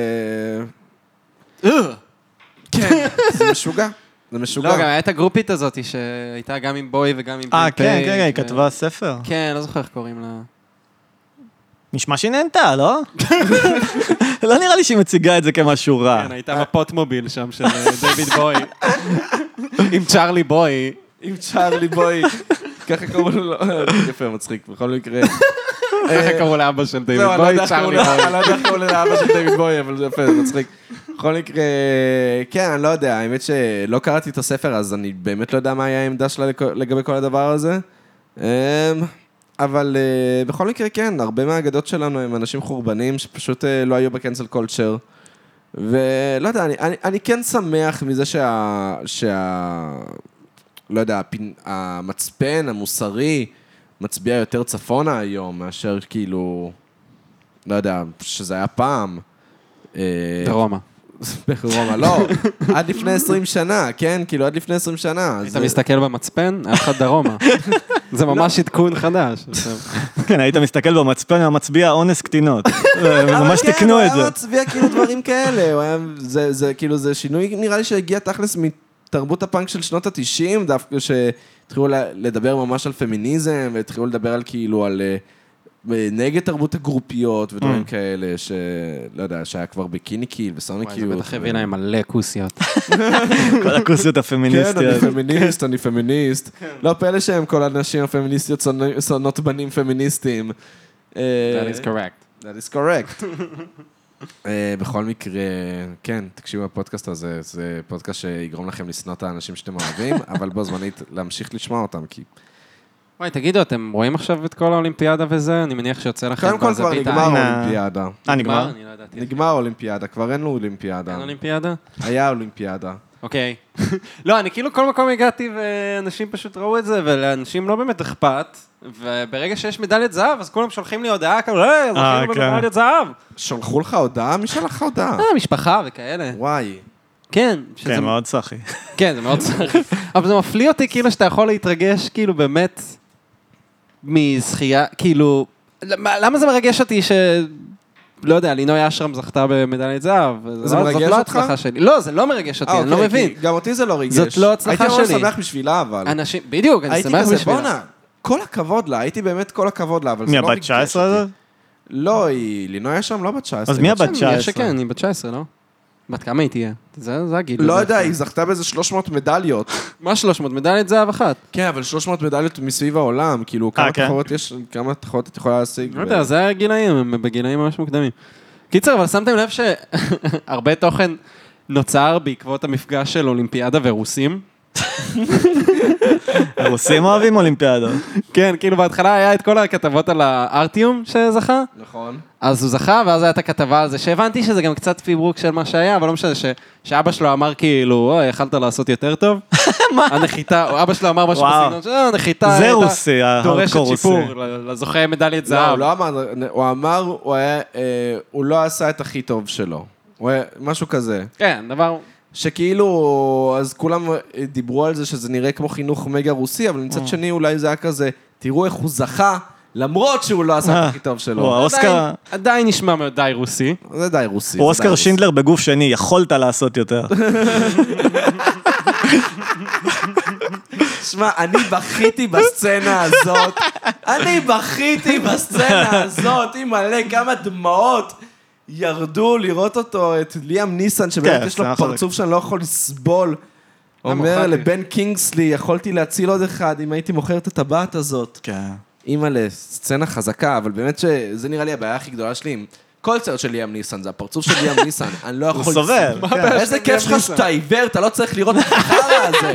Speaker 2: כן, זה משוגע. זה משוגע.
Speaker 5: לא, גם הייתה הגרופית הזאת שהייתה גם עם בוי וגם עם
Speaker 3: אה,
Speaker 5: פלפל,
Speaker 3: כן, כן, היא
Speaker 5: ו-
Speaker 3: כתבה ספר.
Speaker 5: כן, לא זוכר איך קוראים לה.
Speaker 3: נשמע שהיא נהנתה, לא? לא נראה לי שהיא מציגה את זה כמשהו
Speaker 2: אה.
Speaker 3: רע.
Speaker 5: כן, הייתה בפוט מוביל שם של אה, דויד בוי. עם צ'ארלי בוי.
Speaker 2: עם צ'ארלי בוי. ככה קראו לו, לא, אה, יפה, מצחיק, בכל מקרה.
Speaker 5: ככה קראו לאבא של דויד
Speaker 2: זהו, אני לא יודע איך
Speaker 5: בוי,
Speaker 2: קראו
Speaker 5: צ'ארלי
Speaker 2: לו-
Speaker 5: בוי.
Speaker 2: אני לא יודע איך קראו לו לאבא של דייוויד בוי, אבל זה יפה, זה מצחיק. בכל מקרה, כן, אני לא יודע, האמת שלא קראתי את הספר, אז אני באמת לא יודע מה היה העמדה שלה לכ- לגבי כל הדבר הזה. אמ, אבל אה, בכל מקרה, כן, הרבה מהאגדות שלנו הם אנשים חורבנים שפשוט אה, לא היו בקנסל קולצ'ר. ולא יודע, אני, אני, אני כן שמח מזה שה... שה לא יודע, הפין, המצפן המוסרי מצביע יותר צפונה היום מאשר כאילו... לא יודע, שזה היה פעם. אה,
Speaker 5: דרומה.
Speaker 2: ברומא, לא, עד לפני 20 שנה, כן? כאילו, עד לפני 20 שנה.
Speaker 5: אתה
Speaker 2: זה-
Speaker 5: מסתכל במצפן, אף אחד דרומה.
Speaker 4: זה ממש עדכון חדש.
Speaker 3: כן, היית מסתכל במצפן, היה מצביע אונס קטינות. אה,
Speaker 2: אבל
Speaker 3: ממש
Speaker 2: כן,
Speaker 3: תיקנו את
Speaker 2: הוא היה
Speaker 3: זה.
Speaker 2: מצביע כאילו דברים כאלה, הוא היה, זה, זה כאילו, זה שינוי נראה לי שהגיע תכלס מתרבות הפאנק של שנות התשעים, דווקא שהתחילו ל- לדבר ממש על פמיניזם, והתחילו לדבר על כאילו, על אה, אה, נגד תרבות הגרופיות ודברים
Speaker 3: Mm.
Speaker 2: כאלה, שלא יודע, שהיה כבר ביקיני קיל וסוניק
Speaker 5: וואי, זה
Speaker 2: קיוט.
Speaker 5: בטח
Speaker 2: ו-
Speaker 5: הביא להם מלא כוסיות.
Speaker 3: כל הכוסיות
Speaker 2: כן, אני
Speaker 3: הפמיניסטיות.
Speaker 2: פמיניסט, אני פמיניסט.
Speaker 3: כן.
Speaker 2: לא פלא שהם כל הנשים הפמיניסטיות שונא- שונאות בנים פמיניסטים. אה,
Speaker 5: That is correct.
Speaker 2: That is correct. אה, בכל מקרה, כן, תקשיבו לפודקאסט הזה, זה פודקאסט שיגרום לכם לשנוא את האנשים שאתם אוהבים, אבל בו זמנית להמשיך לשמוע אותם, כי
Speaker 5: וואי, תגידו, אתם רואים עכשיו את כל האולימפיאדה וזה? אני מניח שיוצא לכם
Speaker 2: קודם כל כבר
Speaker 5: בזווית
Speaker 2: נגמר
Speaker 5: העין.
Speaker 3: אה,
Speaker 2: האולימפיאדה.
Speaker 3: אה, נגמר?
Speaker 5: אני לא ידעתי.
Speaker 2: נגמר האולימפיאדה, כבר אין לו אולימפיאדה.
Speaker 5: אין אולימפיאדה?
Speaker 2: היה אולימפיאדה.
Speaker 5: אוקיי. לא, אני כאילו כל מקום הגעתי ואנשים פשוט ראו את זה, ולאנשים לא באמת אכפת, וברגע שיש מדליית זהב, אז כולם שולחים לי הודעה כאילו, היי,
Speaker 3: אה,
Speaker 5: זכינו
Speaker 3: כן.
Speaker 5: במדליית זהב.
Speaker 2: שלחו לך הודעה? מי שלח לך הודעה?
Speaker 5: אה, משפחה וכאלה.
Speaker 2: וואי.
Speaker 5: כן. שזה-
Speaker 3: כן, מאוד סחי.
Speaker 5: כן, זה מאוד צריך. אבל זה מפליא אותי כאילו שאתה יכול להתרגש כאילו באמת מזכייה, כאילו, למה למה זה מרגש אותי ש... לא יודע, לינוי אשרם זכתה במדליית זהב.
Speaker 2: זה
Speaker 5: לא-
Speaker 2: מרגש
Speaker 5: זאת לא
Speaker 2: אותך?
Speaker 5: הצלחה שלי. לא, זה לא מרגש אותי,
Speaker 2: אה,
Speaker 5: אני לא
Speaker 2: אוקיי,
Speaker 5: מבין.
Speaker 2: כי גם אותי זה לא ריגש.
Speaker 5: זאת לא הצלחה
Speaker 2: הייתי
Speaker 5: שלי.
Speaker 2: ממש שמח בשבילה, אבל.
Speaker 5: אנשים, בדיוק, אני
Speaker 2: הייתי
Speaker 5: שמח
Speaker 2: כזה,
Speaker 5: בשבילה.
Speaker 2: בואנה, כל הכבוד לה, הייתי באמת כל הכבוד לה, אבל זה
Speaker 3: מי,
Speaker 2: לא ריגש
Speaker 3: הבת
Speaker 2: אותי.
Speaker 3: 19 הזאת?
Speaker 2: לא, היא... לינוי אשרם לא בת 19.
Speaker 3: אז מי
Speaker 2: היא
Speaker 3: הבת
Speaker 5: כן, נראה
Speaker 3: 19?
Speaker 5: שכן, היא בת 19, לא? בת כמה היא תהיה? זה זה הגיל.
Speaker 2: לא
Speaker 5: הזה.
Speaker 2: יודע, היא זכתה באיזה 300 מדליות.
Speaker 5: מה 300? מדליית זהב אחת.
Speaker 2: כן, אבל 300 מדליות מסביב העולם, כאילו, כמה
Speaker 3: כן.
Speaker 2: תחרות יש, כמה תחרות את יכולה להשיג.
Speaker 5: לא יודע, זה הגילאים, הם בגילאים ממש מוקדמים. קיצר, אבל שמתם לב שהרבה תוכן נוצר בעקבות המפגש של אולימפיאדה ורוסים?
Speaker 3: הרוסים אוהבים אולימפיאדות.
Speaker 5: כן, כאילו בהתחלה היה את כל הכתבות על הארטיום שזכה,
Speaker 2: נכון.
Speaker 5: אז הוא זכה, ואז הייתה את הכתבה על זה, שהבנתי שזה גם קצת פיברוק של מה שהיה, אבל לא משנה, ש- שאבא שלו אמר כאילו, אוי, יכלת לעשות יותר טוב. מה? הנחיתה, או אבא שלו אמר משהו
Speaker 3: וואו.
Speaker 5: בסגנון, "אה, הנחיתה
Speaker 3: זה
Speaker 5: הייתה
Speaker 3: רוסי,
Speaker 5: דורשת
Speaker 3: ההארדקור רוסי.
Speaker 5: שיפור, ל- לזוכה מדליית
Speaker 2: לא, הוא
Speaker 5: זהב.
Speaker 2: לא אמר, הוא אמר, הוא היה, אה, הוא לא עשה את הכי טוב שלו. הוא היה- משהו כזה.
Speaker 5: כן, דבר...
Speaker 2: שכאילו, אז כולם אה, דיברו על זה שזה נראה כמו חינוך מגה רוסי, אבל
Speaker 3: אה.
Speaker 2: מצד שני אולי זה היה כזה, תראו איך הוא זכה, למרות שהוא לא עשה
Speaker 3: אה.
Speaker 2: את הכי טוב
Speaker 3: הוא
Speaker 2: שלו.
Speaker 3: האוסקר...
Speaker 5: עדיין- עדיין נשמע מאוד די רוסי.
Speaker 2: זה די רוסי.
Speaker 3: הוא
Speaker 2: זה די
Speaker 3: אוסקר
Speaker 2: רוסי.
Speaker 3: שינדלר בגוף שני, יכולת לעשות יותר.
Speaker 2: שמע, אני בכיתי בסצנה הזאת, אני בכיתי בסצנה הזאת, עם מלא כמה דמעות ירדו לראות אותו, את ליאם ניסן, שבאמת
Speaker 3: כן,
Speaker 2: יש לו
Speaker 3: סצנה חזקה.
Speaker 2: פרצוף שאני לא יכול לסבול. אומר
Speaker 5: הופעתי?
Speaker 2: לבן קינגסלי, יכולתי להציל עוד אחד אם הייתי מוכר את הטבעת הזאת.
Speaker 3: כן.
Speaker 2: אימא'לה, סצנה חזקה, אבל באמת שזה נראה לי הבעיה הכי גדולה שלי עם כל סרט של ליאם ניסן, זה הפרצוף של ליאם ניסן, אני לא יכול...
Speaker 3: הוא סובל.
Speaker 2: לסבול.
Speaker 3: כן.
Speaker 2: איזה כיף שלך שאתה עיוור, אתה לא צריך לראות את החרא הזה.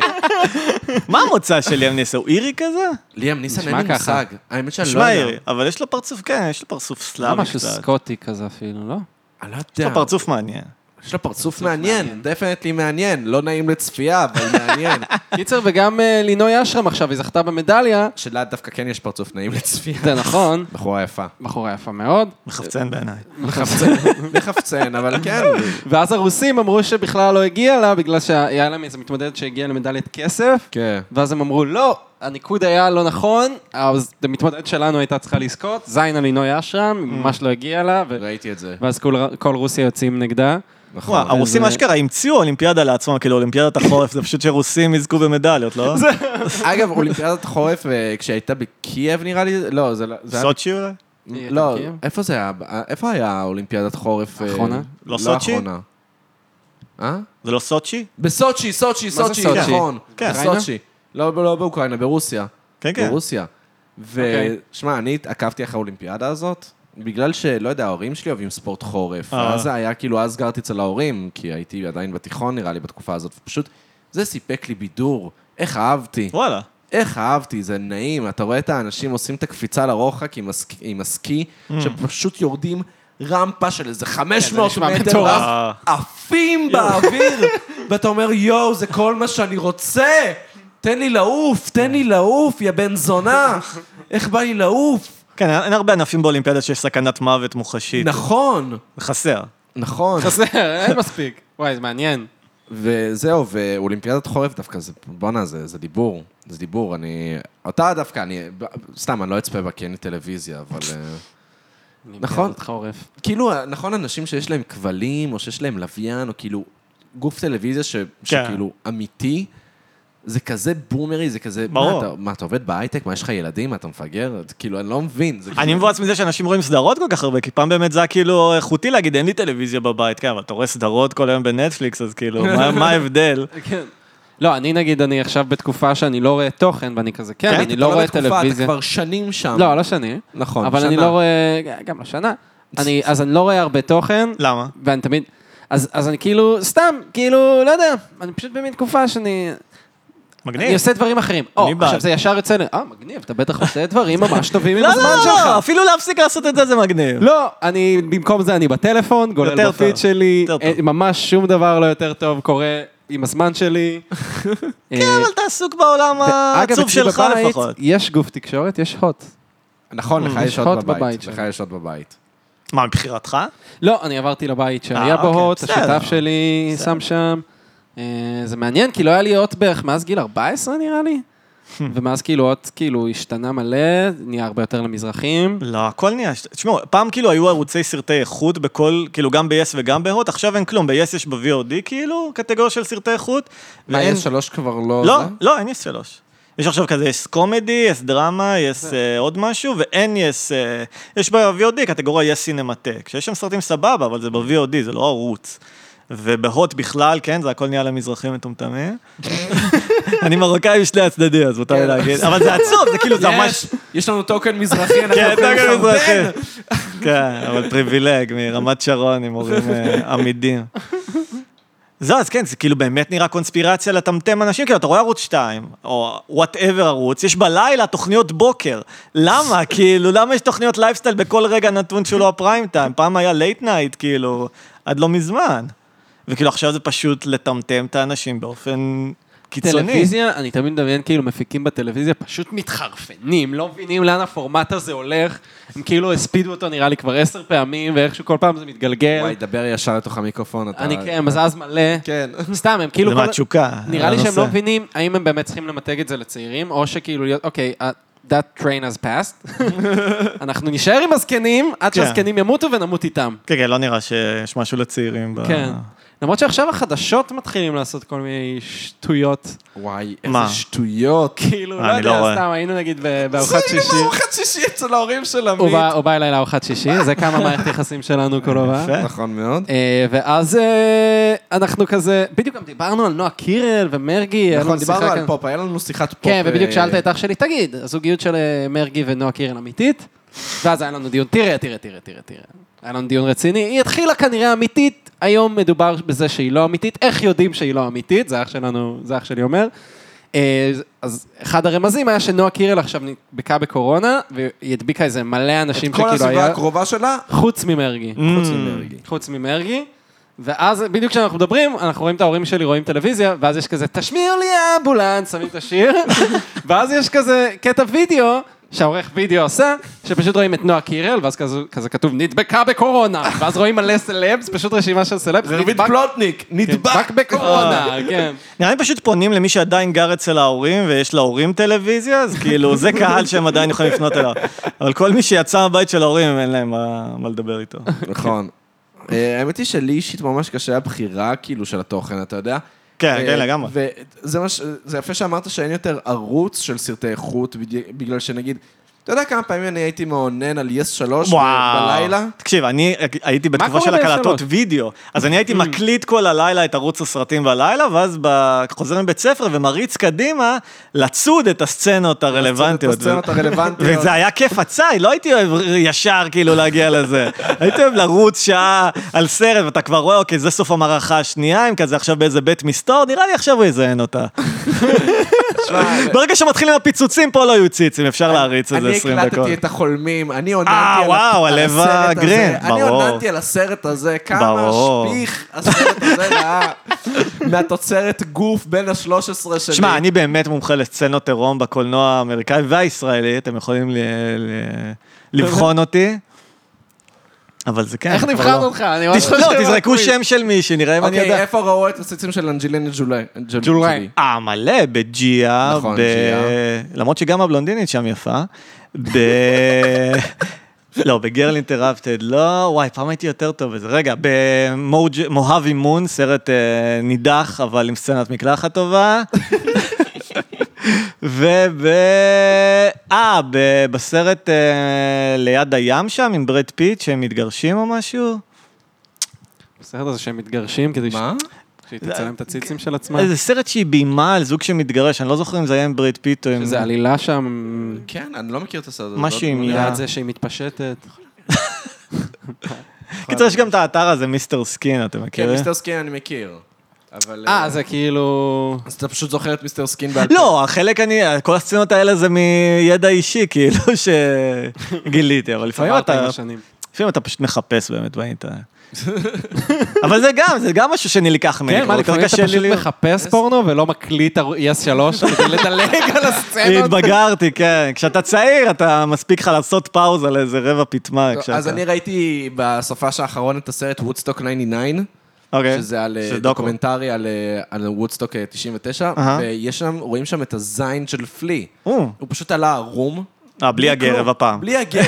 Speaker 3: מה המוצא של ליאם ניסן? הוא אירי כזה?
Speaker 2: ליאם ניסן, אין
Speaker 5: נשמע
Speaker 2: לי
Speaker 5: ככה.
Speaker 2: מושג. האמת שאני לא
Speaker 3: נשמע
Speaker 2: יודע.
Speaker 3: אירי, אבל יש לו פרצוף, כן, יש לו פרצוף
Speaker 5: לא
Speaker 3: סלאבי
Speaker 5: משהו
Speaker 3: קצת.
Speaker 5: סקוטי כזה אפילו, לא?
Speaker 2: אני לא
Speaker 3: יש לו
Speaker 2: יודע.
Speaker 3: פרצוף מעניין.
Speaker 2: יש לו פרצוף מעניין, דפנטלי מעניין. לא נעים לצפייה, אבל מעניין.
Speaker 5: קיצר, וגם אה, לינוי אשרם עכשיו, היא זכתה במדליה.
Speaker 2: שלה דווקא כן יש פרצוף נעים לצפייה.
Speaker 5: זה נכון,
Speaker 2: בחורה יפה.
Speaker 5: בחורה יפה מאוד.
Speaker 3: מחפצן בעיניי.
Speaker 2: מחפצן, מחפצן, אבל כן.
Speaker 5: ואז הרוסים אמרו שבכלל לא הגיע לה, בגלל שהיה להם איזה מתמודדת שהגיעה למדליית כסף.
Speaker 2: כן.
Speaker 5: ואז הם אמרו, לא, הניקוד היה לא נכון, אז המתמודדת שלנו הייתה צריכה לזכות, זיינה לינוי אשרם,
Speaker 2: Mm.
Speaker 5: היא ממש לא הגיעה לה, ו-
Speaker 2: ראיתי את זה.
Speaker 5: ואז כל- כל רוסיה יוצאים נגדה.
Speaker 2: נכון.
Speaker 3: וואו, הרוסים אשכרה המציאו אולימפיאדה לעצמם, כאילו אולימפיאדת החורף, זה פשוט שרוסים יזכו במדליות, לא?
Speaker 2: אגב, אולימפיאדת חורף, אה, כשהייתה בקייב נראה לי, לא, זה לא... זה היה-
Speaker 3: סוצ'י אולי?
Speaker 2: לא,
Speaker 5: בקייב?
Speaker 2: איפה זה היה? איפה היה אולימפיאדת חורף? אה,
Speaker 5: האחרונה?
Speaker 3: לא סוצ'י?
Speaker 2: האחרונה. אה?
Speaker 3: זה לא סוצ'י?
Speaker 2: בסוצ'י, סוצ'י,
Speaker 5: זה
Speaker 2: סוצ'י,
Speaker 5: סוצ'י?
Speaker 2: נכון.
Speaker 3: כן.
Speaker 2: בסוצ'י. לא לא באוקראינה, ברוסיה.
Speaker 3: כן, כן.
Speaker 2: ברוסיה.
Speaker 5: אוקיי.
Speaker 2: ושמע, אני התעכבתי אחרי האולימפיאדה הזאת, בגלל שלא יודע, ההורים שלי אוהבים ספורט חורף.
Speaker 3: אה.
Speaker 2: אז זה היה כאילו, אז גרתי אצל ההורים, כי הייתי עדיין בתיכון נראה לי בתקופה הזאת, ופשוט זה סיפק לי בידור. איך אהבתי,
Speaker 3: וואלה.
Speaker 2: איך אהבתי, זה נעים. אתה רואה את האנשים עושים את הקפיצה לרוחק עם הסק- עם הסקי,
Speaker 3: Mm.
Speaker 2: שפשוט יורדים רמפה של איזה 500
Speaker 5: נשמע
Speaker 2: מטר, ואז
Speaker 5: מטורף.
Speaker 3: אה,
Speaker 2: עפים באוויר, ואתה אומר, יואו, זה כל מה שאני רוצה! תן לי לעוף, תן לי לעוף, יא בן זונה! איך בא לי לעוף?
Speaker 3: כן, אין הרבה ענפים באולימפיאדה שיש סכנת מוות מוחשית.
Speaker 2: נכון,
Speaker 3: חסר.
Speaker 2: נכון.
Speaker 5: חסר, אין מספיק. וואי, זה מעניין.
Speaker 2: וזהו, ואולימפיאדת חורף דווקא, זה, בואנה, זה, זה דיבור, זה דיבור, אני... אותה דווקא, אני... סתם, אני לא אצפה בה כי אין לי טלוויזיה, אבל... אה, נכון.
Speaker 5: אותך עורף.
Speaker 2: כאילו, נכון, אנשים שיש להם כבלים, או שיש להם לוויין, או כאילו גוף טלוויזיה
Speaker 3: כן.
Speaker 2: ש, שכאילו אמיתי, זה כזה בומרי, זה כזה... מה
Speaker 3: ברור.
Speaker 2: אתה, מה, אתה עובד בהייטק? מה, יש לך ילדים? מה, אתה מפגר? זה כאילו, אני לא מבין. זה
Speaker 3: אני
Speaker 2: כאילו-
Speaker 3: מבואס מזה שאנשים רואים סדרות כל כך הרבה, כי פעם באמת זה היה כאילו איכותי להגיד, אין לי טלוויזיה בבית, כן, אבל אתה רואה סדרות כל היום בנטפליקס, אז כאילו, מה- מה ההבדל?
Speaker 5: כן. לא, אני נגיד, אני עכשיו בתקופה שאני לא רואה תוכן, ואני כזה, כן,
Speaker 2: כן,
Speaker 5: אני
Speaker 2: אתה
Speaker 5: לא
Speaker 2: כבר
Speaker 5: רואה
Speaker 2: בתקופה, אתה
Speaker 5: טלוויזיה.
Speaker 2: כבר שנים שם.
Speaker 5: לא, לא שני.
Speaker 2: נכון,
Speaker 5: אבל אני
Speaker 2: שנה.
Speaker 5: לא רואה, גם לא שנה. אני, אז אני לא רואה הרבה תוכן,
Speaker 3: למה?
Speaker 5: ואני תמיד... אז, אז אני כאילו, סתם, כאילו, לא יודע, אני פשוט במין תקופה שאני... אני
Speaker 3: מגניב.
Speaker 5: עושה דברים אחרים. או,
Speaker 3: אני בעד.
Speaker 5: עכשיו זה ישר יוצא לי, אה, מגניב, אתה בטח עושה דברים ממש טובים עם
Speaker 3: לא, לא,
Speaker 5: הזמן
Speaker 3: לא,
Speaker 5: שלך.
Speaker 3: לא, אפילו להפסיק לעשות את זה זה מגניב.
Speaker 5: לא, אני, במקום זה אני בטלפון, גולל
Speaker 3: יותר
Speaker 5: בפיד
Speaker 3: טוב.
Speaker 5: שלי,
Speaker 3: יותר טוב.
Speaker 5: אה, ממש שום דבר לא יותר טוב קורה עם הזמן שלי. אה,
Speaker 3: כן, אבל אתה עסוק בעולם
Speaker 5: ואגב,
Speaker 3: העצוב
Speaker 5: אצלי
Speaker 3: שלך
Speaker 5: בבית
Speaker 3: לפחות.
Speaker 5: יש גוף תקשורת, יש הוט.
Speaker 3: Mm.
Speaker 2: נכון, לך יש
Speaker 5: יש
Speaker 2: עוד
Speaker 5: הוט בבית
Speaker 2: בבית.
Speaker 5: שם.
Speaker 2: לך יש עוד בבית.
Speaker 3: מה, מבחירתך?
Speaker 5: לא, אני עברתי לבית שהיה
Speaker 3: אה,
Speaker 5: בו
Speaker 3: אוקיי,
Speaker 5: הוט,
Speaker 3: בסדר.
Speaker 5: השותף שלי
Speaker 3: בסדר.
Speaker 5: שם שם. אה, זה מעניין, כי לא היה לי הוט בערך מאז גיל 14 נראה לי. ומאז כאילו הוט כאילו השתנה מלא, נהיה הרבה יותר למזרחים.
Speaker 3: לא, הכל נהיה... ש- תשמעו, פעם כאילו היו ערוצי סרטי איכות בכל, כאילו גם ב-yes וגם בהוט, עכשיו אין כלום, ב-yes יש ב-VOD כאילו, קטגוריה של סרטי איכות.
Speaker 2: מה,
Speaker 3: ואין-
Speaker 2: יש שלוש כבר לא...
Speaker 3: לא,
Speaker 2: זה?
Speaker 3: לא, אין יס שלוש. יש עכשיו כזה, יש קומדי, יש דרמה, יש אה, עוד משהו, ואין יש, אה, יש ב-VOD קטגוריה יש סינמטק, שיש שם סרטים סבבה, אבל זה ב-VOD, זה לא ערוץ. ובהוט בכלל, כן, זה הכל נהיה למזרחים מטומטמים. אני מרוקאי בשני הצדדים, אז מותר לי להגיד. אבל זה עצוב, זה כאילו, זה ממש...
Speaker 2: כן. יש, יש לנו טוקן מזרחי, אנחנו
Speaker 3: כן,
Speaker 2: יכולים
Speaker 3: דגל
Speaker 2: לחרבן.
Speaker 3: מזרחי. כן, אבל פריבילג מרמת שרון עם הורים אה, עמידים. זהו, אז כן, זה כאילו באמת נראה קונספירציה לטמטם אנשים, כאילו, אתה רואה ערוץ 2, או וואטאבר ערוץ, יש בלילה תוכניות בוקר. למה? כאילו, למה יש תוכניות לייפסטייל בכל רגע נתון שהוא לא הפריים טיים? פעם היה לייט נייט, כאילו, עד לא מזמן. וכאילו, עכשיו זה פשוט לטמטם את האנשים באופן קיצוני.
Speaker 5: טלוויזיה, אני תמיד מדמיין כאילו מפיקים בטלוויזיה, פשוט מתחרפנים, לא מבינים לאן הפורמט הזה הולך. הם כאילו הספידו אותו נראה לי כבר עשר פעמים, ואיכשהו כל פעם זה מתגלגל.
Speaker 3: כן.
Speaker 2: וואי, דבר ישר לתוך המיקרופון, אתה...
Speaker 5: אני כן, מזז מלא.
Speaker 2: כן.
Speaker 5: סתם, הם כאילו...
Speaker 3: זה
Speaker 5: כל-
Speaker 3: מהתשוקה.
Speaker 5: נראה לי שהם
Speaker 3: הנושא.
Speaker 5: לא מבינים האם הם באמת צריכים למתג את זה לצעירים, או שכאילו להיות, אוקיי, uh, that train has passed. אנחנו נישאר עם הזקנים, עד
Speaker 3: כן.
Speaker 5: שהזקנים ימותו ונמות איתם.
Speaker 3: כן, כן, לא נראה שיש משהו לצעירים. ב-
Speaker 5: כן. למרות שעכשיו החדשות מתחילים לעשות כל מיני שטויות.
Speaker 2: וואי,
Speaker 3: מה?
Speaker 2: איזה שטויות.
Speaker 5: כאילו,
Speaker 3: אה,
Speaker 5: לא
Speaker 3: אני לא
Speaker 5: יודע,
Speaker 3: רואה.
Speaker 5: סתם, היינו נגיד ב- בארוחת שישי.
Speaker 2: ארוחת שישי אצל ההורים של
Speaker 5: הוא בא- הוא בא אליי לארוחת שישי, זה כמה מערכת יחסים שלנו כל הבא.
Speaker 3: יפה.
Speaker 2: נכון מאוד.
Speaker 5: אה, ואז אה, אנחנו כזה, בדיוק גם דיברנו על נועה קירל ומרגי. היה לנו
Speaker 2: נכון, דיברנו
Speaker 5: שיחה
Speaker 2: על
Speaker 5: כאן.
Speaker 2: פופ, היה לנו שיחת פופ.
Speaker 5: כן, ובדיוק
Speaker 2: אה,
Speaker 5: שאלת את אח שלי, תגיד, הזוגיות של אה, מרגי ונועה קירל אמיתית? ואז היה לנו דיון, תראה, תראה, תראה, תראה, תראה. היה לנו דיון רציני, היא התחילה כנראה אמיתית, היום מדובר בזה שהיא לא אמיתית, איך יודעים שהיא לא אמיתית, זה אח שלנו, זה אח שלי אומר. אה, אז אחד הרמזים היה שנועה קירל עכשיו נדבקה בקורונה, והיא הדביקה איזה מלא
Speaker 2: את
Speaker 5: אנשים
Speaker 2: כל
Speaker 5: שכאילו
Speaker 2: הסביבה
Speaker 5: כאילו, היה,
Speaker 2: הקרובה שלה,
Speaker 5: חוץ
Speaker 3: Mm.
Speaker 5: ממרגי.
Speaker 2: חוץ ממרגי.
Speaker 5: חוץ ממרגי. ואז בדיוק כשאנחנו מדברים, אנחנו רואים את ההורים שלי רואים טלוויזיה, ואז יש כזה, תשמיעו לי האמבולנס, שמים את השיר, ואז יש כזה קטע וידאו, שהעורך וידאו עשה, שפשוט רואים את נועה קירל, ואז כזה, כזה כתוב, נדבקה בקורונה, ואז רואים מלא סלבס, פשוט רשימה של סלבס,
Speaker 2: רביד פלוטניק, נדבק
Speaker 5: נדבק כן, בקורונה, כן.
Speaker 3: נראה לי פשוט פונים למי שעדיין גר אצל ההורים ויש להורים טלוויזיה, אז כאילו זה קהל שהם עדיין יכולים לפנות אליו. אבל כל מי שיצא מהבית של ההורים, אין להם מה, מה לדבר איתו.
Speaker 2: נכון. אה, האמת היא שלי אישית ממש קשה הבחירה, כאילו, של התוכן, אתה יודע?
Speaker 3: כן,
Speaker 2: אה,
Speaker 3: כן, לגמרי.
Speaker 2: וזה מה ש- זה יפה שאמרת שאין יותר ערוץ של סרטי איכות, בדי- בגלל שנגיד, אתה יודע כמה פעמים אני הייתי מאונן על יס 3 בלילה?
Speaker 3: תקשיב, אני הייתי בתקופה
Speaker 5: קורה
Speaker 3: של
Speaker 5: ב-S3?
Speaker 3: הקלטות וידאו, אז אני הייתי מקליט כל הלילה את ערוץ הסרטים בלילה, ואז ב- חוזר מבית ספר ומריץ קדימה לצוד את הסצנות הרלוונטיות.
Speaker 2: הסצנות הרלוונטיות.
Speaker 3: וזה היה כיף הצי, לא הייתי אוהב ישר כאילו להגיע לזה. הייתי אוהב לרוץ שעה על סרט, ואתה כבר רואה, אוקיי, זה סוף המערכה השנייה, הם כזה עכשיו באיזה בית מסתור, נראה לי עכשיו הוא יזיין אותה. ברגע שמתחילים הפיצוצים, פה לא היו ציצים, אפשר להריץ את זה
Speaker 2: אני
Speaker 3: 20 דקות.
Speaker 2: הקלטתי את החולמים, אני עוננתי
Speaker 3: אה,
Speaker 2: על,
Speaker 3: וואו,
Speaker 2: על
Speaker 3: על
Speaker 2: הסרט
Speaker 3: אווה
Speaker 2: הזה.
Speaker 3: גרין,
Speaker 2: אני
Speaker 3: ברור.
Speaker 2: עוננתי על הסרט הזה, כמה
Speaker 3: ברור.
Speaker 2: שפיך הסרט הזה היה מהתוצרת גוף בין ה-13 שלי.
Speaker 3: שמע, אני באמת מומחה לסצנות עירום בקולנוע האמריקאי והישראלי, אתם יכולים ל- ל- לבחון
Speaker 2: אוקיי.
Speaker 3: אותי. אבל זה כן.
Speaker 5: איך
Speaker 3: כבר
Speaker 5: נבחרת
Speaker 3: לא.
Speaker 5: אותך? אני ממש
Speaker 3: תס- לא,
Speaker 5: חושב
Speaker 3: תזרקו
Speaker 5: מקביל.
Speaker 3: שם של מישהי, נראה אם אני
Speaker 2: אוקיי,
Speaker 3: יודע.
Speaker 2: איפה ראו את הציצים של אנג'לינה ג'ולי? ג'ול-
Speaker 5: ג'ולי.
Speaker 2: ג'ולי.
Speaker 3: אה, מלא, בג'יה.
Speaker 2: נכון,
Speaker 3: ב-
Speaker 2: ג'יה.
Speaker 3: למרות שגם הבלונדינית שם יפה. ב... לא, בגרל אינטראפטד, לא, וואי, פעם הייתי יותר טוב בזה. רגע, במוהבי מון, סרט אה, נידח, אבל עם סצנת מקלחת טובה. וב... אה, ב- בסרט אה, ליד הים שם, עם ברד פיט, שהם מתגרשים או משהו?
Speaker 5: בסרט הזה שהם מתגרשים כדי ש-
Speaker 2: מה?
Speaker 5: שהיא תצלם את הציצים של עצמה.
Speaker 3: איזה סרט שהיא ביימה על זוג שמתגרש, אני לא זוכר אם זה היה עם ברד פיט או עם...
Speaker 5: איזה עלילה שם,
Speaker 2: כן, אני לא מכיר את הסרט הזה.
Speaker 3: משהו
Speaker 2: לא-
Speaker 3: עם
Speaker 2: לא-
Speaker 3: יד.
Speaker 5: ליד זה שהיא מתפשטת.
Speaker 3: קיצר, יש גם את האתר הזה, מיסטר סקין, אתם
Speaker 2: כן,
Speaker 3: מכירים?
Speaker 2: מיסטר סקין אני מכיר. אבל...
Speaker 5: אה, זה כאילו...
Speaker 2: אז אתה פשוט זוכר את מיסטר סקין בעל פה.
Speaker 3: לא, החלק אני, כל הסצנות האלה זה מידע אישי, כאילו, שגיליתי, אבל לפעמים
Speaker 5: צברת
Speaker 3: אתה,
Speaker 5: עם השנים.
Speaker 3: לפעמים אתה פשוט מחפש באמת באינטרנט. אבל זה גם, זה גם משהו שנלקח ממני.
Speaker 5: כן, מה,
Speaker 3: כבר
Speaker 5: לפעמים אתה
Speaker 3: קשה לי
Speaker 5: פשוט
Speaker 3: להיות-
Speaker 5: מחפש פורנו ולא מקליט יס שלוש כדי לדלג על הסצנות.
Speaker 3: התבגרתי, כן. כשאתה צעיר, אתה מספיק לך לעשות פאוזה לאיזה רבע פיטמה.
Speaker 2: טוב,
Speaker 3: כשאתה-
Speaker 2: לא, אז אני ראיתי בסופש האחרון את הסרט וודסטוק 99.
Speaker 3: אוקיי.
Speaker 2: שזה על אה,
Speaker 3: שזה דוקו.
Speaker 2: דוקומנטרי על, אה, על וודסטוק אה, 99,
Speaker 3: אהה.
Speaker 2: ויש שם, רואים שם את הזין של פלי.
Speaker 3: או.
Speaker 2: הוא פשוט עלה ערום. לא
Speaker 3: אה, בלי הגרב
Speaker 2: כלום.
Speaker 3: הפעם.
Speaker 2: בלי הגרב.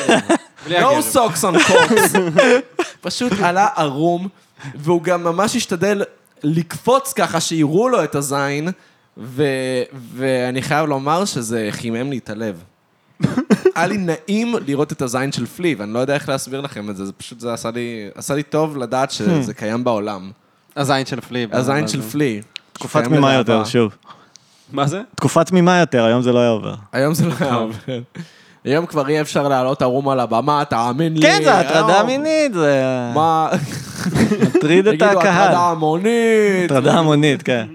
Speaker 5: בלי הגרב.
Speaker 2: No socks on cocks. פשוט עלה ערום, והוא גם ממש השתדל לקפוץ ככה שיראו לו את הזין, ו- ואני חייב לומר שזה חימם לי את הלב. היה לי נעים לראות את הזין של פלי, ואני לא יודע איך להסביר לכם את זה, זה פשוט זה עשה לי, עשה לי טוב
Speaker 3: Hmm.
Speaker 2: לדעת שזה קיים בעולם.
Speaker 5: הזין של פליפ.
Speaker 2: הזין של פלי.
Speaker 3: תקופה
Speaker 2: קיים
Speaker 3: תמימה
Speaker 2: לדעתי.
Speaker 3: יותר, שוב.
Speaker 5: מה זה?
Speaker 3: תקופה תמימה יותר, היום זה לא היה עובר.
Speaker 2: היום זה לא היה עובד. היום כבר אי אפשר לעלות ערום על הבמה, תאמין לי. לא.
Speaker 3: כן, זה הטרדה
Speaker 2: היום-
Speaker 3: מינית, זה
Speaker 2: מה?
Speaker 3: מטריד את
Speaker 2: יגידו,
Speaker 3: הקהל.
Speaker 2: הטרדה המונית.
Speaker 3: הטרדה המונית, כן.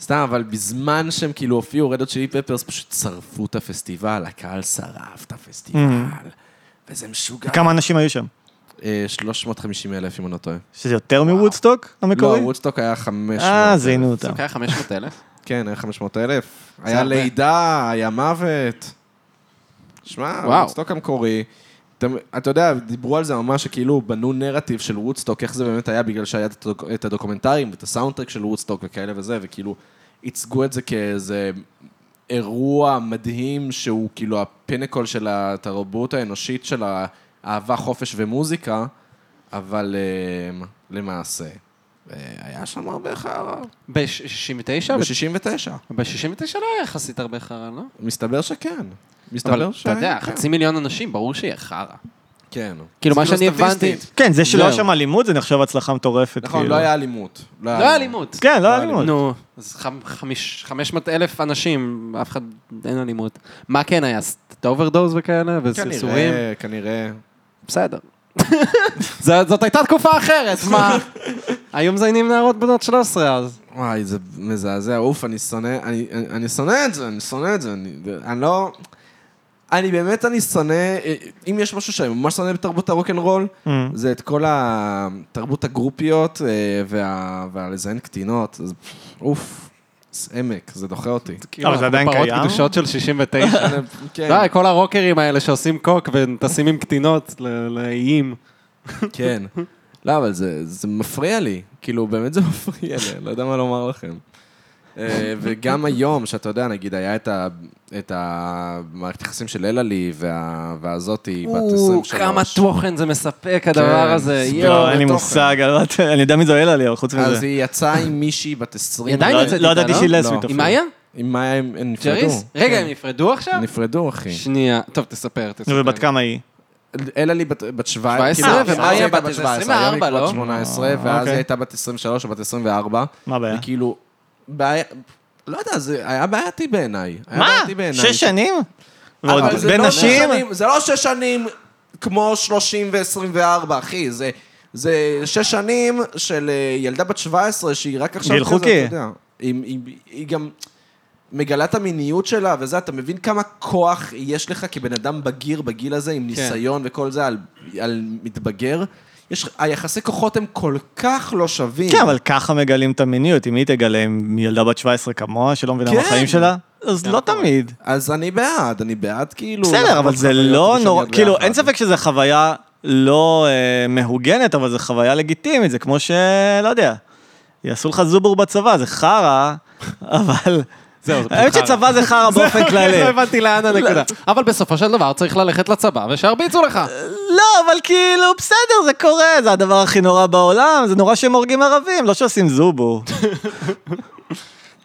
Speaker 2: סתם, אבל בזמן שהם כאילו הופיעו, רדות שלי פפרס פשוט שרפו את הפסטיבל, הקהל שרף את הפסטיבל. וזה משוגע.
Speaker 3: Mm-hmm. כמה אנשים היו שם?
Speaker 2: אה, 350 אלף, אם אני לא טועה.
Speaker 3: שזה יותר מוודסטוק
Speaker 2: לא,
Speaker 3: המקורי?
Speaker 2: וודסטוק היה 500.
Speaker 3: אה, זיינו אותם.
Speaker 5: זה היה 500 אלף.
Speaker 2: כן, היה 500 אלף. היה
Speaker 5: הרבה.
Speaker 2: לידה, היה מוות. שמע,
Speaker 5: וואו.
Speaker 2: וודסטוק המקורי. אתם- אתה יודע, דיברו על זה ממש, שכאילו בנו נרטיב של וודסטוק, איך זה באמת היה, בגלל שהיה את הדוק- את הדוקומנטרים ואת הסאונדטרק של וודסטוק וכאלה וזה, וכאילו ייצגו את זה כאיזה אירוע מדהים שהוא כאילו הפינקול של התרבות האנושית של האהבה, חופש ומוזיקה, אבל אה, למעשה, אה, היה שם הרבה חרא.
Speaker 5: ב-69?
Speaker 2: ב-69.
Speaker 5: ב-69 לא היה יחסית הרבה חרא, לא?
Speaker 2: מסתבר שכן. מסתבר
Speaker 5: אבל
Speaker 2: ש...
Speaker 5: אתה יודע,
Speaker 2: כן.
Speaker 5: חצי מיליון אנשים, ברור שיהיה חרא.
Speaker 2: כן.
Speaker 5: כאילו,
Speaker 2: זה
Speaker 5: מה שאני הבנתי...
Speaker 2: סטטיסטית.
Speaker 3: כן, זה שלא
Speaker 5: זהו.
Speaker 3: היה שם אלימות, זה נחשב הצלחה מטורפת.
Speaker 2: נכון,
Speaker 3: כאילו.
Speaker 2: לא היה אלימות.
Speaker 5: לא היה אלימות.
Speaker 3: כן, לא היה אלימות.
Speaker 5: נו, אז 500 אלף אנשים, אף אחד, אין אלימות. מה כן היה? אוברדוז וכאלה, וסרסורים?
Speaker 2: כנראה, כנראה.
Speaker 5: בסדר. זה- זאת הייתה תקופה אחרת, מה? היו מזיינים נערות בנות 13 אז.
Speaker 2: וואי, זה מזעזע, אוף, אני שונא, אני, אני, אני שונא את זה, אני שונא את זה, אני, אני לא... אני באמת, אני שונא, אם יש משהו שאני ממש שונא בתרבות הרוקנרול, mm. זה את כל התרבות הגרופיות אה, וה, והלזיין קטינות, אז אוף, זה עמק, זה דוחה אותי.
Speaker 3: אבל זה עדיין
Speaker 5: פרות
Speaker 3: קיים?
Speaker 5: כאילו, קדושות של 69.
Speaker 2: כן,
Speaker 5: די, כל הרוקרים האלה שעושים קוק וטסים עם קטינות ל- לאיים.
Speaker 2: כן. לא, אבל זה, זה מפריע לי. כאילו, באמת זה מפריע לי, אני לא יודע מה לומר לכם. אה, וגם היום, שאתה יודע, נגיד, היה את, ה, את המערכת יחסים של אלעלי וה, והזאתי, בת 23.
Speaker 5: כמה תוכן זה מספק הדבר
Speaker 2: הדבר
Speaker 5: הזה,
Speaker 2: הזה,
Speaker 5: יואו.
Speaker 3: לא, אין לי
Speaker 2: בתוכן.
Speaker 3: מושג, אני לא יודעת- אני יודע מי זו אלה לי, אבל חוץ
Speaker 2: אז
Speaker 3: מזה.
Speaker 2: היא יצאה עם מישהי בת 20.
Speaker 5: היא עדיין
Speaker 3: לא-
Speaker 5: יוצאת
Speaker 3: לא
Speaker 5: איתה,
Speaker 3: ידעתי
Speaker 5: לא?
Speaker 3: שהיא
Speaker 2: לא.
Speaker 3: לסבית.
Speaker 5: עם
Speaker 3: אפילו.
Speaker 5: מאיה?
Speaker 2: עם מה הם, הם נפרדו.
Speaker 5: ג'ריס? רגע, כן. הם נפרדו עכשיו?
Speaker 2: הם נפרדו, אחי.
Speaker 5: שנייה. טוב, תספר, תספר.
Speaker 3: נו, ובת כמה היא?
Speaker 2: אלעלי בת בת 17,
Speaker 5: 17,
Speaker 2: כאילו,
Speaker 5: ומה
Speaker 2: אז
Speaker 5: היא
Speaker 2: היא הייתה
Speaker 5: בת
Speaker 2: בת 17,
Speaker 5: 24,
Speaker 2: היום היא
Speaker 5: לא?
Speaker 2: כבר בת 18, ואז
Speaker 3: אוקיי.
Speaker 2: היא הייתה בת 23 או בת 24.
Speaker 3: מה הבעיה?
Speaker 2: וכאילו, בעיה, לא יודע, זה היה בעייתי בעיניי. היה
Speaker 3: מה?
Speaker 2: בעייתי בעיניי.
Speaker 3: שש שנים?
Speaker 2: אבל
Speaker 3: ועוד
Speaker 2: זה
Speaker 3: בין
Speaker 2: לא שש
Speaker 3: נשים?
Speaker 2: שנים- זה לא שש שנים כמו 30 ו-24, אחי, זה... זה שש שנים של אה, ילדה בת 17 שהיא רק עכשיו...
Speaker 3: גיל
Speaker 2: כזה,
Speaker 3: חוקי.
Speaker 2: אתה יודע, היא- היא- היא גם... מגלה את המיניות שלה וזה, אתה מבין כמה כוח יש לך כבן אדם בגיר בגיל הזה,
Speaker 3: כן.
Speaker 2: עם ניסיון וכל זה, על, על מתבגר? יש, היחסי כוחות הם כל כך לא שווים.
Speaker 3: כן, אבל ככה מגלים את המיניות, אם היא תגלה עם ילדה בת 17 כמוה, שלא מבינה מה
Speaker 2: כן.
Speaker 3: החיים שלה, אז לא תמיד.
Speaker 2: אז אני בעד, אני בעד כאילו...
Speaker 3: בסדר, אבל
Speaker 2: לחוות
Speaker 3: זה
Speaker 2: חוויות
Speaker 3: לא
Speaker 2: ראשוניות
Speaker 3: נורא, כאילו,
Speaker 2: ביחד.
Speaker 3: אין ספק שזו חוויה לא אה, מהוגנת, אבל זו חוויה לגיטימית, זה כמו ש... לא יודע, יעשו לך זובור בצבא, זה חרא, אבל...
Speaker 5: זהו, זה כן,
Speaker 3: האמת
Speaker 5: חרא.
Speaker 3: שצבא זה חרא באופן כללי.
Speaker 4: לא הבנתי לאן הנקודה.
Speaker 5: אבל בסופו של דבר צריך ללכת לצבא ושירביצו לך.
Speaker 3: לא, אבל כאילו, בסדר, זה קורה, זה הדבר הכי נורא בעולם, זה נורא שהם הורגים ערבים, לא שעושים זובור.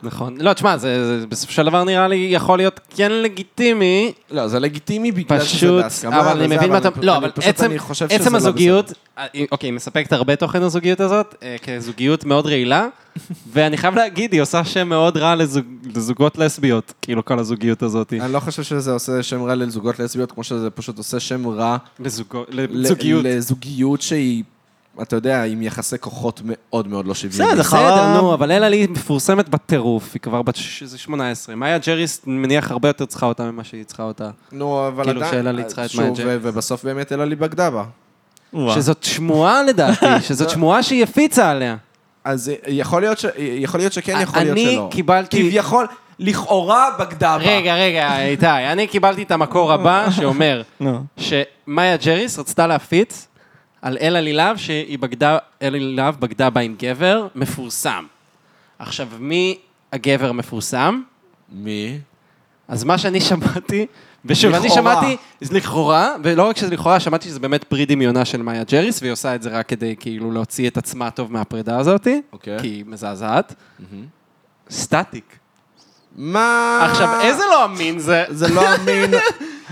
Speaker 5: נכון. לא, תשמע, זה זה בסופו של דבר נראה לי יכול להיות כן לגיטימי,
Speaker 2: לא, זה לגיטימי בגלל שזה
Speaker 5: פשוט,
Speaker 2: בהסכמה.
Speaker 5: אבל אני
Speaker 2: וזה,
Speaker 5: מבין מה אתה...
Speaker 2: אני-
Speaker 5: לא,
Speaker 2: אני
Speaker 5: אבל
Speaker 2: פשוט-
Speaker 5: עצם-
Speaker 2: אני חושב שזה
Speaker 5: עצם
Speaker 2: לא
Speaker 5: הזוגיות, אה, אוקיי, היא מספקת הרבה תוכן הזוגיות הזאת, אה, כזוגיות מאוד רעילה, ואני חייב להגיד, היא עושה שם מאוד רע לזוג- לזוגות לסביות, כאילו כל הזוגיות הזאת.
Speaker 2: בסדר. אני לא חושב שזה עושה שם רע לזוגות לסביות, כמו שזה פשוט עושה שם רע
Speaker 5: לזוגו-
Speaker 2: ל-
Speaker 5: לזוגיות.
Speaker 2: לזוגיות שהיא, אתה יודע, עם יחסי כוחות מאוד מאוד לא שוויוניים.
Speaker 3: בסדר, זה
Speaker 5: בסדר,
Speaker 3: חרא.
Speaker 5: נו, אבל אלה לי מפורסמת בטירוף, היא כבר בת ש- זה 18. מאיה ג'ריס, מניח, הרבה יותר צריכה אותה ממה שהיא צריכה אותה.
Speaker 2: נו, אבל
Speaker 5: כאילו
Speaker 2: עדיין-
Speaker 5: שאלה לי צריכה את
Speaker 2: שוב,
Speaker 5: מאיה ג'קסון.
Speaker 2: ו- ובסוף באמת אלה לי בגדה בה.
Speaker 5: שזאת שמועה לדעתי, שזאת שמועה שהיא הפיצה עליה.
Speaker 2: אז יכול להיות ש- יכול להיות שכן, יכול להיות
Speaker 5: אני
Speaker 2: שלא.
Speaker 5: קיבלתי-
Speaker 2: כביכול, לכאורה בגדה בה.
Speaker 5: רגע, רגע, איתי, אני קיבלתי את המקור הבא שאומר
Speaker 3: נו.
Speaker 5: שמאיה ג'ריס רצתה להפיץ על אלה לילב, שהיא בגדה, אלה לילב בגדה בה עם גבר מפורסם. עכשיו, מי הגבר המפורסם?
Speaker 2: מי?
Speaker 5: אז מה שאני שמעתי, ושוב, אני
Speaker 2: לכאורה.
Speaker 5: שמעתי, זה לכאורה, ולא רק שזה לכאורה, שמעתי שזה באמת פרי דמיונה של מאיה ג'ריס, והיא עושה את זה רק כדי כאילו להוציא את עצמה טוב מהפרידה הזאת,
Speaker 2: אוקיי.
Speaker 5: כי היא מזעזעת. סטטיק.
Speaker 2: מה?
Speaker 5: עכשיו, איזה לא אמין זה?
Speaker 2: זה לא אמין.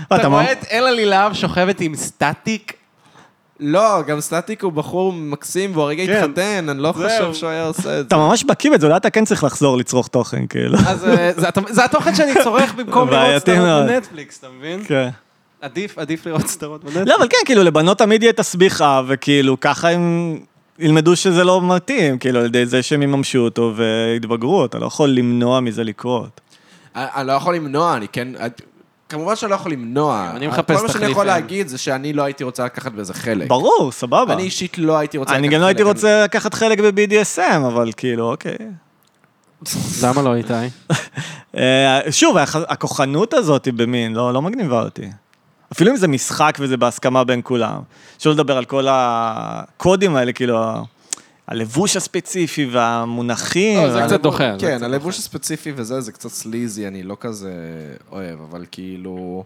Speaker 5: אתה
Speaker 3: אתה
Speaker 5: רואה את אלה לילהב שוכבת עם סטטיק?
Speaker 2: לא, גם סטטיק הוא בחור מקסים, והוא הרגע
Speaker 3: כן.
Speaker 2: התחתן, אני לא חושב שהוא היה עושה את זה.
Speaker 3: אתה ממש בקיא בזה, אולי אתה כן צריך לחזור לצרוך תוכן, כאילו.
Speaker 5: אז אה, זה הת- זה התוכן שאני צורך במקום לראות
Speaker 3: בעייתי
Speaker 5: סדרות
Speaker 3: מאוד. כן.
Speaker 5: בנטפליקס, אתה מבין? עדיף, עדיף לראות סדרות בנטפליקס.
Speaker 3: לא, אבל כן, כאילו, לבנות תמיד יהיה תסביכה, וכאילו, ככה הם ילמדו שזה לא מתאים, כאילו, על ידי זה שהם יממשו אותו ויתבגרו, אתה לא יכול למנוע מזה לקרות.
Speaker 2: אני אני לא יכול למנוע, אני כן... את- כמובן שאני לא יכול למנוע.
Speaker 5: כן, אני מחפש
Speaker 2: כל מה שאני
Speaker 5: תחליף,
Speaker 2: יכול
Speaker 5: אה.
Speaker 2: להגיד זה שאני לא הייתי רוצה לקחת בזה חלק.
Speaker 3: ברור, סבבה.
Speaker 2: אני אישית לא הייתי רוצה
Speaker 3: אני
Speaker 2: לקחת
Speaker 3: גם לא הייתי
Speaker 2: חלק.
Speaker 3: רוצה לקחת חלק ב-BDSM, אבל כאילו, אוקיי.
Speaker 5: למה לא, איתי?
Speaker 3: אה, שוב, הח- הכוחנות הזאת היא במין, לא, לא מגניבה אותי. אפילו אם זה משחק וזה בהסכמה בין כולם. שלא לדבר על כל הקודים האלה, כאילו, ה- הלבוש הספציפי והמונחים.
Speaker 5: לא, זה
Speaker 3: ה-
Speaker 5: קצת דוחה, זה
Speaker 2: כן,
Speaker 5: קצת
Speaker 2: הלבוש הספציפי וזה, זה קצת סליזי, אני לא כזה אוהב, אבל כאילו...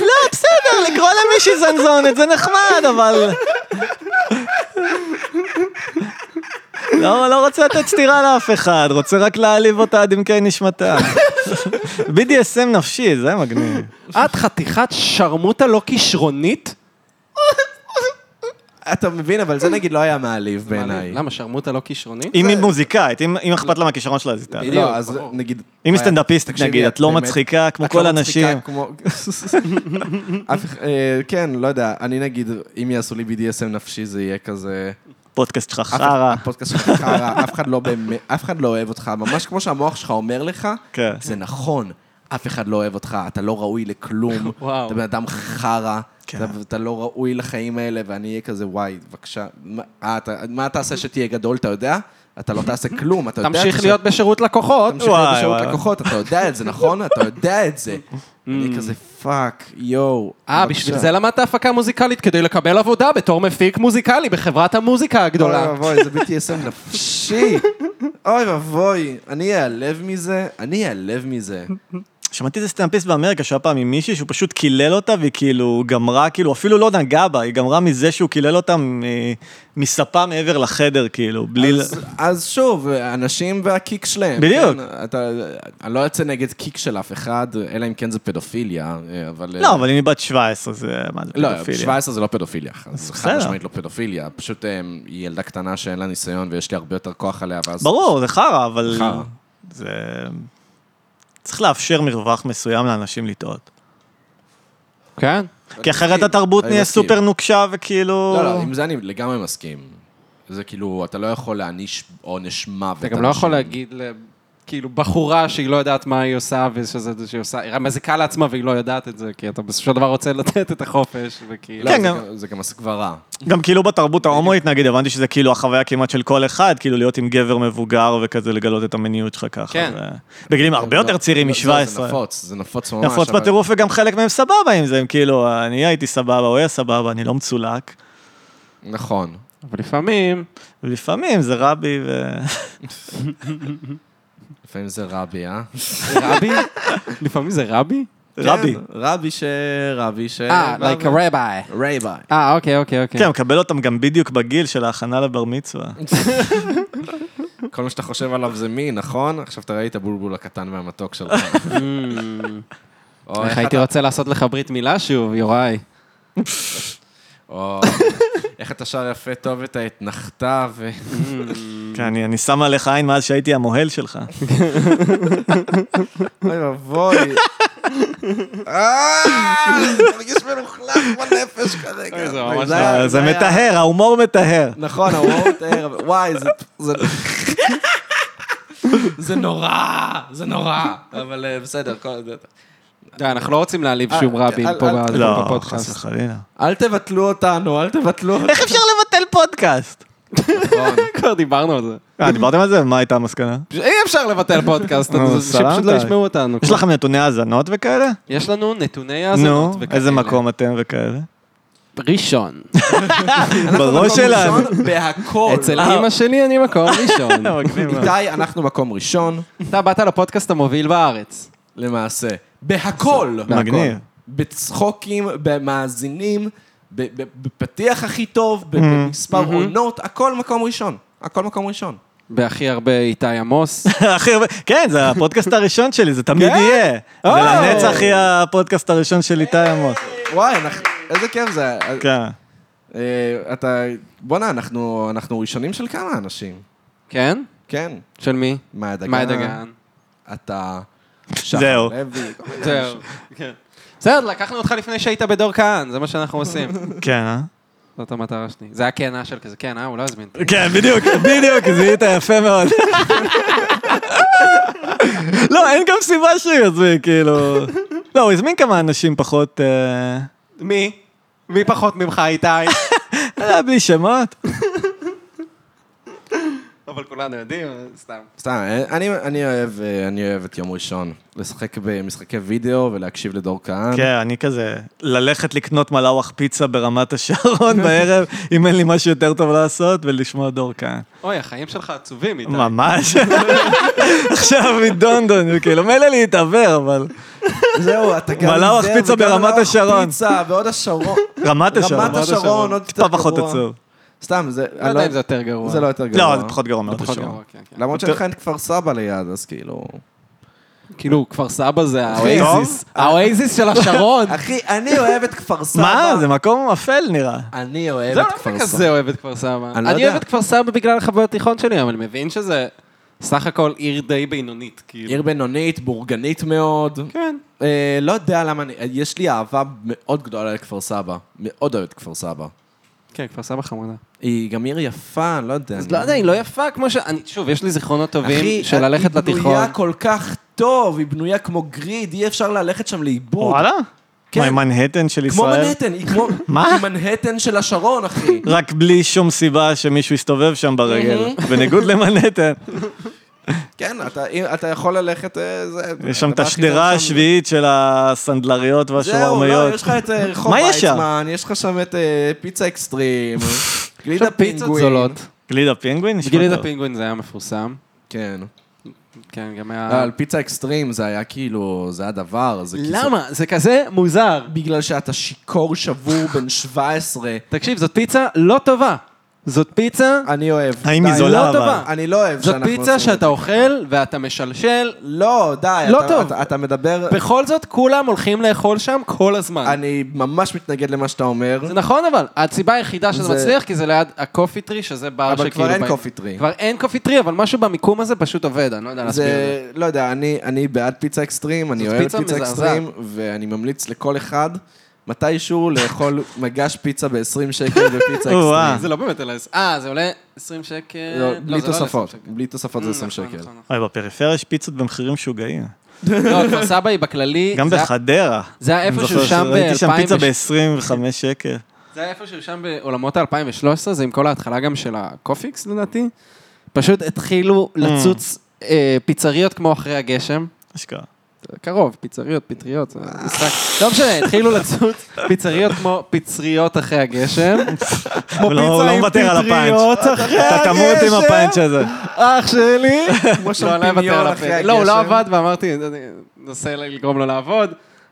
Speaker 3: לא, בסדר, לקרוא למישהי זנזונת זה נחמד, אבל... לא, לא רוצה לתת סטירה לאף אחד, רוצה רק להעליב אותה עד עמקי נשמתה. BDSM נפשי, זה מגניב.
Speaker 5: את חתיכת שרמוטה לא כישרונית?
Speaker 2: אתה מבין, אבל זה נגיד לא היה מעליב בעיניי.
Speaker 5: למה, שרמוטה לא כישרונית?
Speaker 3: אם היא מוזיקאית, אם אם אכפת לה מהכישרון שלה, אז היא תעלה.
Speaker 2: לא, אז נגיד...
Speaker 3: אם היא סטנדאפיסטית,
Speaker 2: תקשיבי,
Speaker 3: נגיד, את לא
Speaker 2: באמת,
Speaker 3: מצחיקה כמו
Speaker 2: את לא
Speaker 3: כל
Speaker 2: מצחיקה
Speaker 3: הנשים.
Speaker 2: כמו- אף אחד- אה, כן, לא יודע, אני נגיד, אם יעשו לי BDSM נפשי, זה יהיה כזה...
Speaker 3: פודקאסט שלך
Speaker 2: אף-
Speaker 3: חרא.
Speaker 2: הפודקאסט שלך חרא, אף אחד לא באמת, אף אחד לא אוהב אותך, ממש כמו שהמוח שלך אומר לך,
Speaker 3: כן.
Speaker 2: זה נכון, אף אחד לא אוהב אותך, אתה לא ראוי לכלום,
Speaker 5: וואו.
Speaker 2: אתה בן אדם חרא,
Speaker 3: כן.
Speaker 2: אתה- אתה לא ראוי לחיים האלה, ואני אהיה כזה, וואי, בבקשה, מה- אה, אתה- מה תעשה שתהיה גדול, אתה יודע? אתה לא תעשה כלום, אתה יודע...
Speaker 5: תמשיך
Speaker 2: ש-
Speaker 5: להיות בשירות לקוחות.
Speaker 2: תמשיך להיות
Speaker 3: וואי,
Speaker 2: בשירות
Speaker 3: וואי.
Speaker 2: לקוחות, אתה יודע את זה, נכון? אתה יודע את זה.
Speaker 3: Mm.
Speaker 2: אני כזה, פאק, יואו.
Speaker 5: אה,
Speaker 2: בבקשה."
Speaker 5: בשביל זה למדת הפקה מוזיקלית, כדי לקבל עבודה בתור מפיק מוזיקלי בחברת המוזיקה
Speaker 2: אוי
Speaker 5: הגדולה.
Speaker 2: ואבוי, זה BTSM נפשי. אוי ואבוי, אני אעלב מזה, אני אעלב מזה.
Speaker 3: שמעתי איזה סטנדאפיסט באמריקה שהיה פעם עם מישהי שהוא פשוט קילל אותה והיא כאילו גמרה, כאילו אפילו לא נגעה בה, היא גמרה מזה שהוא קילל אותה מ- אה, מספה מעבר לחדר, כאילו, בלי... ל-
Speaker 2: אז- אז שוב, אנשים והקיק שלהם.
Speaker 3: בדיוק.
Speaker 2: כן, אתה- אני לא יוצא נגד קיק של אף אחד, אלא אם כן זה פדופיליה, אה, אבל...
Speaker 3: לא, אבל אם היא בת 17, זה מה זה
Speaker 2: לא,
Speaker 3: פדופיליה.
Speaker 2: 17 זה לא פדופיליה, אז חד
Speaker 3: בסדר.
Speaker 2: משמעית לא פדופיליה, פשוט אה, היא ילדה קטנה שאין לה ניסיון ויש לי הרבה יותר כוח עליה, ואז...
Speaker 3: ברור, זה חרא, אבל...
Speaker 2: חרא.
Speaker 3: זה... צריך לאפשר מרווח מסוים לאנשים לטעות.
Speaker 5: כן?
Speaker 3: כי אחרת
Speaker 2: מסכים,
Speaker 3: התרבות
Speaker 2: אני
Speaker 3: נהיה
Speaker 2: מסכים.
Speaker 3: סופר נוקשה וכאילו...
Speaker 2: לא, לא, עם זה אני לגמרי מסכים. זה כאילו, אתה לא יכול להעניש עונש מוות.
Speaker 5: אתה גם לא יכול
Speaker 2: אנשים.
Speaker 5: להגיד, ל- כאילו, בחורה שהיא לא יודעת מה היא עושה, ושזה שהיא עושה, היא מזיקה לעצמה והיא לא יודעת את זה, כי אתה בסופו של דבר רוצה לתת את החופש, וכאילו...
Speaker 2: לא,
Speaker 3: כן,
Speaker 2: זה
Speaker 3: גם-
Speaker 2: גם- זה גם הסגברה.
Speaker 3: גם כאילו בתרבות ההומואית, נגיד, הבנתי שזה כאילו החוויה כמעט של כל אחד, כאילו להיות עם גבר מבוגר וכזה לגלות את המיניות שלך ככה.
Speaker 5: כן.
Speaker 3: ו- בגילים הרבה
Speaker 2: לא,
Speaker 3: יותר צעירים
Speaker 2: לא,
Speaker 3: מ-17.
Speaker 2: זה נפוץ, זה נפוץ ממש.
Speaker 3: נפוץ
Speaker 2: אבל-
Speaker 3: בטירוף, וגם חלק מהם סבבה עם זה, הם כאילו, אני הייתי סבבה, הוא היה סבבה, אני לא מצולק.
Speaker 2: נכון.
Speaker 5: אבל לפעמים...
Speaker 3: ולפעמים זה רבי ו...
Speaker 2: לפעמים זה רבי, אה?
Speaker 5: רבי? לפעמים זה רבי?
Speaker 3: כן, רבי.
Speaker 2: כן, רבי ש... רבי ש...
Speaker 5: אה, like a rabbi.
Speaker 2: רייבי.
Speaker 5: אה, אוקיי, אוקיי, אוקיי.
Speaker 3: כן, מקבל אותם גם בדיוק בגיל של ההכנה לבר מצווה.
Speaker 2: כל מה שאתה חושב עליו זה מי, נכון? עכשיו אתה ראית בולבול הקטן והמתוק שלך. או,
Speaker 5: Hmm. איך הייתי
Speaker 2: אתה-
Speaker 5: רוצה לעשות לך ברית מילה שוב, יוראי.
Speaker 2: או, איך אתה שר יפה טוב את האתנחתה ו...
Speaker 3: כן, אני אני שם עליך עין מאז שהייתי המוהל שלך.
Speaker 2: אוי ואבוי. אה, אני מרגיש מלוכלך בנפש כרגע.
Speaker 5: אוי, זה ממש
Speaker 2: היה-
Speaker 3: אה, זה
Speaker 2: היה-
Speaker 3: מטהר, ההומור מטהר.
Speaker 2: נכון, הוורט ער, וואי, זה... זה- זה נורא, זה נורא, אבל אה, בסדר, כל זה...
Speaker 5: די, אנחנו לא רוצים להעליב
Speaker 2: אה,
Speaker 5: שום רבים
Speaker 2: אל-
Speaker 5: פה
Speaker 2: אל-
Speaker 5: ב-
Speaker 3: לא, חס
Speaker 5: בפודקאסט.
Speaker 3: וחלילה.
Speaker 2: אל תבטלו אותנו, אל תבטלו אותנו.
Speaker 3: איך אפשר לבטל פודקאסט? נכון.
Speaker 5: כבר דיברנו על זה.
Speaker 3: אה, דיברתם על זה? מה הייתה המסקנה?
Speaker 5: פשוט אי אפשר לבטל פודקאסט,
Speaker 3: נו,
Speaker 5: אז שפשוט לא
Speaker 3: סלמת.
Speaker 5: ישמעו אותנו.
Speaker 3: יש לכם נתוני האזנות וכאלה?
Speaker 5: יש לנו נתוני
Speaker 3: נו,
Speaker 5: האזנות וכאלה.
Speaker 3: איזה מקום אתם וכאלה?
Speaker 5: ראשון.
Speaker 3: בראש שלנו.
Speaker 2: בהכל.
Speaker 5: אצל אימא שלי אני מקום ראשון.
Speaker 3: אוקיי.
Speaker 2: איתי, אנחנו מקום ראשון,
Speaker 5: אתה באת לפודקאסט המוביל בארץ.
Speaker 2: למעשה. בהכל.
Speaker 3: מגניב.
Speaker 2: בצחוקים, במאזינים, ב- ב- בפתיח הכי טוב, ב- במספר עונות, הכל מקום ראשון. הכל מקום ראשון.
Speaker 5: בהכי הרבה איתי עמוס.
Speaker 3: הכי הרבה- כן, זה הפודקאסט הראשון שלי, זה תמיד יהיה. זה לנצח יהיה הפודקאסט הראשון של איתי עמוס.
Speaker 2: וואי, אנחנו- איזה כיף זה.
Speaker 3: כן.
Speaker 2: אה, אתה... בואנה, אנחנו אנחנו ראשונים של כמה אנשים.
Speaker 5: כן?
Speaker 2: כן.
Speaker 5: של מי?
Speaker 2: מאיה דגן.
Speaker 5: מאי דגן.
Speaker 2: אתה...
Speaker 3: זהו.
Speaker 2: שחר לוי, כל מיני
Speaker 5: זהו. כן. בסדר, לקחנו אותך לפני שהיית בדור כהן, זה מה שאנחנו עושים.
Speaker 3: כן, אה?
Speaker 5: זאת המטרה שלי. זה היה כהנה של כזה, כן, אה, הוא לא הזמין. אותי.
Speaker 3: כן, בדיוק, בדיוק, זיהית יפה מאוד. לא, אין גם סיבה שהוא יזמין, כאילו... לא, הוא הזמין כמה אנשים פחות... אה,
Speaker 5: מי? מי פחות ממך, איתי?
Speaker 3: אה, בלי שמות.
Speaker 5: אבל כולנו יודעים, אה, סתם.
Speaker 2: סתם, אני, אני, אוהב, אה, אני אוהב את יום ראשון. לשחק במשחקי וידאו ולהקשיב לדור כהן.
Speaker 3: כן, אני כזה, ללכת לקנות מלאווח פיצה ברמת השרון בערב, אם אין לי משהו יותר טוב לעשות, ולשמוע דור כאן.
Speaker 5: אוי, החיים שלך עצובים, איתי.
Speaker 3: ממש. עכשיו מדונדון, כאילו, מילא להתעוור, אבל...
Speaker 2: זהו, אתה גם...
Speaker 3: מלאווח
Speaker 2: זה,
Speaker 3: פיצה
Speaker 2: וגם
Speaker 3: ברמת
Speaker 2: מלאווח
Speaker 3: השרון.
Speaker 2: פיצה ועוד השרון.
Speaker 3: רמת השרון.
Speaker 2: רמת השרון, עוד
Speaker 3: טיפה
Speaker 2: יותר
Speaker 3: פחות
Speaker 2: גרוע.
Speaker 3: עצוב.
Speaker 2: סתם, זה...
Speaker 5: לא יודע אם זה יותר גרוע.
Speaker 2: זה לא יותר גרוע.
Speaker 3: לא, זה פחות גרוע מרמת
Speaker 5: פחות
Speaker 3: השרון.
Speaker 5: גרוע, כן, כן.
Speaker 2: למרות שאין
Speaker 3: יותר-
Speaker 2: לך את כפר סבא ליד, אז כאילו...
Speaker 5: כאילו, כפר סבא זה
Speaker 3: כן.
Speaker 2: אחי,
Speaker 5: האוייזיס. האוייזיס של השרון.
Speaker 2: אחי, אני אוהב את כפר סבא.
Speaker 3: מה? זה מקום אפל נראה.
Speaker 2: אני אוהב
Speaker 5: זה
Speaker 2: את
Speaker 5: לא
Speaker 2: כפר סבא.
Speaker 5: כזה אוהב את כפר סבא.
Speaker 2: אני לא
Speaker 5: אני
Speaker 2: יודע.
Speaker 5: אוהב את כפר סבא בגלל החוויות תיכון שלי, אבל אני מבין שזה סך הכל עיר די בינונית, כאילו.
Speaker 2: עיר בינונית, בורגנית מאוד.
Speaker 5: כן.
Speaker 2: אה, לא יודע למה אני... יש לי אהבה מאוד גדולה לכפר סבא. מאוד אוהב את כפר סבא.
Speaker 5: כן, כפר סבא חמודה.
Speaker 2: היא גם עיר יפה, אני לא יודע.
Speaker 5: אז לא יודע, היא לא יפה כמו ש... אני- שוב, יש לי זיכרונות טובים
Speaker 2: אחי,
Speaker 5: של ללכת
Speaker 2: היא
Speaker 5: לתיכון.
Speaker 2: בנויה כל כך טוב, היא בנויה כמו גריד, אי אפשר ללכת שם לאיבוד.
Speaker 3: וואלה?
Speaker 2: כן.
Speaker 3: מה, עם מנהטן של
Speaker 2: כמו
Speaker 3: ישראל?
Speaker 2: מנהטן, היא כמו...
Speaker 3: מה? לא
Speaker 2: היא מנהטן של השרון, אחי.
Speaker 3: רק בלי שום סיבה שמישהו יסתובב שם ברגל. בניגוד למנהטן.
Speaker 2: כן, אתה- אם- אתה יכול ללכת... אה, זה-
Speaker 3: יש שם את
Speaker 2: הדבר הכי טוב
Speaker 3: השדרה
Speaker 2: שם-
Speaker 3: השביעית של הסנדלריות
Speaker 2: זהו, לא,
Speaker 3: והשוערמיות.
Speaker 2: יש לך את אה, רחוב
Speaker 3: מה יש שם?
Speaker 2: ויצמן, יש לך שם את אה, פיצה אקסטרים,
Speaker 5: יש שם
Speaker 2: גלידה
Speaker 5: פיצות
Speaker 2: פינגווין.
Speaker 5: זולות.
Speaker 3: גלידה פינגווין? נשמע
Speaker 5: גלידה
Speaker 3: טוב.
Speaker 5: פינגווין זה היה מפורסם.
Speaker 2: כן.
Speaker 5: כן, גם היה...
Speaker 2: לא, על פיצה אקסטרים זה היה כאילו, זה היה דבר. זה כאילו-
Speaker 5: למה? זה כזה מוזר.
Speaker 2: בגלל שאתה שיכור שבור בן 17.
Speaker 5: תקשיב, זאת פיצה לא טובה. זאת פיצה...
Speaker 2: אני אוהב.
Speaker 3: האם היא
Speaker 2: די,
Speaker 3: זולה
Speaker 2: לא
Speaker 3: אבל?
Speaker 2: טובה. אני לא אוהב
Speaker 5: זאת
Speaker 2: שאנחנו
Speaker 5: פיצה
Speaker 2: עושים את
Speaker 5: שאתה
Speaker 2: זה.
Speaker 5: אוכל ואתה משלשל.
Speaker 2: לא, די.
Speaker 5: לא
Speaker 2: אתה-
Speaker 5: טוב.
Speaker 2: אתה- אתה מדבר...
Speaker 5: בכל זאת, כולם הולכים לאכול שם כל הזמן.
Speaker 2: אני ממש מתנגד למה שאתה אומר.
Speaker 5: זה נכון, אבל הסיבה היחידה שזה
Speaker 2: זה-
Speaker 5: מצליח, כי זה ליד הקופי טרי, שזה בר
Speaker 2: אבל
Speaker 5: שכאילו...
Speaker 2: כבר אין
Speaker 5: באים-
Speaker 2: קופי טרי.
Speaker 5: כבר אין קופי טרי, אבל משהו במיקום הזה פשוט עובד, אני לא יודע להסביר את זה.
Speaker 2: זה, לא יודע, אני, אני בעד פיצה אקסטרים, אני
Speaker 5: זאת
Speaker 2: אוהב את
Speaker 5: פיצה
Speaker 2: פיצה
Speaker 5: מזעזעת.
Speaker 2: אקסטרים, ואני ממליץ לכל אחד מתישהו לאכול מגש פיצה ב-20 שקל ופיצה
Speaker 3: או-אה.
Speaker 2: אקסטרים.
Speaker 5: זה לא באמת עלה... אה, זה עולה 20 שקל?
Speaker 2: לא,
Speaker 5: לא,
Speaker 2: בלי
Speaker 5: זה לא עולה
Speaker 2: תוספות,
Speaker 5: 20 שקל.
Speaker 2: בלי תוספות זה 20
Speaker 5: נכון,
Speaker 2: שקל.
Speaker 5: נכון, נכון.
Speaker 3: אוי, בפריפריה יש פיצות במחירים משוגעים.
Speaker 5: לא, כפר סבא היא בכללי...
Speaker 3: גם
Speaker 5: זה היה-
Speaker 3: בחדרה.
Speaker 5: זה היה
Speaker 3: אני
Speaker 5: איפשהו
Speaker 3: זוכר
Speaker 5: שם ב...
Speaker 3: ראיתי שם פיצה ב-25 שקל.
Speaker 5: זה היה איפשהו שם בעולמות ה-2013, זה עם כל ההתחלה גם של הקופיקס לדעתי. פשוט התחילו
Speaker 3: Mm.
Speaker 5: לצוץ אה, פיצריות כמו אחרי הגשם.
Speaker 3: אשכרה.
Speaker 5: קרוב, פיצריות, פטריות, זה משחק. לא משנה, התחילו לצוץ פיצריות כמו פצריות אחרי הגשם.
Speaker 3: הוא לא- הוא לא מוותר על הפאנץ'.
Speaker 4: אחרי
Speaker 3: אתה תמות עם הפאנץ' הזה.
Speaker 4: אח שלי.
Speaker 2: כמו
Speaker 5: לא, אני לא
Speaker 2: שמפיניון
Speaker 5: אוותר על
Speaker 2: אחרי
Speaker 5: הפ- לא, הוא לא
Speaker 2: הגשם.
Speaker 5: עבד ואמרתי, אני ננסה לגרום לו לעבוד.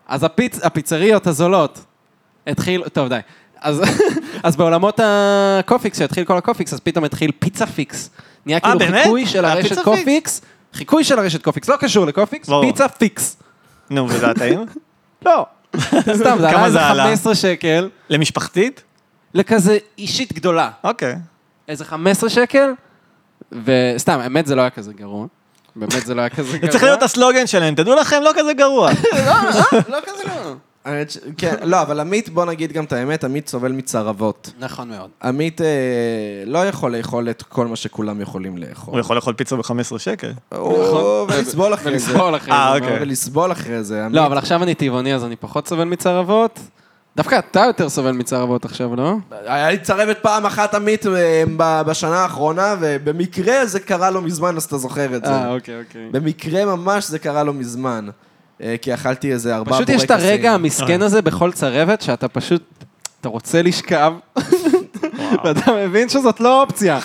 Speaker 5: אז הפיצ- הפיצריות הזולות התחיל, טוב די. אז, אז בעולמות הקופיקס, שהתחיל כל הקופיקס, אז פתאום התחיל פיצה פיקס. נהיה כאילו
Speaker 3: אה, באמת?
Speaker 5: חיקוי של
Speaker 3: היה
Speaker 5: הרשת
Speaker 3: פיצה
Speaker 5: קופיקס, חיקוי של הרשת קופיקס, לא קשור לקופיקס,
Speaker 3: ברור.
Speaker 5: פיצה פיקס.
Speaker 3: נו, וזה היה טעים?
Speaker 5: לא, סתם, זה
Speaker 3: כמה
Speaker 5: עלה איזה
Speaker 3: זה עלה?
Speaker 5: 15 שקל,
Speaker 3: למשפחתית?
Speaker 5: לכזה אישית גדולה.
Speaker 3: אוקיי.
Speaker 5: איזה 15 שקל, וסתם, האמת זה לא היה כזה גרוע. באמת זה לא היה כזה
Speaker 3: זה
Speaker 5: גרוע.
Speaker 3: צריך להיות הסלוגן שלהם, תדעו לכם, לא כזה גרוע.
Speaker 5: לא כזה גרוע.
Speaker 2: האמת ש- כן, לא, אבל עמית, בוא נגיד גם את האמת, עמית סובל מצרבות.
Speaker 5: נכון מאוד.
Speaker 2: עמית אה, לא יכול לאכול את כל מה שכולם יכולים
Speaker 3: הוא
Speaker 2: לאכול.
Speaker 3: יכול לאכול פיצה ב-15 שקל.
Speaker 2: הוא- ולסבול אחרי זה.
Speaker 5: נכון. ולסבול אחרי
Speaker 3: אה,
Speaker 5: זה.
Speaker 3: אוקיי.
Speaker 2: ולסבול אחרי זה. עמית-
Speaker 5: לא, אבל עכשיו אני טבעוני, אז אני פחות סובל מצרבות. דווקא אתה יותר סובל מצרבות עכשיו, לא?
Speaker 2: היה לי צרבת פעם אחת עמית אה, ב- בשנה האחרונה, ובמקרה זה קרה לא מזמן, אז אתה זוכר את זה.
Speaker 5: אה, אוקיי, אוקיי.
Speaker 2: במקרה ממש זה קרה לא מזמן. אה, כי אכלתי איזה ארבעה
Speaker 5: פשוט
Speaker 2: בורקסים.
Speaker 5: יש את הרגע המסכן הזה בכל צרבת, שאתה פשוט, אתה רוצה לשכב, ואתה מבין שזאת לא אופציה.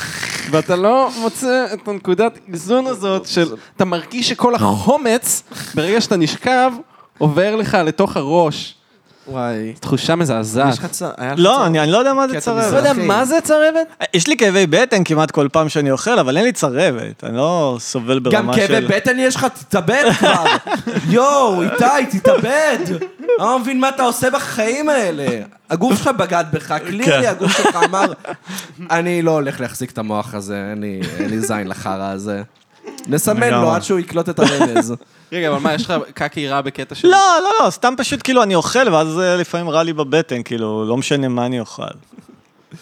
Speaker 5: ואתה לא מוצא את הנקודת איזון הזאת של, אתה מרגיש שכל החומץ, ברגע שאתה נשכב, עובר לך לתוך הראש.
Speaker 2: וואי.
Speaker 5: תחושה מזעזעת.
Speaker 2: יש לך צר... היה לך
Speaker 3: לא,
Speaker 2: צרבת?
Speaker 3: אני אני לא יודע מה
Speaker 2: כי
Speaker 3: זה
Speaker 2: אתה מזרחי.
Speaker 5: לא
Speaker 3: צרבת.
Speaker 5: יודע מה זה צרבת?
Speaker 3: יש לי כאבי בטן כמעט כל פעם שאני אוכל, אבל אין לי צרבת. אני לא סובל
Speaker 2: גם
Speaker 3: ברמה של...
Speaker 2: כאבי בטן יש לך, תתאבד כבר. יואו, איתי, תתאבד. אני לא מבין מה אתה עושה בחיים האלה. הגוף שלך בגד בך, קלירי,
Speaker 3: כן.
Speaker 2: הגוף שלך אמר, אני לא הולך להחזיק את המוח הזה, אין לי- אין לי זין לחרא הזה. נסמן לו
Speaker 3: לגמרי.
Speaker 2: עד שהוא יקלוט את הרמז.
Speaker 5: רגע, אבל מה, יש לך קקי רע בקטע של...
Speaker 3: לא, לא, לא, סתם פשוט כאילו אני אוכל, ואז אה, לפעמים רע לי בבטן, כאילו, לא משנה מה אני אוכל.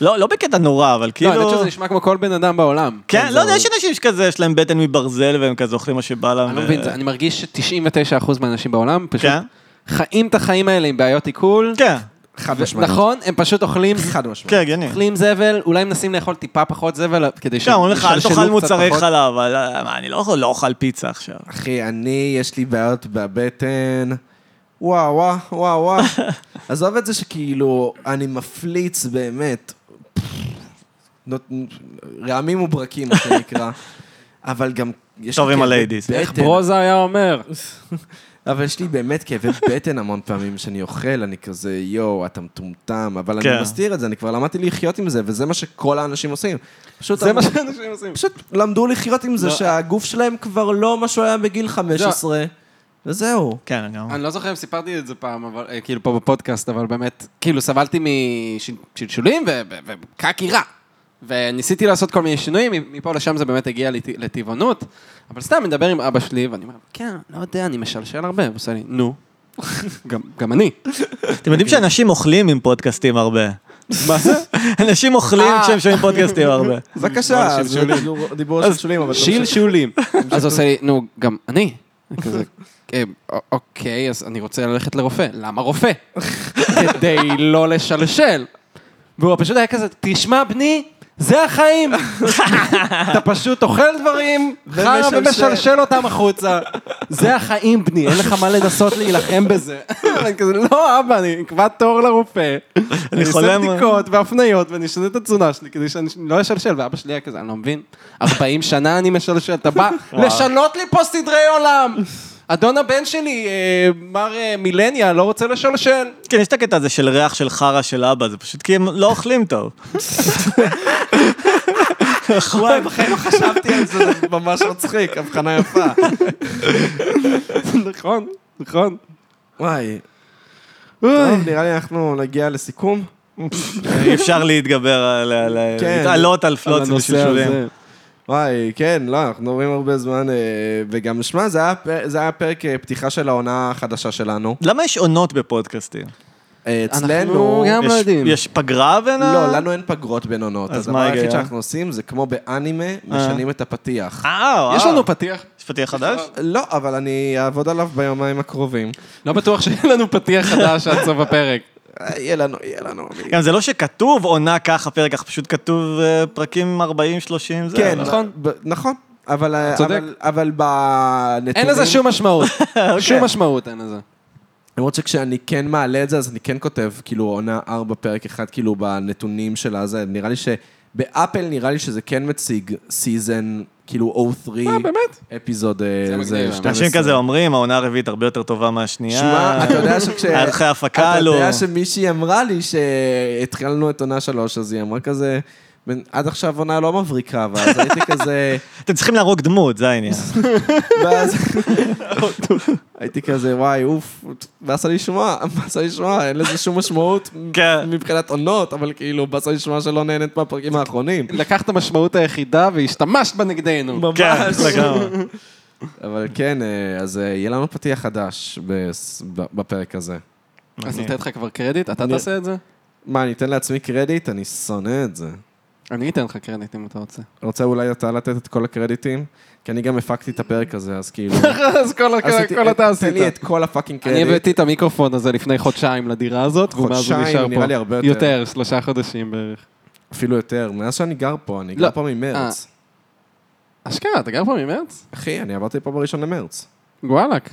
Speaker 3: לא, לא בקטע נורא, אבל
Speaker 5: לא, אני חושב
Speaker 3: כאילו...
Speaker 5: שזה נשמע כמו כל בן אדם בעולם.
Speaker 3: כן, לא יודע, יש אנשים שכזה, יש להם בטן מברזל והם כזה אוכלים מה שבא להם.
Speaker 5: אני לא
Speaker 3: ו-
Speaker 5: מבין, זה- אני מרגיש ש-99% מהאנשים בעולם פשוט
Speaker 3: כן?
Speaker 5: חיים את החיים האלה עם בעיות עיכול.
Speaker 3: כן,
Speaker 2: חד משמעית.
Speaker 5: נכון, הם פשוט אוכלים
Speaker 2: חד משמעית.
Speaker 3: כן, הגיוני.
Speaker 5: אוכלים זבל, אולי מנסים לאכול טיפה פחות זבל, כדי ש...
Speaker 3: כן, אומרים לך, אל
Speaker 5: ישלשלו
Speaker 3: תאכל
Speaker 5: קצת
Speaker 3: מוצרי
Speaker 5: פחות."
Speaker 3: חלב, אבל אה, מה, אני לא אוכל- לא אוכל פיצה עכשיו.
Speaker 2: אחי, אני, יש לי בעיות בבטן. וואו, וואו, וואו, וואו. עזוב את זה שכאילו, אני מפליץ באמת. נות- רעמים וברקים, מה שנקרא. אבל גם... יש לי
Speaker 3: טוב עם
Speaker 2: כאבי
Speaker 3: הליידיז.
Speaker 2: בטן.
Speaker 5: איך ברוזה היה אומר?
Speaker 2: אבל יש לי באמת כאבי בטן המון פעמים שאני אוכל, אני כזה, יואו, אתה מטומטם, אבל
Speaker 3: כן.
Speaker 2: אני מסתיר את זה, אני כבר למדתי לחיות עם זה, וזה מה שכל האנשים עושים. פשוט
Speaker 5: זה מה
Speaker 2: אמרו-
Speaker 5: שאנשים עושים.
Speaker 2: פשוט למדו לחיות עם זה
Speaker 5: לא.
Speaker 2: שהגוף שלהם כבר לא מה שהוא היה בגיל 15, וזהו.
Speaker 3: כן, גם.
Speaker 5: אני לא זוכר אם סיפרתי את זה פעם, אבל, אה, כאילו פה בפודקאסט, אבל באמת, כאילו סבלתי משלשולים וקקי רע. וניסיתי לעשות כל מיני שינויים, מפה לשם זה באמת הגיע לט- לטבעונות, אבל סתם, אני מדבר עם אבא שלי, ואני אומר, כן, לא יודע, אני משלשל הרבה, הוא עושה לי, נו. גם- גם אני.
Speaker 3: אתם יודעים שאנשים אוכלים עם פודקאסטים הרבה.
Speaker 5: מה זה?
Speaker 3: אנשים אוכלים
Speaker 5: אה.
Speaker 3: כשהם שומעים פודקאסטים הרבה.
Speaker 2: בבקשה, אז דיבור- דיבור על שלשולים, אבל...
Speaker 5: שלשולים. אז הוא עושה לי, נו, גם אני. אני כזה, "אה, א- אוקיי, אז אני רוצה ללכת לרופא. למה רופא? כדי לא לשלשל. והוא פשוט היה כזה, תשמע, בני, זה החיים. אתה פשוט אוכל דברים, חרא
Speaker 2: ומשלשל.
Speaker 5: ומשלשל אותם החוצה. זה החיים, בני, אין לך מה לנסות להילחם בזה. אני כזה, לא, אבא, אני אקבע תור לרופא. אני עושה
Speaker 3: חולם-
Speaker 5: בדיקות והפניות, ואני אשנה את התזונה שלי כדי שאני לא אשלשל. ואבא שלי היה כזה, אני לא מבין, 40 שנה אני משלשל, אתה בא לשנות לי פה סדרי עולם. אדון הבן שלי, אה, מר אה, מילניה, לא רוצה לשלשל.
Speaker 3: כן, יש את הקטע הזה של ריח של חרא של אבא, זה פשוט כי הם לא אוכלים טוב.
Speaker 2: וואי, בחיים לא חשבתי על זה, זה ממש מצחיק, הבחנה יפה.
Speaker 5: נכון, נכון.
Speaker 2: וואי. טוב, נראה לי אנחנו נגיע לסיכום.
Speaker 3: אה, אי אפשר להתגבר, על- על- על-
Speaker 2: כן.
Speaker 3: להתעלות על פלוץ
Speaker 5: הנושא
Speaker 3: ושלשולים.
Speaker 5: הזה.
Speaker 2: וואי, כן, לא, אנחנו מדברים הרבה זמן, אה, וגם, שמע, זה היה פ- זה היה פרק אה, פתיחה של העונה החדשה שלנו.
Speaker 3: למה יש עונות בפודקאסטים?
Speaker 2: אה,
Speaker 5: אנחנו
Speaker 2: אצלנו...
Speaker 5: גם לא
Speaker 3: יש-
Speaker 5: יודעים.
Speaker 3: יש פגרה בין ה...
Speaker 2: לא, לנו אין פגרות בין עונות.
Speaker 3: אז
Speaker 2: הדבר
Speaker 3: מה
Speaker 2: היחיד
Speaker 3: ההיגיון?
Speaker 2: שאנחנו עושים זה כמו באנימה, משנים את הפתיח.
Speaker 3: אה, וואו.
Speaker 4: יש לנו פתיח.
Speaker 3: יש פתיח חדש?
Speaker 2: לא, אבל אני אעבוד עליו ביומיים הקרובים.
Speaker 5: לא בטוח שיהיה לנו פתיח חדש עד סוף הפרק.
Speaker 2: אה, יהיה לנו, יהיה לנו. אני-
Speaker 3: גם זה לא שכתוב עונה ככה, פרק ככה, פשוט כתוב אה, פרקים 40, 30, זה...
Speaker 2: כן,
Speaker 3: אבל-
Speaker 2: נכון. ב- נכון. אבל, אה,
Speaker 5: לא צודק.
Speaker 2: אבל, אבל בנתונים...
Speaker 5: אין לזה שום משמעות. שום משמעות אין לזה.
Speaker 2: למרות שכשאני כן מעלה את זה, אז אני כן כותב, כאילו, עונה ארבע, פרק אחד, כאילו, בנתונים של הזה. נראה לי ש... באפל נראה לי שזה כן מציג סיזן, כאילו, O3. אה, באמת? אפיזוד אה,
Speaker 5: זה מגניב,
Speaker 2: זה
Speaker 5: האמת.
Speaker 2: 12.
Speaker 3: אנשים כזה אומרים, העונה הרביעית הרבה יותר טובה מהשנייה.
Speaker 2: שמע, אתה יודע שכש...
Speaker 3: ערכי הפקה
Speaker 2: אתה
Speaker 3: לא...
Speaker 2: יודע שמישהי אמרה לי שהתחלנו את עונה שלוש, אז היא אמרה כזה, "בן- עד עכשיו עונה לא מבריקה, ואז הייתי כזה...
Speaker 3: אתם צריכים להרוג דמות, זה העניין.
Speaker 2: ואז הייתי כזה, וואי, אוף, באסה לי לשמוע, באסה לי לשמוע, אין לזה שום משמעות
Speaker 3: כן.
Speaker 2: מבחינת עונות, אבל כאילו, באסה לי לשמוע שלא נהנית מהפרקים האחרונים.
Speaker 5: לקחת המשמעות היחידה והשתמשת בה נגדנו.
Speaker 3: כן, לגמרי.
Speaker 2: אבל כן, אה, אז אה, יהיה לנו פתיח חדש בס- ב- בפרק הזה.
Speaker 5: אז נותן לך כבר קרדיט, אתה תעשה את זה?
Speaker 2: מה, אני אתן לעצמי קרדיט? אני שונא את זה.
Speaker 5: אני אתן לך קרדיט אם אתה רוצה.
Speaker 2: רוצה אולי אתה לתת את כל הקרדיטים? כי אני גם הפקתי את הפרק הזה, אז כאילו...
Speaker 5: אז אוקיי, כל
Speaker 2: עשיתי-
Speaker 5: הכל אתה
Speaker 2: תן לי
Speaker 5: עשית.
Speaker 2: את כל הפאקינג
Speaker 5: אני
Speaker 2: קרדיט.
Speaker 5: הבאתי את המיקרופון הזה לפני חודשיים לדירה הזאת, ומאז הוא
Speaker 2: חודשיים,
Speaker 5: נשאר פה.
Speaker 2: נראה לי הרבה יותר.
Speaker 5: יותר, שלושה חודשים בערך.
Speaker 2: אפילו יותר, מאז שאני גר פה, אני
Speaker 5: לא.
Speaker 2: גר פה ממרץ.
Speaker 5: אשכרה, אתה גר פה ממרץ?
Speaker 2: אחי, אני עברתי פה בראשון למרץ.
Speaker 5: וואלק.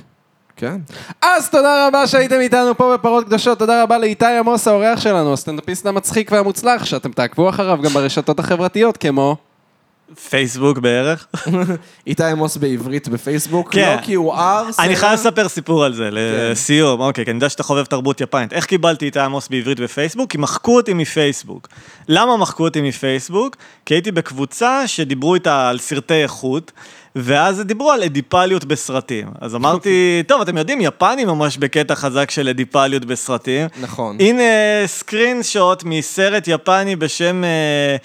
Speaker 2: כן.
Speaker 5: אז תודה רבה שהייתם איתנו פה בפרות קדושות, תודה רבה לאיתי עמוס האורח שלנו, הסטנדאפיסט המצחיק והמוצלח, שאתם תעקבו אחריו גם ברשתות החברתיות כמו...
Speaker 3: פייסבוק בערך.
Speaker 2: איתי עמוס בעברית בפייסבוק,
Speaker 3: כן.
Speaker 2: לא כי הוא ארס.
Speaker 3: אני
Speaker 2: אלא-
Speaker 3: חייב לספר סיפור על זה, לסיום. אוקיי, כי אני יודע שאתה חובב תרבות יפנית. איך קיבלתי את עמוס בעברית בפייסבוק? כי מחקו אותי מפייסבוק. למה מחקו אותי מפייסבוק? כי הייתי בקבוצה שדיברו איתה על סרטי איכות, ואז דיברו על אדיפליות בסרטים. אז אמרתי, טוב, אתם יודעים, יפנים ממש בקטע חזק של אדיפליות בסרטים.
Speaker 2: נכון.
Speaker 3: הנה סקרין שוט מסרט יפני בשם אה,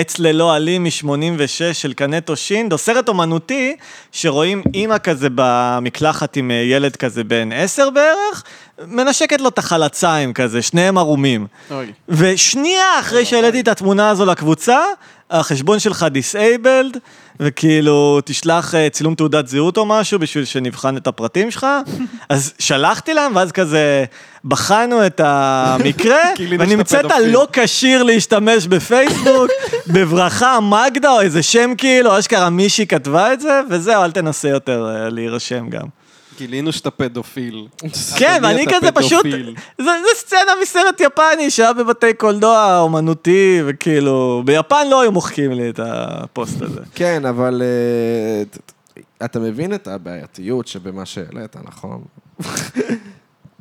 Speaker 3: עץ ללא עלים מ-86 של קנטו שינדו, סרט אומנותי שרואים אימא כזה במקלחת עם אה, ילד כזה בן 10 בערך, מנשקת לו את החלציים כזה, שניהם ערומים.
Speaker 5: אוי.
Speaker 3: ושנייה אחרי שהעליתי את התמונה הזו לקבוצה, החשבון שלך דיסאבלד, וכאילו תשלח אה, צילום תעודת זהות או משהו בשביל שנבחן את הפרטים שלך. אז שלחתי להם, ואז כזה בחנו את המקרה,
Speaker 5: גילינו שאתה
Speaker 3: ונמצאת
Speaker 5: פדופיל.
Speaker 3: לא כשיר להשתמש בפייסבוק, בברכה מגדה או איזה שם כאילו, אשכרה מישהי כתבה את זה, וזהו, אל תנסה יותר אה, להירשם גם.
Speaker 5: גילינו שאתה פדופיל.
Speaker 3: כן,
Speaker 5: אדוני,
Speaker 3: ואני
Speaker 5: אתה
Speaker 3: כזה פשוט...
Speaker 5: פדופיל.
Speaker 3: זה, זה סצנה מסרט יפני שהיה בבתי קולנוע אומנותי, וכאילו... ביפן לא היו מוחקים לי את הפוסט הזה.
Speaker 2: כן, אבל... אה, ת- ת- אתה מבין את הבעייתיות שבמה שהעלית, נכון?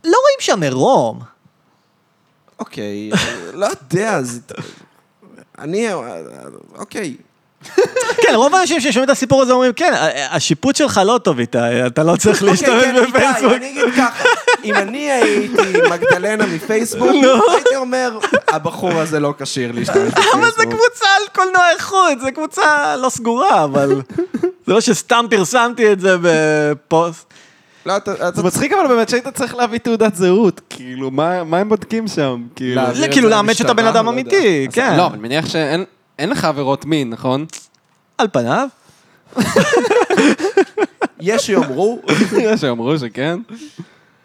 Speaker 3: לא רואים שם עירום.
Speaker 2: אוקיי, לא יודע, זה... אני... אה, אוקיי.
Speaker 3: כן, רוב האנשים ששומעים את הסיפור הזה אומרים, כן, ה- השיפוט שלך לא טוב איתי, אתה לא צריך להשתמש
Speaker 2: אוקיי, כן, איתי,
Speaker 3: בפייסבוק.
Speaker 2: אני אגיד ככה, אם אני הייתי מגדלנה מפייסבוק, הייתי אומר, הבחור הזה לא כשיר להשתמש
Speaker 3: אבל זה
Speaker 2: בפייסבוק.
Speaker 3: קבוצה על קולנוע איכות, זו קבוצה לא סגורה, אבל... זה לא שסתם פרסמתי את זה בפוסט.
Speaker 2: לא, אתה... אתה-
Speaker 4: זה מצחיק אבל באמת שהיית צריך להביא תעודת זהות, כאילו, מה מה הם בודקים שם? כאילו,
Speaker 2: לא,
Speaker 3: זה כאילו
Speaker 2: זה
Speaker 3: לאמץ את
Speaker 2: המשטרה,
Speaker 3: הבן אדם
Speaker 2: לא יודע.
Speaker 3: אמיתי, כן.
Speaker 5: לא, אבל מניח שאין אין לך עבירות מין, נכון?
Speaker 3: על פניו.
Speaker 2: יש שיאמרו,
Speaker 5: שאמרו שכן.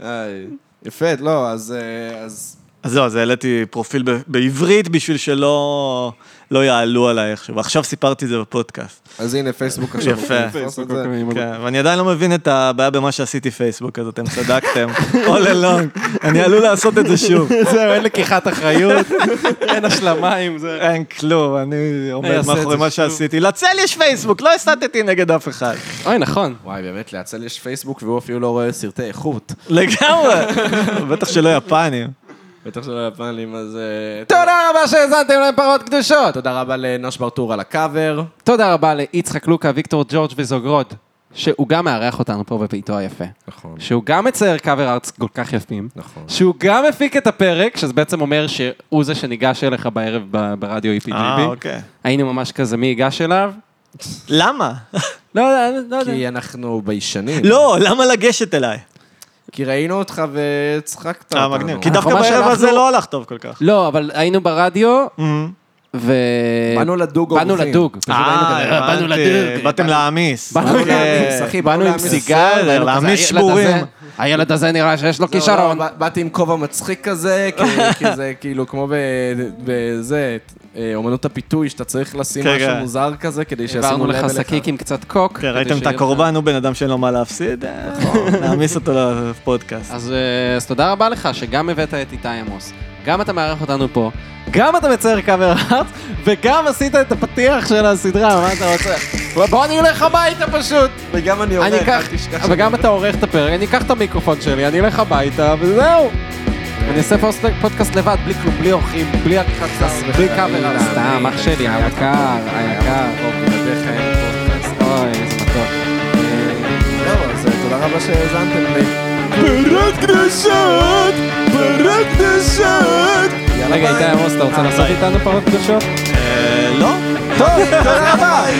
Speaker 2: איי, יפה, לא, אז... אה, אז
Speaker 3: אז זהו, אז העליתי פרופיל ב- בעברית בשביל שלא לא יעלו עליי איכשהו, ועכשיו סיפרתי את זה בפודקאסט.
Speaker 2: אז הנה, פייסבוק עכשיו.
Speaker 3: יפה.
Speaker 2: הולכים לפרוס את
Speaker 5: פייסבוק,
Speaker 2: זה.
Speaker 5: אוקיי, עם-
Speaker 3: כן, ואני עדיין לא מבין את הבעיה במה שעשיתי פייסבוק, אז אתם צדקתם, all along, אני עלול לעשות את זה שוב.
Speaker 5: זהו, אין לקיחת אחריות, אין השלמה עם זה.
Speaker 3: אין כלום, אני עומד
Speaker 5: אעשה לא את
Speaker 3: מאחורי
Speaker 5: זה
Speaker 3: מה
Speaker 5: שוב.
Speaker 3: שעשיתי. לצל יש פייסבוק, לא הסתתי נגד אף אחד.
Speaker 5: אוי, נכון.
Speaker 2: וואי, באמת, להצל יש פייסבוק והוא אפילו לא רואה סרטי איכות.
Speaker 3: לגמרי, בטח שלא יפנים.
Speaker 2: בטח שלא יפנים, אז... אה,
Speaker 5: תודה רבה שהאזנתם לפרות קדושות.
Speaker 2: תודה רבה לנוש ברטור על הקאבר.
Speaker 5: תודה רבה ליצחק לוקה, ויקטור ג'ורג' וזוגרוד, שהוא גם מארח אותנו פה בביתו היפה.
Speaker 2: נכון.
Speaker 5: שהוא גם מצייר קאבר ארץ כל כך יפים.
Speaker 2: נכון.
Speaker 5: שהוא גם הפיק את הפרק, שזה בעצם אומר שהוא זה שניגש אליך בערב ב- ברדיו E
Speaker 3: אה,
Speaker 5: EPGB.
Speaker 3: אוקיי.
Speaker 5: היינו ממש כזה, מי ייגש אליו?
Speaker 3: למה?
Speaker 5: לא יודע, לא יודע.
Speaker 2: כי אנחנו ביישנים.
Speaker 3: לא, למה לא, לגשת אליי?
Speaker 2: כי ראינו אותך והצחקת אותנו.
Speaker 3: אה, מגניב. כי דווקא
Speaker 5: ממש
Speaker 3: בערב הזה
Speaker 5: הלכנו-
Speaker 3: לא הלך טוב כל כך.
Speaker 5: לא, אבל היינו ברדיו, ו...
Speaker 2: באנו לדוג
Speaker 5: אה, באנו
Speaker 2: אורחים. לא-
Speaker 5: לדוג. פשוט היינו
Speaker 3: אה,
Speaker 5: כזה, באנו
Speaker 3: הבנתי,
Speaker 5: לדוג.
Speaker 3: באתם להעמיס.
Speaker 2: באנו
Speaker 3: אוקיי.
Speaker 2: להעמיס, אחי, באנו
Speaker 5: באנו עם
Speaker 2: להעמיס.
Speaker 5: סיגל, היינו
Speaker 3: להעמיס
Speaker 5: כזה, "הילד
Speaker 3: שבורים".
Speaker 5: הזה- הילד הזה נראה שיש לו
Speaker 2: לא,
Speaker 5: כישרון.
Speaker 2: לא, בא- באתי עם כובע מצחיק כזה, כי- כי זה כאילו כמו ב- בזה, אה, אומנות הפיתוי, שאתה צריך לשים
Speaker 3: כן,
Speaker 2: משהו
Speaker 3: כן.
Speaker 2: מוזר כזה, כדי שישימו
Speaker 5: העברנו
Speaker 2: לב
Speaker 5: לך
Speaker 2: אליך.
Speaker 5: שקיק עם קצת קוק.
Speaker 3: כן,
Speaker 5: כדי
Speaker 3: ראיתם את
Speaker 5: שיהיה לך-
Speaker 3: הקורבן, הוא בן אדם שאין לו מה להפסיד, אה,
Speaker 5: נכון.
Speaker 3: נעמיס אותו לפודקאסט.
Speaker 5: אז אה, אז תודה רבה לך שגם הבאת את איתי עמוס, גם אתה מארח אותנו פה.
Speaker 4: גם אתה מצייר קאבר ארט, וגם עשית את הפתיח של הסדרה, מה אתה רוצה?
Speaker 5: בוא אני הולך הביתה פשוט.
Speaker 2: וגם אני
Speaker 5: אני
Speaker 2: עובד,
Speaker 5: אקח,
Speaker 2: אל תשכח.
Speaker 5: וגם אתה עורך את הפרק, אני אקח את המיקרופון שלי, אני אלך הביתה, וזהו. אני אעשה פוסט- פודקאסט לבד, בלי כלום, בלי אורחים, בלי עריכת סאס, בלי קאבר. סתם, אח שלי, היקר, היקר. אוי, איזה מתוק.
Speaker 2: זהו, אז אה, תודה רבה שהאזנתם לי.
Speaker 1: פרות קדושות, פרות קדושות.
Speaker 5: רגע, איתי עמוס, אתה רוצה לעשות איתנו פרות קדושות?
Speaker 3: אה, לא?
Speaker 4: טוב, תודה רבה.